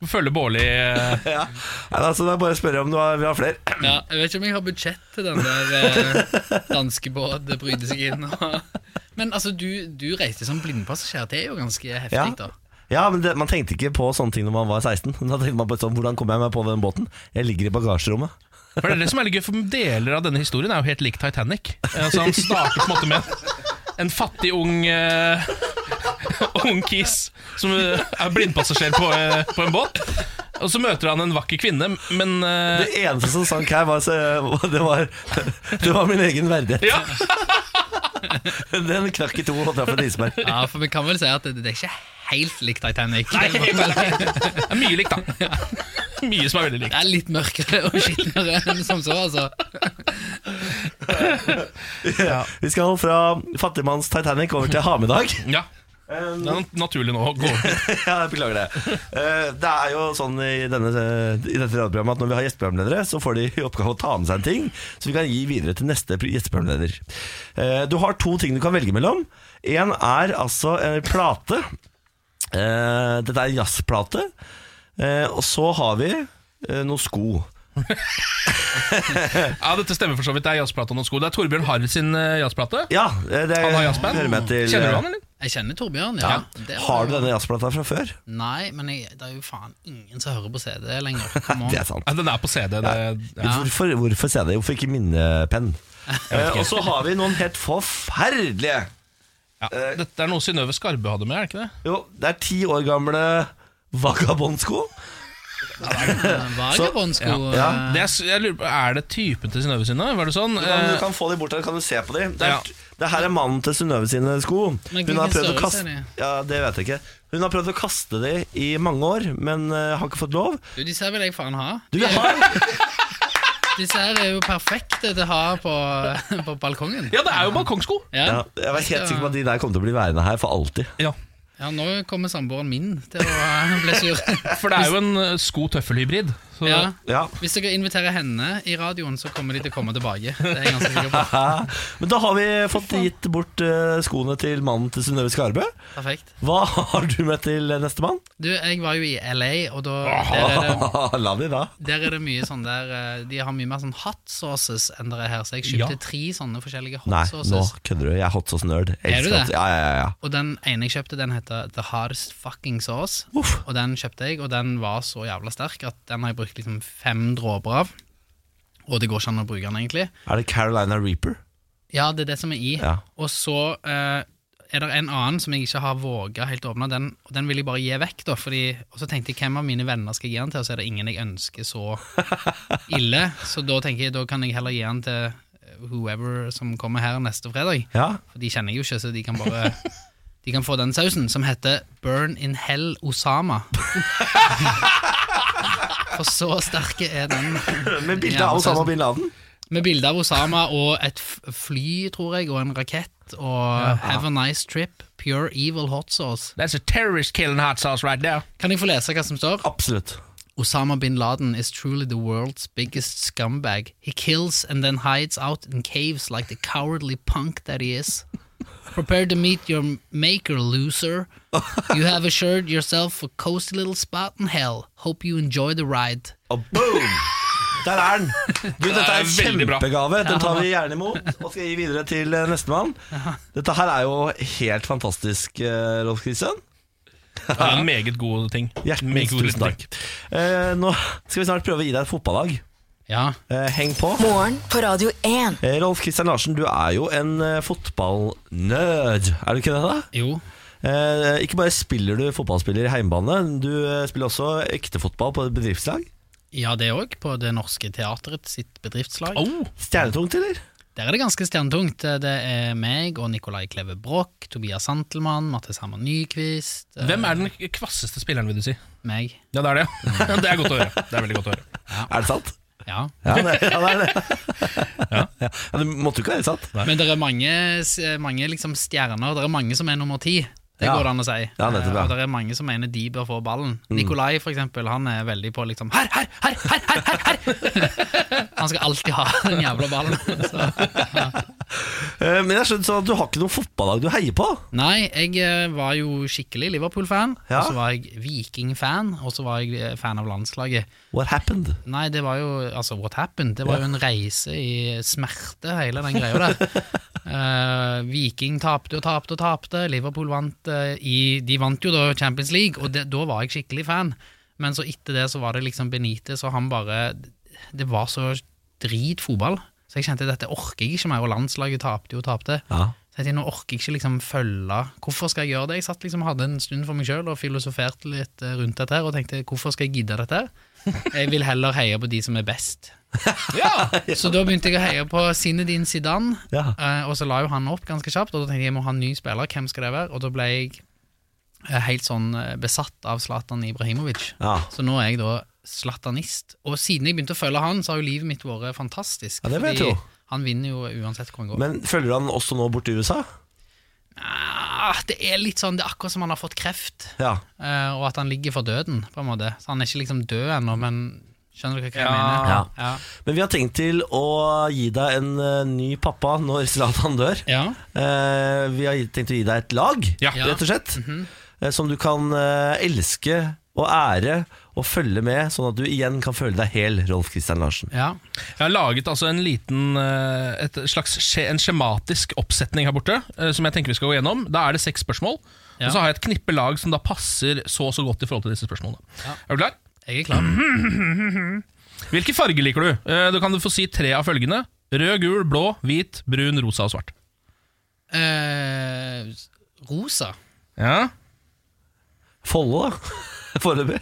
[SPEAKER 2] Følge Bårli eh,
[SPEAKER 1] Ja. Nei, altså, det er bare å spørre om du har, vi har flere.
[SPEAKER 7] Ja, jeg vet ikke om jeg har budsjett til den der eh, danskebåt det bryter seg inn. Og. Men altså, du, du reiste som blindpassasjer, det er jo ganske heftig,
[SPEAKER 1] Ja.
[SPEAKER 7] da.
[SPEAKER 1] Ja, men det, Man tenkte ikke på sånne ting når man var 16. Da tenkte man på sånn, Hvordan kommer jeg meg på den båten? Jeg ligger i bagasjerommet.
[SPEAKER 2] For det er det som er litt gøy, for deler av denne historien er jo helt lik Titanic. Altså, han starter på en måte med en fattig ung eh, *laughs* Ung kis som eh, er blindpassasjer på, eh, på en båt. Og så møter han en vakker kvinne, men eh,
[SPEAKER 1] Det eneste som sank her, var, så, *laughs* det, var, det var min egen verdighet.
[SPEAKER 2] Ja.
[SPEAKER 1] *laughs* Den knakk i to og traff et isberg.
[SPEAKER 7] Ja, For vi kan vel si at det, det er ikke helt likt Titanic.
[SPEAKER 2] det er mye likt, da. Mye som er veldig likt.
[SPEAKER 7] Det er litt mørkere og skitnere enn som så, altså.
[SPEAKER 1] Vi skal fra fattigmanns Titanic over til hamedag.
[SPEAKER 2] Ja, det er nat- naturlig nå å gå over.
[SPEAKER 1] *laughs* ja, jeg beklager det. Eh, Det er jo sånn i, denne, i dette radioprogrammet at når vi har gjesteprogramledere, så får de i oppgave å ta med seg en ting som vi kan gi videre til neste pro- gjesteprogramleder. Eh, Du har to ting du kan velge mellom. En er altså en plate. Eh, Dette er en jazzplate. Eh, Og så har vi eh, noen sko.
[SPEAKER 2] Ja, Dette stemmer for så vidt. Det er jazzplata og noen sko. Det er Torbjørn Harr sin eh, jazzplate.
[SPEAKER 1] Ja, eh, det
[SPEAKER 2] Han har jazzband.
[SPEAKER 1] hører med til
[SPEAKER 2] Kjenner du han, eller?
[SPEAKER 7] Jeg kjenner Torbjørn, ja. Det var-
[SPEAKER 1] Har du denne jazzplata fra før?
[SPEAKER 7] Nei, men jeg, det er jo faen ingen som hører på CD
[SPEAKER 1] *laughs*
[SPEAKER 7] lenger. Come on.
[SPEAKER 1] Det er sant.
[SPEAKER 2] Ja, den er på CD. Det, ja.
[SPEAKER 1] Hvorfor, hvorfor se det? Hvorfor ikke minnepenn? Eh, og så har vi noen helt forferdelige
[SPEAKER 2] Ja. Dette er noe Synnøve Skarbø hadde med, er det ikke det?
[SPEAKER 1] Jo, det er ti år gamle vagabondsko.
[SPEAKER 7] Vagabondsko.
[SPEAKER 1] Ja.
[SPEAKER 7] eh,
[SPEAKER 2] Det er, s- jeg lurer på, er det typen til Synnøve sine? Var det sånn?
[SPEAKER 1] Du kan, du
[SPEAKER 2] Eh,
[SPEAKER 1] kan få de bort her, kan du se på de. Det, er,
[SPEAKER 2] Ja.
[SPEAKER 1] det her er mannen til Synnøve sine sko.
[SPEAKER 7] Men
[SPEAKER 1] Hun har prøvd å
[SPEAKER 7] hvilken størrelse
[SPEAKER 1] kaste
[SPEAKER 7] er de?
[SPEAKER 1] ja, Det vet jeg ikke. Hun har prøvd å kaste de i mange år, men eh, har ikke fått lov.
[SPEAKER 7] Du, disse her vil jeg faen ha.
[SPEAKER 1] Du
[SPEAKER 7] *laughs*
[SPEAKER 1] har
[SPEAKER 7] Disse her er jo perfekte til å ha på, på balkongen.
[SPEAKER 2] Ja, det er jo balkongsko!
[SPEAKER 1] ja,
[SPEAKER 7] Ja.
[SPEAKER 1] Jeg var helt sikker på at de der kommer til å bli værende her for alltid.
[SPEAKER 2] Ja.
[SPEAKER 7] Ja, nå kommer samboeren min til å eh, bli
[SPEAKER 1] *laughs*
[SPEAKER 7] sur.
[SPEAKER 2] For det er jo en eh, sko-tøffelhybrid. Så
[SPEAKER 7] Ja.
[SPEAKER 1] Ja.
[SPEAKER 7] Hvis dere inviterer henne i radioen, så kommer de til å komme tilbake. Det er jeg ganske
[SPEAKER 1] *laughs*
[SPEAKER 7] sikker på.
[SPEAKER 1] Haha. Men da har vi fått gitt bort eh, skoene til mannen til Synnøve Skarbø.
[SPEAKER 7] Perfekt.
[SPEAKER 1] Hva *laughs* har du med til eh, neste mann?
[SPEAKER 7] Du, jeg var jo i LA, og da der er det,
[SPEAKER 1] *laughs* La de da.
[SPEAKER 7] der er det mye sånn der eh, De har mye mer sånn hot sauces enn dere her, så jeg kjøpte
[SPEAKER 2] Ja.
[SPEAKER 7] tre sånne forskjellige hot
[SPEAKER 1] Nei, nå
[SPEAKER 7] sauces.
[SPEAKER 1] kødder du. Jeg er hot sauce nerd. Jeg
[SPEAKER 7] Er
[SPEAKER 1] elsker
[SPEAKER 7] du
[SPEAKER 1] hot-
[SPEAKER 7] det?
[SPEAKER 1] Ja, ja, ja, ja.
[SPEAKER 7] Og den ene jeg kjøpte, den heter The Hardest Fucking Sauce.
[SPEAKER 1] Uff.
[SPEAKER 7] Og den kjøpte jeg, og den var så jævla sterk at den har jeg brukt liksom fem dråper av. Og det går ikke an å bruke den, egentlig.
[SPEAKER 1] Er det Carolina Reaper?
[SPEAKER 7] Ja, det er det som er i.
[SPEAKER 1] Ja.
[SPEAKER 7] Og så eh, er det en annen som jeg ikke har våga helt åpne. Den, og den vil jeg bare gi vekk, da. Fordi, og så tenkte jeg hvem av mine venner skal jeg gi den til, og så er det ingen jeg ønsker
[SPEAKER 1] *laughs*
[SPEAKER 7] så ille. Så da tenker jeg da kan jeg heller gi den til eh, whoever som kommer her neste fredag.
[SPEAKER 1] Ja.
[SPEAKER 7] For de kjenner jeg jo ikke, så de kan bare
[SPEAKER 1] *laughs*
[SPEAKER 7] De kan få den sausen som heter Burn in Hell Osama.
[SPEAKER 1] *laughs*
[SPEAKER 7] For så sterke er den.
[SPEAKER 1] Med bilde
[SPEAKER 7] Ja,
[SPEAKER 1] av
[SPEAKER 7] hot sauce.
[SPEAKER 1] Osama bin Laden.
[SPEAKER 7] Med bilde av Osama og et f- fly, tror jeg, og en rakett og Have a nice trip, pure evil hot sauce.
[SPEAKER 2] That's a terrorist killing hot sauce right
[SPEAKER 1] *laughs*
[SPEAKER 2] there.
[SPEAKER 7] Kan jeg få lese hva som står?
[SPEAKER 1] Absolutt.
[SPEAKER 7] Osama bin Laden is truly the world's biggest scumbag. He kills and then hides out in caves like the cowardly punk that he is. Prepare to meet your maker, loser. You have assured yourself a cozy little spot in hell. Hope you enjoy the ride.
[SPEAKER 1] Og boom! Der er den! Du, dette er
[SPEAKER 2] er
[SPEAKER 1] en
[SPEAKER 2] veldig bra.
[SPEAKER 1] kjempegave. Den tar vi gjerne imot og skal gi videre til eh, nestemann. Dette her er jo helt fantastisk, eh, Rolf Kristian.
[SPEAKER 2] Det er en meget god ting.
[SPEAKER 1] Hjertelig
[SPEAKER 2] Meget god
[SPEAKER 1] tusen
[SPEAKER 2] ting.
[SPEAKER 1] takk. Eh, nå skal vi snart prøve å gi deg et fotballag.
[SPEAKER 7] Ja.
[SPEAKER 1] Eh, heng på.
[SPEAKER 4] Morgen på Radio 1.
[SPEAKER 1] Eh, Rolf Kristian Larsen, du er jo en eh, fotballnerd. Er du ikke det, da?
[SPEAKER 7] Jo.
[SPEAKER 1] Eh, ikke bare spiller du fotballspiller i heimbane, du eh, spiller også ekte fotball på et bedriftslag.
[SPEAKER 7] Ja, det òg, på Det Norske Teatret sitt bedriftslag.
[SPEAKER 2] Oh,
[SPEAKER 1] Stjernetungt, eller?
[SPEAKER 7] Der er det ganske stjernetungt. Det er meg og Nicolai Kleve Broch, Tobias Santelmann, Mathis Hammer Nyquist. eh,
[SPEAKER 2] hvem er den kvasseste spilleren, vil du si?
[SPEAKER 7] Meg.
[SPEAKER 2] Ja, det er det.
[SPEAKER 1] *laughs*
[SPEAKER 2] ja. *laughs* Det er godt å høre. Det er veldig godt å høre.
[SPEAKER 1] Er det sant?
[SPEAKER 7] Ja.
[SPEAKER 1] Ja, det, ja, det er det. *laughs* Ja. Ja, det måtte jo ikke være sant.
[SPEAKER 7] Men det er mange, s- mange liksom stjerner. Det er mange som er nummer ti. Det
[SPEAKER 1] Ja.
[SPEAKER 7] går det an å si.
[SPEAKER 1] Ja, nettopp, ja. Mm.
[SPEAKER 7] Eh, Og det er mange som mener de bør få ballen. Nikolai, for eksempel, han er veldig på liksom Her, her, her, her, her! her, her. *laughs* han skal alltid ha den jævla ballen. *laughs* Så.
[SPEAKER 1] Eh, men jeg skjønner sånn at du har ikke noe fotballag du heier på.
[SPEAKER 7] Nei, jeg eh, var jo skikkelig Liverpool-fan.
[SPEAKER 1] Ja.
[SPEAKER 7] Og så var jeg Viking-fan, og så var jeg eh, fan av landslaget.
[SPEAKER 1] What happened?
[SPEAKER 7] Nei, det var jo Altså, what happened? Det var jo en reise i smerte, hele den greia der. Eh, Viking tapte og tapte og tapte. Liverpool vant eh, i De vant jo da Champions League, og det, da var jeg skikkelig fan. Men så etter det så var det liksom Benitez, og han bare Det var så drit fotball. Så jeg kjente dette orker jeg ikke mer, og landslaget tapte jo og tapte.
[SPEAKER 1] Ja.
[SPEAKER 7] Så jeg tenkte, nå orker jeg ikke liksom følge Hvorfor skal jeg gjøre det? Jeg satt liksom hadde en stund for meg sjøl og filosoferte litt eh, rundt dette her, og tenkte hvorfor skal jeg gidde dette?
[SPEAKER 1] *laughs*
[SPEAKER 7] her? Jeg vil heller heie på de som er best. Så da begynte jeg å heie på Zinedine Zidane,
[SPEAKER 1] *laughs* Ja.
[SPEAKER 7] eh, og så la jo han opp ganske kjapt. Og da tenkte jeg jeg må ha en ny spiller, hvem skal det være? Og da ble jeg eh, helt sånn eh, besatt av Zlatan Ibrahimovic.
[SPEAKER 1] Ja.
[SPEAKER 7] Så nå er jeg da slatanist. Og siden jeg begynte å følge han, så har jo livet mitt vært fantastisk.
[SPEAKER 1] Ja, det vil jeg
[SPEAKER 7] fordi
[SPEAKER 1] tro.
[SPEAKER 7] han vinner jo uansett hvor han går.
[SPEAKER 1] Men følger han også nå bort til USA?
[SPEAKER 7] Ah, det er litt sånn, det er akkurat som han har fått kreft,
[SPEAKER 1] Ja.
[SPEAKER 7] eh, og at han ligger for døden, på en måte. Så han er ikke liksom død ennå, men skjønner dere hva jeg
[SPEAKER 2] Ja.
[SPEAKER 7] mener?
[SPEAKER 1] Ja.
[SPEAKER 7] Ja.
[SPEAKER 1] Men vi har tenkt til å gi deg en eh, ny pappa når Zlatan dør.
[SPEAKER 7] Ja.
[SPEAKER 1] Eh, vi har tenkt å gi deg et lag,
[SPEAKER 2] Ja.
[SPEAKER 1] rett og slett.
[SPEAKER 7] Mhm.
[SPEAKER 1] eh, som du kan eh, elske og ære og følge med, sånn at du igjen kan føle deg hel, Rolf Kristian Larsen.
[SPEAKER 7] ja.
[SPEAKER 2] Jeg har laget altså en liten eh, et slags, skje- en skjematisk oppsetning her borte, eh, som jeg tenker vi skal gå gjennom. Da er det seks spørsmål,
[SPEAKER 7] Ja.
[SPEAKER 2] og så har jeg et knippe lag som da passer så og så godt i forhold til disse spørsmålene. Er du klar?
[SPEAKER 7] Jeg er klar.
[SPEAKER 2] Hvilke farger liker du? Eh, Da kan du få si tre av følgende. Rød, gul, blå, hvit, brun, rosa og svart.
[SPEAKER 7] Eh, rosa.
[SPEAKER 2] Ja.
[SPEAKER 1] Follo, da. *laughs* Foreløpig.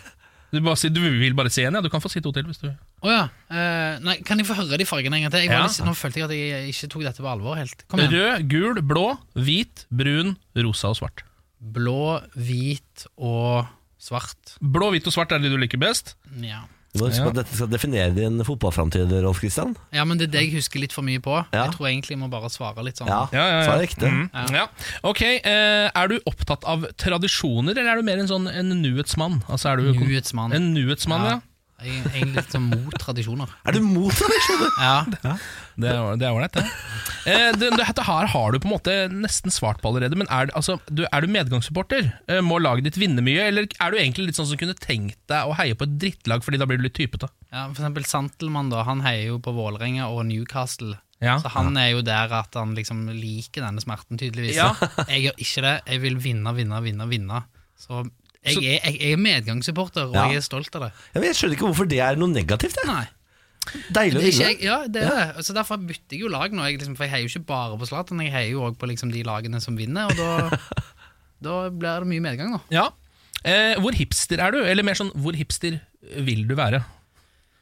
[SPEAKER 2] Du, bare si, du vil bare si en, ja. Du kan få si to til. hvis du...
[SPEAKER 7] Å ja. Eh, nei, kan jeg få høre de fargene en gang til? Jeg var
[SPEAKER 2] Ja.
[SPEAKER 7] litt, nå følte jeg at jeg ikke tok dette på alvor helt. Kom igjen.
[SPEAKER 2] Rød, gul, blå, hvit, brun, rosa og svart.
[SPEAKER 7] Blå, hvit og svart.
[SPEAKER 2] Blå, hvit og svart er det du liker best.
[SPEAKER 7] Ja.
[SPEAKER 1] Du må huske
[SPEAKER 2] Ja.
[SPEAKER 1] på at dette skal definere din fotballframtid, Rolf Kristian.
[SPEAKER 7] ja, men det er det jeg husker litt for mye på.
[SPEAKER 1] Ja.
[SPEAKER 7] Jeg tror egentlig jeg må bare svare litt sånn.
[SPEAKER 1] Ja,
[SPEAKER 2] Ja, ja, Mhm. ja.
[SPEAKER 1] så er det ekte.
[SPEAKER 2] Ja. Ok, eh, Er du opptatt av tradisjoner, eller er du mer en sånn en nuhetsmann? Altså, er du
[SPEAKER 7] Nyhetsmann.
[SPEAKER 2] En nuhetsmann, ja.
[SPEAKER 7] Jeg er egentlig litt sånn
[SPEAKER 1] *laughs*
[SPEAKER 7] mot tradisjoner.
[SPEAKER 1] Er du mot tradisjoner?
[SPEAKER 7] Ja.
[SPEAKER 2] Det er det er ålreit, det. Eh, det- det- Dette her har du på en måte nesten svart på allerede, men er, det- altså, du, er du medgangssupporter? Eh, Må laget ditt vinne mye, eller er du egentlig litt sånn som kunne tenkt deg å heie på et drittlag, fordi da blir du litt typete?
[SPEAKER 7] Ja, for eksempel Santelmann da, han heier jo på Vålerenga og Newcastle.
[SPEAKER 2] Ja.
[SPEAKER 7] Så han er jo der at han liksom liker denne smerten, tydeligvis.
[SPEAKER 2] Ja.
[SPEAKER 7] jeg gjør ikke det. Jeg vil vinne, vinne, vinne, vinne. Så jeg,
[SPEAKER 2] Så-
[SPEAKER 7] er, jeg, jeg er medgangssupporter, og
[SPEAKER 1] Ja.
[SPEAKER 7] jeg er stolt av det.
[SPEAKER 1] Ja, men jeg skjønner ikke hvorfor det er noe negativt. Jeg.
[SPEAKER 7] Nei,
[SPEAKER 1] Deilig
[SPEAKER 7] det
[SPEAKER 1] å
[SPEAKER 7] er ikke
[SPEAKER 1] vinne.
[SPEAKER 7] jeg, ja, det er det. Så derfor bytter jeg jo lag nå. Jeg liksom, for jeg heier jo ikke bare på Zlatan, jeg heier jo òg på liksom de lagene som vinner, og da, da blir det mye medgang, da.
[SPEAKER 2] Ja. Eh, hvor hipster er du? Eller mer sånn, hvor hipster vil du være?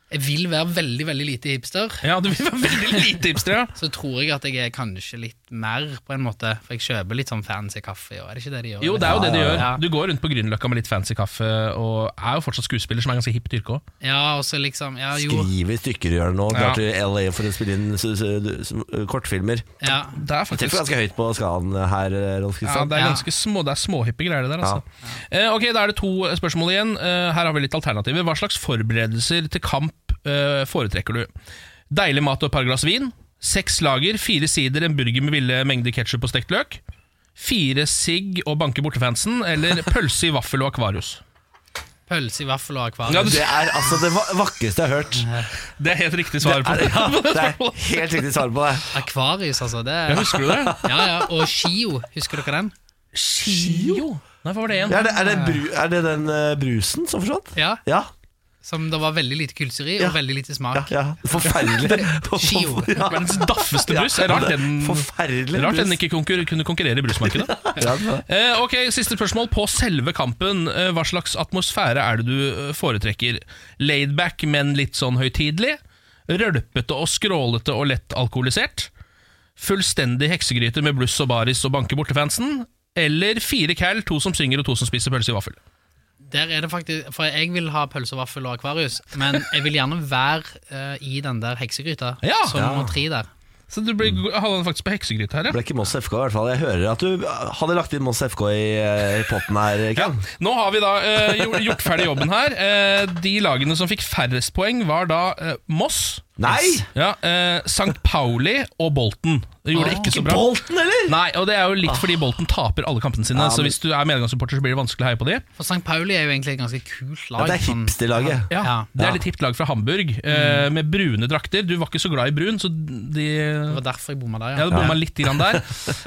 [SPEAKER 7] Jeg vil være veldig, veldig lite hipster.
[SPEAKER 2] Ja, du vil være veldig lite hipster, ja.
[SPEAKER 7] Så tror jeg at jeg er kanskje litt mer, på en måte. For jeg kjøper litt sånn fancy kaffe, og er det ikke det de gjør?
[SPEAKER 2] Jo, det er jo det du gjør.
[SPEAKER 7] Ja.
[SPEAKER 2] Du går rundt på Grünerløkka med litt fancy kaffe, og er jo fortsatt skuespiller, som er ganske hipt yrke òg.
[SPEAKER 7] Ja, og så liksom Ja, jo.
[SPEAKER 1] Skrive i stykker gjør det nå, drar
[SPEAKER 2] Ja.
[SPEAKER 1] til LA for å spille inn s- s- s- kortfilmer.
[SPEAKER 7] Ja.
[SPEAKER 2] Det er
[SPEAKER 1] Jeg
[SPEAKER 2] faktisk
[SPEAKER 1] treffer ganske høyt på skalaen her, Rolf
[SPEAKER 2] ja,
[SPEAKER 1] Kristian.
[SPEAKER 2] det er
[SPEAKER 7] Ja.
[SPEAKER 2] ganske små, det er småhippe greier, det der. Altså. Eh, ok, Da er det to spørsmål igjen. Eh, her har vi litt alternativer. Hva slags forberedelser til kamp eh, foretrekker du? Deilig mat og et par glass vin. Seks lager, fire sider, en burger med ville mengder ketsjup og stekt løk. Fire sigg og banke bortefansen,
[SPEAKER 1] *laughs*
[SPEAKER 2] eller pølse i vaffel og akvarius.
[SPEAKER 7] Pølse i vaffel
[SPEAKER 2] Ja,
[SPEAKER 7] og akvarium.
[SPEAKER 2] du-
[SPEAKER 1] Det er altså det va- vakreste jeg har hørt.
[SPEAKER 2] Det er helt riktig svar. på
[SPEAKER 1] Er det, ja,
[SPEAKER 2] på det
[SPEAKER 1] det er
[SPEAKER 2] spørsmålet.
[SPEAKER 1] helt riktig svar på det.
[SPEAKER 7] Akvarius, altså. Det
[SPEAKER 2] Ja,
[SPEAKER 7] er
[SPEAKER 2] Husker du det?
[SPEAKER 7] ja, ja, Og Shio, husker dere den?
[SPEAKER 2] Shio? Nei, hva var det igjen?
[SPEAKER 1] Ja, er, det, er, det bru, er det den eh, brusen som forsvant?
[SPEAKER 7] Ja.
[SPEAKER 1] Ja.
[SPEAKER 7] Som det var veldig lite kulser i,
[SPEAKER 1] Ja.
[SPEAKER 7] og veldig lite
[SPEAKER 1] Ja,
[SPEAKER 7] smak.
[SPEAKER 1] ja. Forferdelig.
[SPEAKER 7] Skio.
[SPEAKER 1] Ja.
[SPEAKER 2] Verdens daffeste brus. Det er Rart den,
[SPEAKER 1] Forferdelig
[SPEAKER 2] rart den
[SPEAKER 1] brus.
[SPEAKER 2] ikke konkur kunne konkurrere i brusmarkedet.
[SPEAKER 1] Ja, det var-
[SPEAKER 2] Eh, ok, Siste spørsmål på selve kampen. Eh, hva slags atmosfære er det du eh, foretrekker? Laidback, men litt sånn høytidelig? Rølpete og skrålete og lett alkoholisert? Fullstendig heksegryte med bluss og baris og banke bortefansen? Eller fire cal, to som synger og to som spiser pølse i vaffel?
[SPEAKER 7] Der er det faktisk, For jeg vil ha pølse og vaffel og akvarius, men jeg vil gjerne være eh, i den der heksegryta
[SPEAKER 2] Ja.
[SPEAKER 7] som
[SPEAKER 1] Ja.
[SPEAKER 7] nummer tre der.
[SPEAKER 2] Så du ble, havna faktisk på heksegryte her, ja.
[SPEAKER 1] Ble ikke Moss FK, i hvert fall. Jeg hører at du hadde lagt inn Moss FK i, eh, i potten her,
[SPEAKER 2] Ja,
[SPEAKER 1] Ken.
[SPEAKER 2] nå har vi da eh, gjo- gjort ferdig jobben her. Eh, de lagene som fikk færrest poeng, var da eh, Moss,
[SPEAKER 1] Nei!
[SPEAKER 2] ja, eh, St. Pauli og Bolten. Det gjorde det ikke så bra.
[SPEAKER 1] Bolten, eller?
[SPEAKER 2] Nei, og det er jo litt fordi Bolten taper alle kampene sine.
[SPEAKER 1] Ja,
[SPEAKER 2] Så
[SPEAKER 1] men-
[SPEAKER 2] hvis du er medgangssupporter, så blir det vanskelig å heie på de.
[SPEAKER 7] For St. Pauli er jo egentlig et ganske kult
[SPEAKER 1] Ja,
[SPEAKER 7] lag.
[SPEAKER 1] det er
[SPEAKER 7] sånn-
[SPEAKER 1] hipsterlaget.
[SPEAKER 7] Ja.
[SPEAKER 2] Det er litt hipt lag fra Hamburg, eh,
[SPEAKER 1] Mm.
[SPEAKER 2] med brune drakter. Du var ikke så glad i brun, så de
[SPEAKER 7] Det var derfor jeg bomma der,
[SPEAKER 2] ja,
[SPEAKER 7] ja.
[SPEAKER 2] det bomma litt grann der.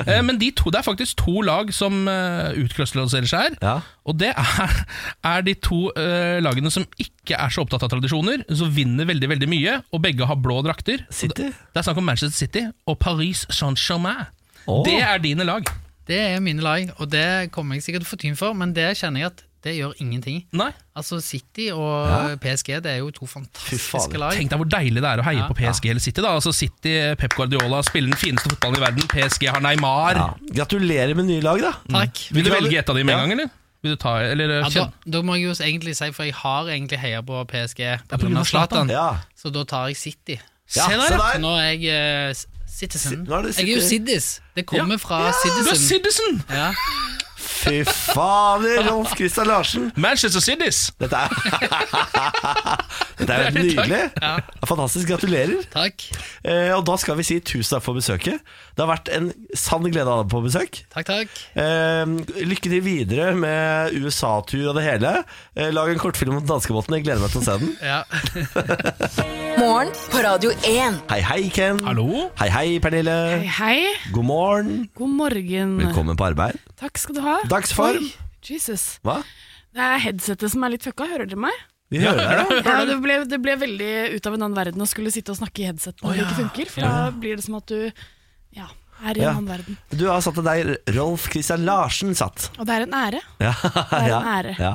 [SPEAKER 2] Eh, Men de to, det er faktisk to lag som eh, utkrystalliserer seg her.
[SPEAKER 1] Ja.
[SPEAKER 2] Og det er, er de to eh, lagene som ikke er så opptatt av tradisjoner, som vinner veldig veldig mye, og begge har blå drakter. Og
[SPEAKER 1] City?
[SPEAKER 2] Det det er snakk om Manchester City og Paris Saint-Germain.
[SPEAKER 1] Åh.
[SPEAKER 2] Det er dine lag.
[SPEAKER 7] Det er mine lag, og det kommer jeg sikkert til å få tyn for, men det kjenner jeg at det gjør ingenting.
[SPEAKER 2] Nei,
[SPEAKER 7] Altså City og PSG det er jo to
[SPEAKER 1] Fy
[SPEAKER 7] fantastiske
[SPEAKER 1] faen,
[SPEAKER 7] lag.
[SPEAKER 2] Tenk deg hvor deilig det er å heie
[SPEAKER 7] Ja.
[SPEAKER 2] på PSG eller City. da Altså City, Pep Guardiola spiller den fineste fotballen i verden, PSG har Neymar.
[SPEAKER 1] Ja. Gratulerer med nye lag, da.
[SPEAKER 7] Takk.
[SPEAKER 2] Vil du
[SPEAKER 1] Hvilke
[SPEAKER 2] velge
[SPEAKER 1] lag-
[SPEAKER 2] et av dem med en
[SPEAKER 1] Ja.
[SPEAKER 2] gang, eller? Vil du ta, eller
[SPEAKER 7] Ja, da,
[SPEAKER 2] kjenn-
[SPEAKER 7] da må jeg jo egentlig si, for jeg har egentlig heia på PSG
[SPEAKER 2] på grunn
[SPEAKER 7] pga.
[SPEAKER 2] av Zlatan.
[SPEAKER 7] Zlatan,
[SPEAKER 1] Ja.
[SPEAKER 7] så da tar jeg City.
[SPEAKER 1] Ja, se der, ja.
[SPEAKER 7] Så Nå er jeg eh, s- citizen.
[SPEAKER 1] Si- nå er det
[SPEAKER 7] jeg er jo
[SPEAKER 1] City.
[SPEAKER 7] Siddis. Det kommer fra
[SPEAKER 2] Du er
[SPEAKER 7] citizen.
[SPEAKER 2] Citizen!
[SPEAKER 7] Ja.
[SPEAKER 1] Fy fader, Rolf Christian Larsen.
[SPEAKER 2] Manchester Cities!
[SPEAKER 1] Dette er *laughs* Dette er jo helt nydelig.
[SPEAKER 7] Ja.
[SPEAKER 1] Fantastisk. Gratulerer.
[SPEAKER 7] Takk.
[SPEAKER 1] Eh, og da skal vi si tusen takk for besøket. Det har vært en sann glede å ha deg på besøk.
[SPEAKER 7] Takk, takk.
[SPEAKER 1] Eh, lykke til videre med USA-tur og det hele. Eh, lag en kortfilm om danskebåten. Jeg gleder meg til å se den.
[SPEAKER 7] Ja.
[SPEAKER 4] Morgen på Radio 1.
[SPEAKER 1] Hei, hei, Ken.
[SPEAKER 2] Hallo?
[SPEAKER 1] Hei, hei, Pernille.
[SPEAKER 3] Hei, hei.
[SPEAKER 1] God morgen.
[SPEAKER 3] God morgen.
[SPEAKER 1] Velkommen på arbeid.
[SPEAKER 3] Takk skal du ha.
[SPEAKER 1] Dagsform.
[SPEAKER 3] Oi, Jesus.
[SPEAKER 1] Hva?
[SPEAKER 3] Det er headsetet som er litt fucka, hører dere meg?
[SPEAKER 1] Vi *laughs* hører deg.
[SPEAKER 3] Ja, det ble, det ble veldig ut av en annen verden å skulle sitte og snakke i headset når det ikke funker, for da blir det som at du ja, er i en
[SPEAKER 1] Ja.
[SPEAKER 3] annen verden.
[SPEAKER 1] Du har satt til deg Rolf Christian Larsen satt. *laughs*
[SPEAKER 3] Og det er en ære.
[SPEAKER 1] Ja,
[SPEAKER 3] er en
[SPEAKER 1] ja,
[SPEAKER 3] ære. Um,
[SPEAKER 1] ja.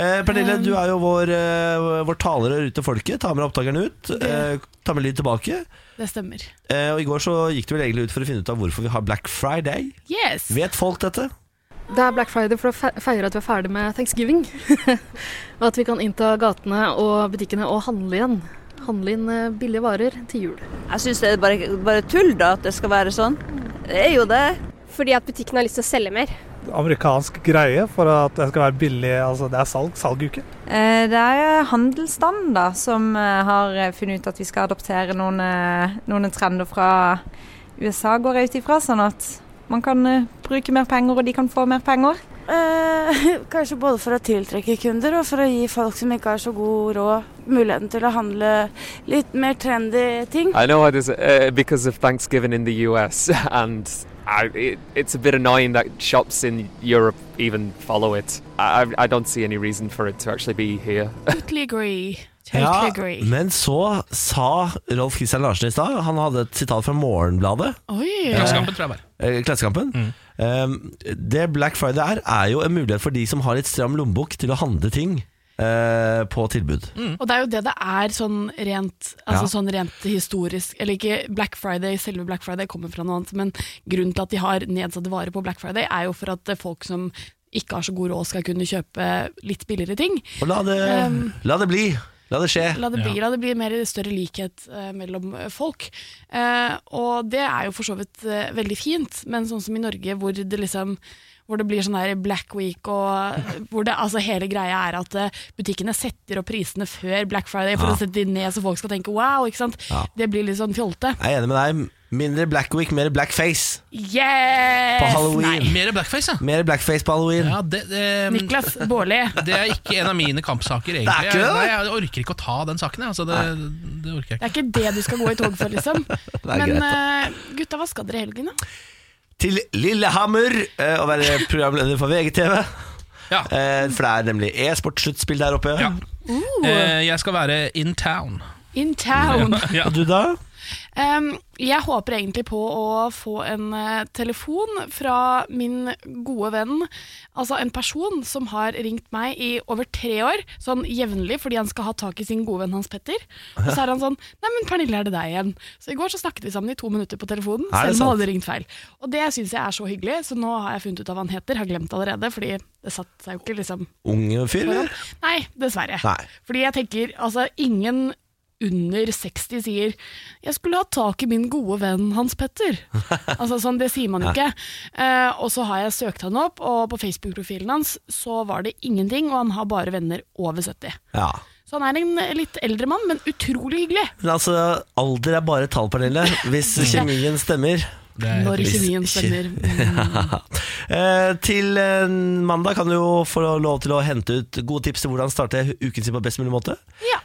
[SPEAKER 1] Eh, Pernille, du er jo vår, eh, vår taler ut til folket. Ta med opptakeren ut. Eh, ta med lyd tilbake.
[SPEAKER 3] Det stemmer.
[SPEAKER 1] Eh, og I går så gikk du vel egentlig ut for å finne ut av hvorfor vi har Black Friday.
[SPEAKER 3] Yes!
[SPEAKER 1] Vet folk dette?
[SPEAKER 8] Det er Black Friday for å fe- feire at vi er ferdig med thanksgiving. *laughs* og at vi kan innta gatene og butikkene og handle igjen. Handle inn eh, billige varer til jul.
[SPEAKER 9] Jeg syns det er bare, bare tull da at det skal være sånn. Det er jo det.
[SPEAKER 10] Fordi at butikken har lyst til å selge mer.
[SPEAKER 11] amerikansk greie for at det skal være billig. Altså, det er salg, salguke.
[SPEAKER 9] Eh, Det er handelsstanden da, som eh, har eh, funnet ut at vi skal adoptere noen, eh, noen trender fra USA, går jeg ut ifra. Sånn at man kan eh, bruke mer penger, og de kan få mer penger.
[SPEAKER 5] Eh, *laughs* kanskje både for å tiltrekke kunder og for å gi folk som ikke har så god råd, muligheten til å handle litt mer trendy ting.
[SPEAKER 11] I know it is uh, because of Thanksgiving in the US, and I, it, it's a bit annoying that shops in Europe even follow it. I, I- I don't see any reason for it to actually be here.
[SPEAKER 3] Totally agree. Totally agree.
[SPEAKER 1] men så sa Rolf Christian Larsen i stad Han hadde et sitat fra Morgenbladet,
[SPEAKER 3] Oi!
[SPEAKER 2] Klassekampen, tror jeg bare.
[SPEAKER 1] eh, Klassekampen. Eh, det Black Friday er, er jo en mulighet for de som har litt stram lommebok til å handle ting eh, på tilbud.
[SPEAKER 3] Og det er jo det det er sånn rent, altså
[SPEAKER 1] Ja.
[SPEAKER 3] sånn rent historisk Eller ikke Black Friday, selve Black Friday kommer fra noe annet, men grunnen til at de har nedsatte varer på Black Friday, er jo for at eh, folk som ikke har så god råd, skal kunne kjøpe litt billigere ting.
[SPEAKER 1] Og la det, la det bli. La det skje.
[SPEAKER 3] Ehm. La det bli, la det bli mer større likhet eh, mellom eh, folk. Eh, og det er jo for så vidt eh, veldig fint, men sånn som i Norge hvor det liksom hvor det blir sånn her Black Week og hvor det, altså hele greia er at eh, butikkene setter opp prisene før Black Friday for
[SPEAKER 1] Ja.
[SPEAKER 3] å sette de ned så folk skal tenke wow, ikke sant.
[SPEAKER 1] Ja.
[SPEAKER 3] Det blir litt sånn fjolte.
[SPEAKER 1] Jeg er enig med deg. Mindre Black Week, mer blackface
[SPEAKER 3] Yes!
[SPEAKER 1] på halloween.
[SPEAKER 2] Mer blackface, ja.
[SPEAKER 1] Mer blackface på halloween.
[SPEAKER 2] ja det, det- um,
[SPEAKER 3] Nei. Niklas Baarli.
[SPEAKER 2] Det er ikke en av mine kampsaker,
[SPEAKER 1] Det er
[SPEAKER 2] egentlig.
[SPEAKER 1] ikke det?
[SPEAKER 2] Jeg, nei, jeg orker ikke å ta den saken. jeg. Altså, det, det orker jeg ikke.
[SPEAKER 3] Det er ikke det du skal gå i tog for, liksom.
[SPEAKER 1] *laughs* er
[SPEAKER 3] Men
[SPEAKER 1] greit,
[SPEAKER 3] eh, gutta, hva skal dere i helgen, da?
[SPEAKER 1] Til Lillehammer eh, å være programleder for VGTV.
[SPEAKER 2] Ja.
[SPEAKER 1] Eh, For det er nemlig e-sportsluttspill der oppe.
[SPEAKER 2] Ja.
[SPEAKER 3] Ooh.
[SPEAKER 2] Eh, jeg skal være in town.
[SPEAKER 3] In town.
[SPEAKER 2] Ja.
[SPEAKER 1] Og du da?
[SPEAKER 3] Em, Ehm, jeg håper egentlig på å få en eh, telefon fra min gode venn, altså en person som har ringt meg i over tre år, sånn jevnlig, fordi han skal ha tak i sin gode venn Hans Petter. Og så er han sånn Nei, men Pernille, er det deg igjen? Så i går så snakket vi sammen i to minutter på telefonen,
[SPEAKER 1] Er det
[SPEAKER 3] selv om han
[SPEAKER 1] sant?
[SPEAKER 3] hadde ringt feil. Og det syns jeg er så hyggelig, så nå har jeg funnet ut av hva han heter, har glemt allerede, fordi det satt seg jo ikke liksom
[SPEAKER 1] Ung fyr, eller?
[SPEAKER 3] Nei, dessverre.
[SPEAKER 1] Nei.
[SPEAKER 3] Fordi jeg tenker, altså ingen under 60 sier 'jeg skulle hatt tak i min gode venn Hans Petter'. altså sånn, Det sier man jo ikke. Eh, og så har jeg søkt han opp, og på Facebook-profilen hans så var det ingenting, og han har bare venner over 70.
[SPEAKER 1] Ja.
[SPEAKER 3] Så han er en litt eldre mann, men utrolig hyggelig.
[SPEAKER 1] Men altså, alder er bare et tall, Pernille.
[SPEAKER 3] *laughs*
[SPEAKER 1] Hvis kjemien stemmer.
[SPEAKER 3] Når
[SPEAKER 1] Hvis
[SPEAKER 3] kjemien
[SPEAKER 1] *laughs*
[SPEAKER 3] stemmer. Mm.
[SPEAKER 1] Ja. Eh, Til eh, mandag kan du jo få lov til å hente ut gode tips til hvordan starte uken sin på best mulig måte.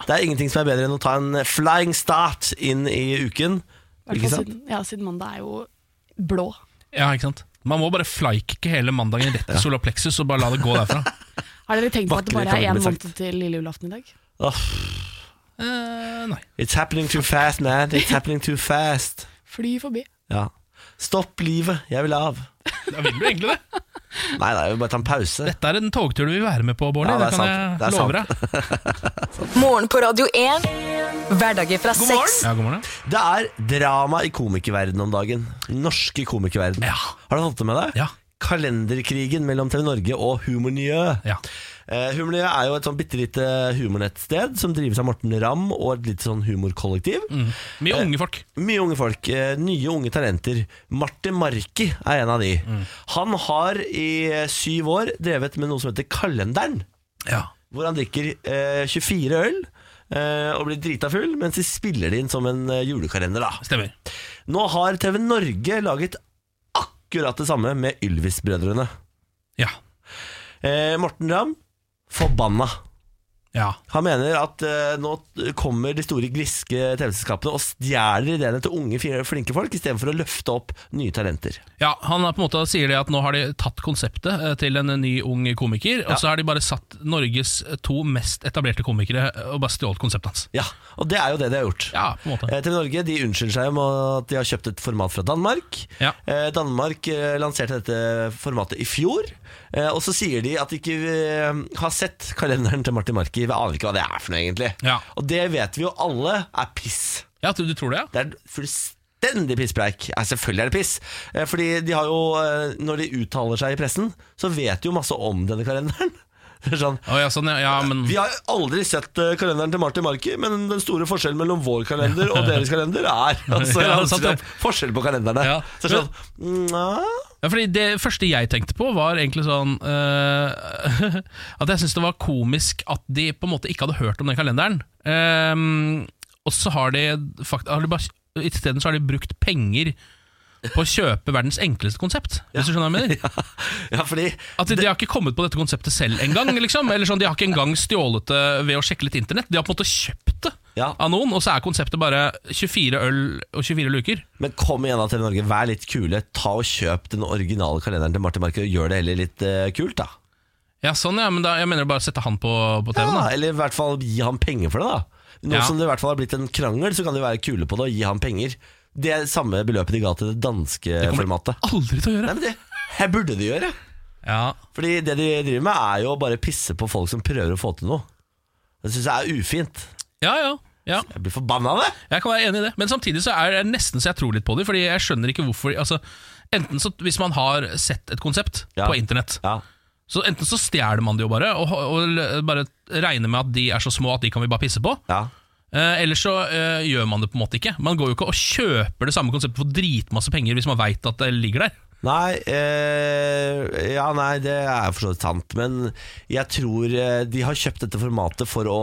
[SPEAKER 1] Det er ingenting som er bedre enn å ta en flying start inn i uken. Ikke
[SPEAKER 3] Hvertfall
[SPEAKER 1] sant?
[SPEAKER 3] Siden, ja, siden mandag er jo blå.
[SPEAKER 2] Ja, ikke sant? Man må bare flykicke hele mandagen rett til solar plexus og bare la det gå derfra.
[SPEAKER 3] Har dere tenkt på at det
[SPEAKER 2] Vakre
[SPEAKER 3] bare er
[SPEAKER 2] tanker
[SPEAKER 3] én
[SPEAKER 2] blir sagt.
[SPEAKER 3] måned til lille julaften i dag?
[SPEAKER 2] Eh, nei.
[SPEAKER 1] It's happening too fast, man. It's happening too fast.
[SPEAKER 3] Fly forbi.
[SPEAKER 1] Ja. Stopp livet, jeg vil av.
[SPEAKER 2] Da vil du egentlig det.
[SPEAKER 1] Nei, nei, jeg vil bare ta en pause.
[SPEAKER 2] Dette er en togtur du vil være med på, Bårdli.
[SPEAKER 1] Ja, det
[SPEAKER 2] det,
[SPEAKER 1] er sant.
[SPEAKER 2] kan jeg love
[SPEAKER 1] Det er
[SPEAKER 2] deg.
[SPEAKER 4] Morgen på Radio 1. Hverdager fra seks.
[SPEAKER 2] Ja, god morgen.
[SPEAKER 1] Det er drama i komikerverdenen om dagen. Norske komikerverden. Har du fått det med deg? Kalenderkrigen mellom TV Norge og Humornyø. Eh, Humornyø er jo et sånn bitte lite humornettsted som drives av Morten Ramm og et litt sånn humorkollektiv.
[SPEAKER 2] Mye unge folk.
[SPEAKER 1] Mye unge folk. eh, Nye unge talenter. Marte Marki er en av de. Han har i eh, syv år drevet med noe som heter Kalenderen. Hvor han drikker eh, 24 øl eh, og blir drita full, mens de spiller det inn som en eh, julekalender. da
[SPEAKER 2] Stemmer.
[SPEAKER 1] Nå har TV Norge laget akkurat det samme med Ylvis-brødrene.
[SPEAKER 2] Ja.
[SPEAKER 1] Eh, Morten Ramm, forbanna.
[SPEAKER 2] Ja.
[SPEAKER 1] Han mener at eh, nå kommer de store griske TV-selskapene og stjeler ideene til unge, fi- flinke folk, istedenfor å løfte opp nye talenter.
[SPEAKER 2] Ja, Han er på en måte sier det at nå har de tatt konseptet eh, til en ny ung komiker, og så har de bare satt Norges eh, to mest etablerte komikere eh, og bare stjålet konseptet hans.
[SPEAKER 1] Ja, Og det er jo det de har gjort. Eh, TV Norge de unnskylder seg om at de har kjøpt et format fra Danmark.
[SPEAKER 2] Ja.
[SPEAKER 1] Eh, Danmark eh, lanserte dette formatet i fjor. Eh, og så sier de at de ikke eh, har sett kalenderen til Martin Marki. Vi aner ikke hva det er for noe, egentlig. Og det vet vi jo alle er piss.
[SPEAKER 2] Ja, du, tror Det ja?
[SPEAKER 1] Det er fullstendig pisspreik. Ja, selvfølgelig er det piss. Eh, fordi de har jo, eh, når de uttaler seg i pressen, så vet de jo masse om denne kalenderen. *laughs* Det er sånn,
[SPEAKER 2] ja, sånn, ja, men...
[SPEAKER 1] Vi har aldri sett eh, kalenderen til Martin Marki, men den store forskjellen mellom vår kalender
[SPEAKER 2] *laughs*
[SPEAKER 1] og deres kalender er altså,
[SPEAKER 2] Ja, sant, ja.
[SPEAKER 1] forskjell på kalenderne. Så sånn,
[SPEAKER 2] Ja, fordi Det første jeg tenkte på, var egentlig sånn eh, *laughs* At jeg syntes det var komisk at de på en måte ikke hadde hørt om den kalenderen. Ehm, og så har de, fakt har de bare Isteden så har de brukt penger på å kjøpe verdens enkleste konsept. Hvis du skjønner hva jeg mener? at de, de har ikke kommet på dette konseptet selv engang. Liksom. Eller sånn, de har ikke engang stjålet det ved å sjekke litt internett. De har på en måte kjøpt det av noen, og så er konseptet bare 24 øl og 24 luker.
[SPEAKER 1] Men kom igjen da, TV Norge, vær litt kule. Ta og Kjøp den originale kalenderen til Martin Marki og gjør det heller litt eh, kult, da.
[SPEAKER 2] Ja, sånn ja, men da, jeg mener bare sette han på, på TV-en.
[SPEAKER 1] Ja,
[SPEAKER 2] da.
[SPEAKER 1] eller i hvert fall gi ham penger for det, da. Nå
[SPEAKER 2] Ja.
[SPEAKER 1] som det i hvert fall har blitt en krangel, så kan de være kule på det og gi ham penger. Det er samme beløpet de ga til det danske formatet.
[SPEAKER 2] Aldri til å gjøre
[SPEAKER 1] Nei, men det her burde de gjøre. Fordi det de driver med, er jo å bare pisse på folk som prøver å få til noe. Det syns jeg er ufint.
[SPEAKER 2] Ja, ja, ja.
[SPEAKER 1] Jeg blir forbanna av det.
[SPEAKER 2] Jeg kan være enig i det, men samtidig så er det nesten så jeg tror litt på det. Fordi jeg skjønner ikke hvorfor altså, Enten så Hvis man har sett et konsept på internett, så enten så stjeler man det jo bare, og, og l- bare regner med at de er så små at de kan vi bare pisse på. Eh, Eller så eh, gjør man det på en måte ikke. Man går jo ikke og kjøper det samme konseptet for dritmasse penger hvis man veit at det ligger der.
[SPEAKER 1] Nei, eh, ja, nei, det er for så vidt sant. Men jeg tror eh, de har kjøpt dette formatet for å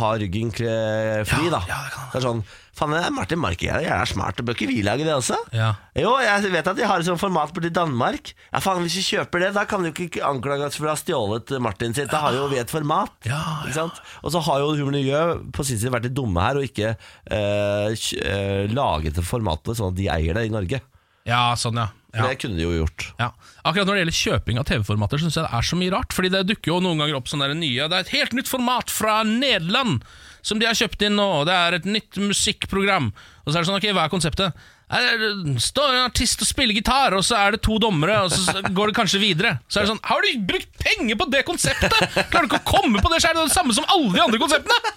[SPEAKER 1] ha ryggen kle- fri, da. det er sånn Faen, det er Martin Marki, jeg er smart, bør ikke vi lage det også? Jo, jeg vet at de har et sånt format borti Danmark. Ja, faen, Hvis vi kjøper det, da kan du ikke anklage oss for å ha stjålet Martin sitt. Da har jo vi et format. Ikke sant? Og så har jo Humor Miljø på sin side vært litt dumme her og ikke eh, kj- eh, laget det formatet sånn at de eier det i Norge.
[SPEAKER 2] Ja, sånn ja
[SPEAKER 1] For Det kunne de jo gjort.
[SPEAKER 2] Ja. Akkurat når det gjelder kjøping av TV-formater, syns jeg det er så mye rart. Fordi det dukker jo noen ganger opp sånne der nye Det er et helt nytt format fra Nederland som de har kjøpt inn nå. Det er et nytt musikkprogram. Og så er det sånn, ok, hva er konseptet? Nei, det er- Står en artist og spiller gitar, og så er det to dommere, og så går det kanskje videre. Så er det sånn, har du brukt penger på det konseptet?! Klarer du ikke å komme på det, så er det det samme som alle de andre konseptene!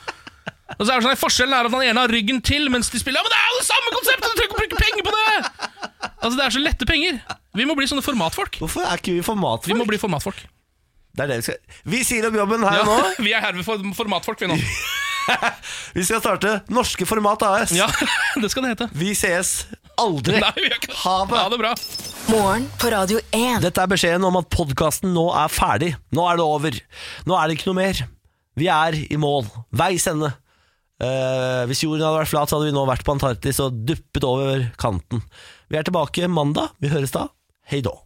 [SPEAKER 2] Og så er det sånn, nei, Forskjellen er at han ene har ryggen til mens de spiller. Ja, men det er jo det samme konseptet! Du trenger ikke å bruke penger på det! Altså, Det er så lette penger. Vi må bli sånne formatfolk.
[SPEAKER 1] Hvorfor er ikke vi formatfolk?
[SPEAKER 2] Vi må bli formatfolk.
[SPEAKER 1] Det er det vi skal Vi sier opp jobben her
[SPEAKER 2] Ja,
[SPEAKER 1] og nå.
[SPEAKER 2] *laughs* Vi er herved for formatfolk, vi nå.
[SPEAKER 1] Vi skal starte Norske Format AS.
[SPEAKER 2] Ja, *laughs* det skal det hete.
[SPEAKER 1] Vi ses aldri.
[SPEAKER 2] Nei, vi gjør ikke det.
[SPEAKER 1] Ha det.
[SPEAKER 2] Ha det bra.
[SPEAKER 4] Morgen på Radio 1.
[SPEAKER 1] Dette er beskjeden om at podkasten nå er ferdig. Nå er det over. Nå er det ikke noe mer. Vi er i mål. Veis ende. Eh, hvis jorden hadde vært flat, så hadde vi nå vært på Antarktis og duppet over kanten. Vi er tilbake mandag. Vi høres da. Hei då.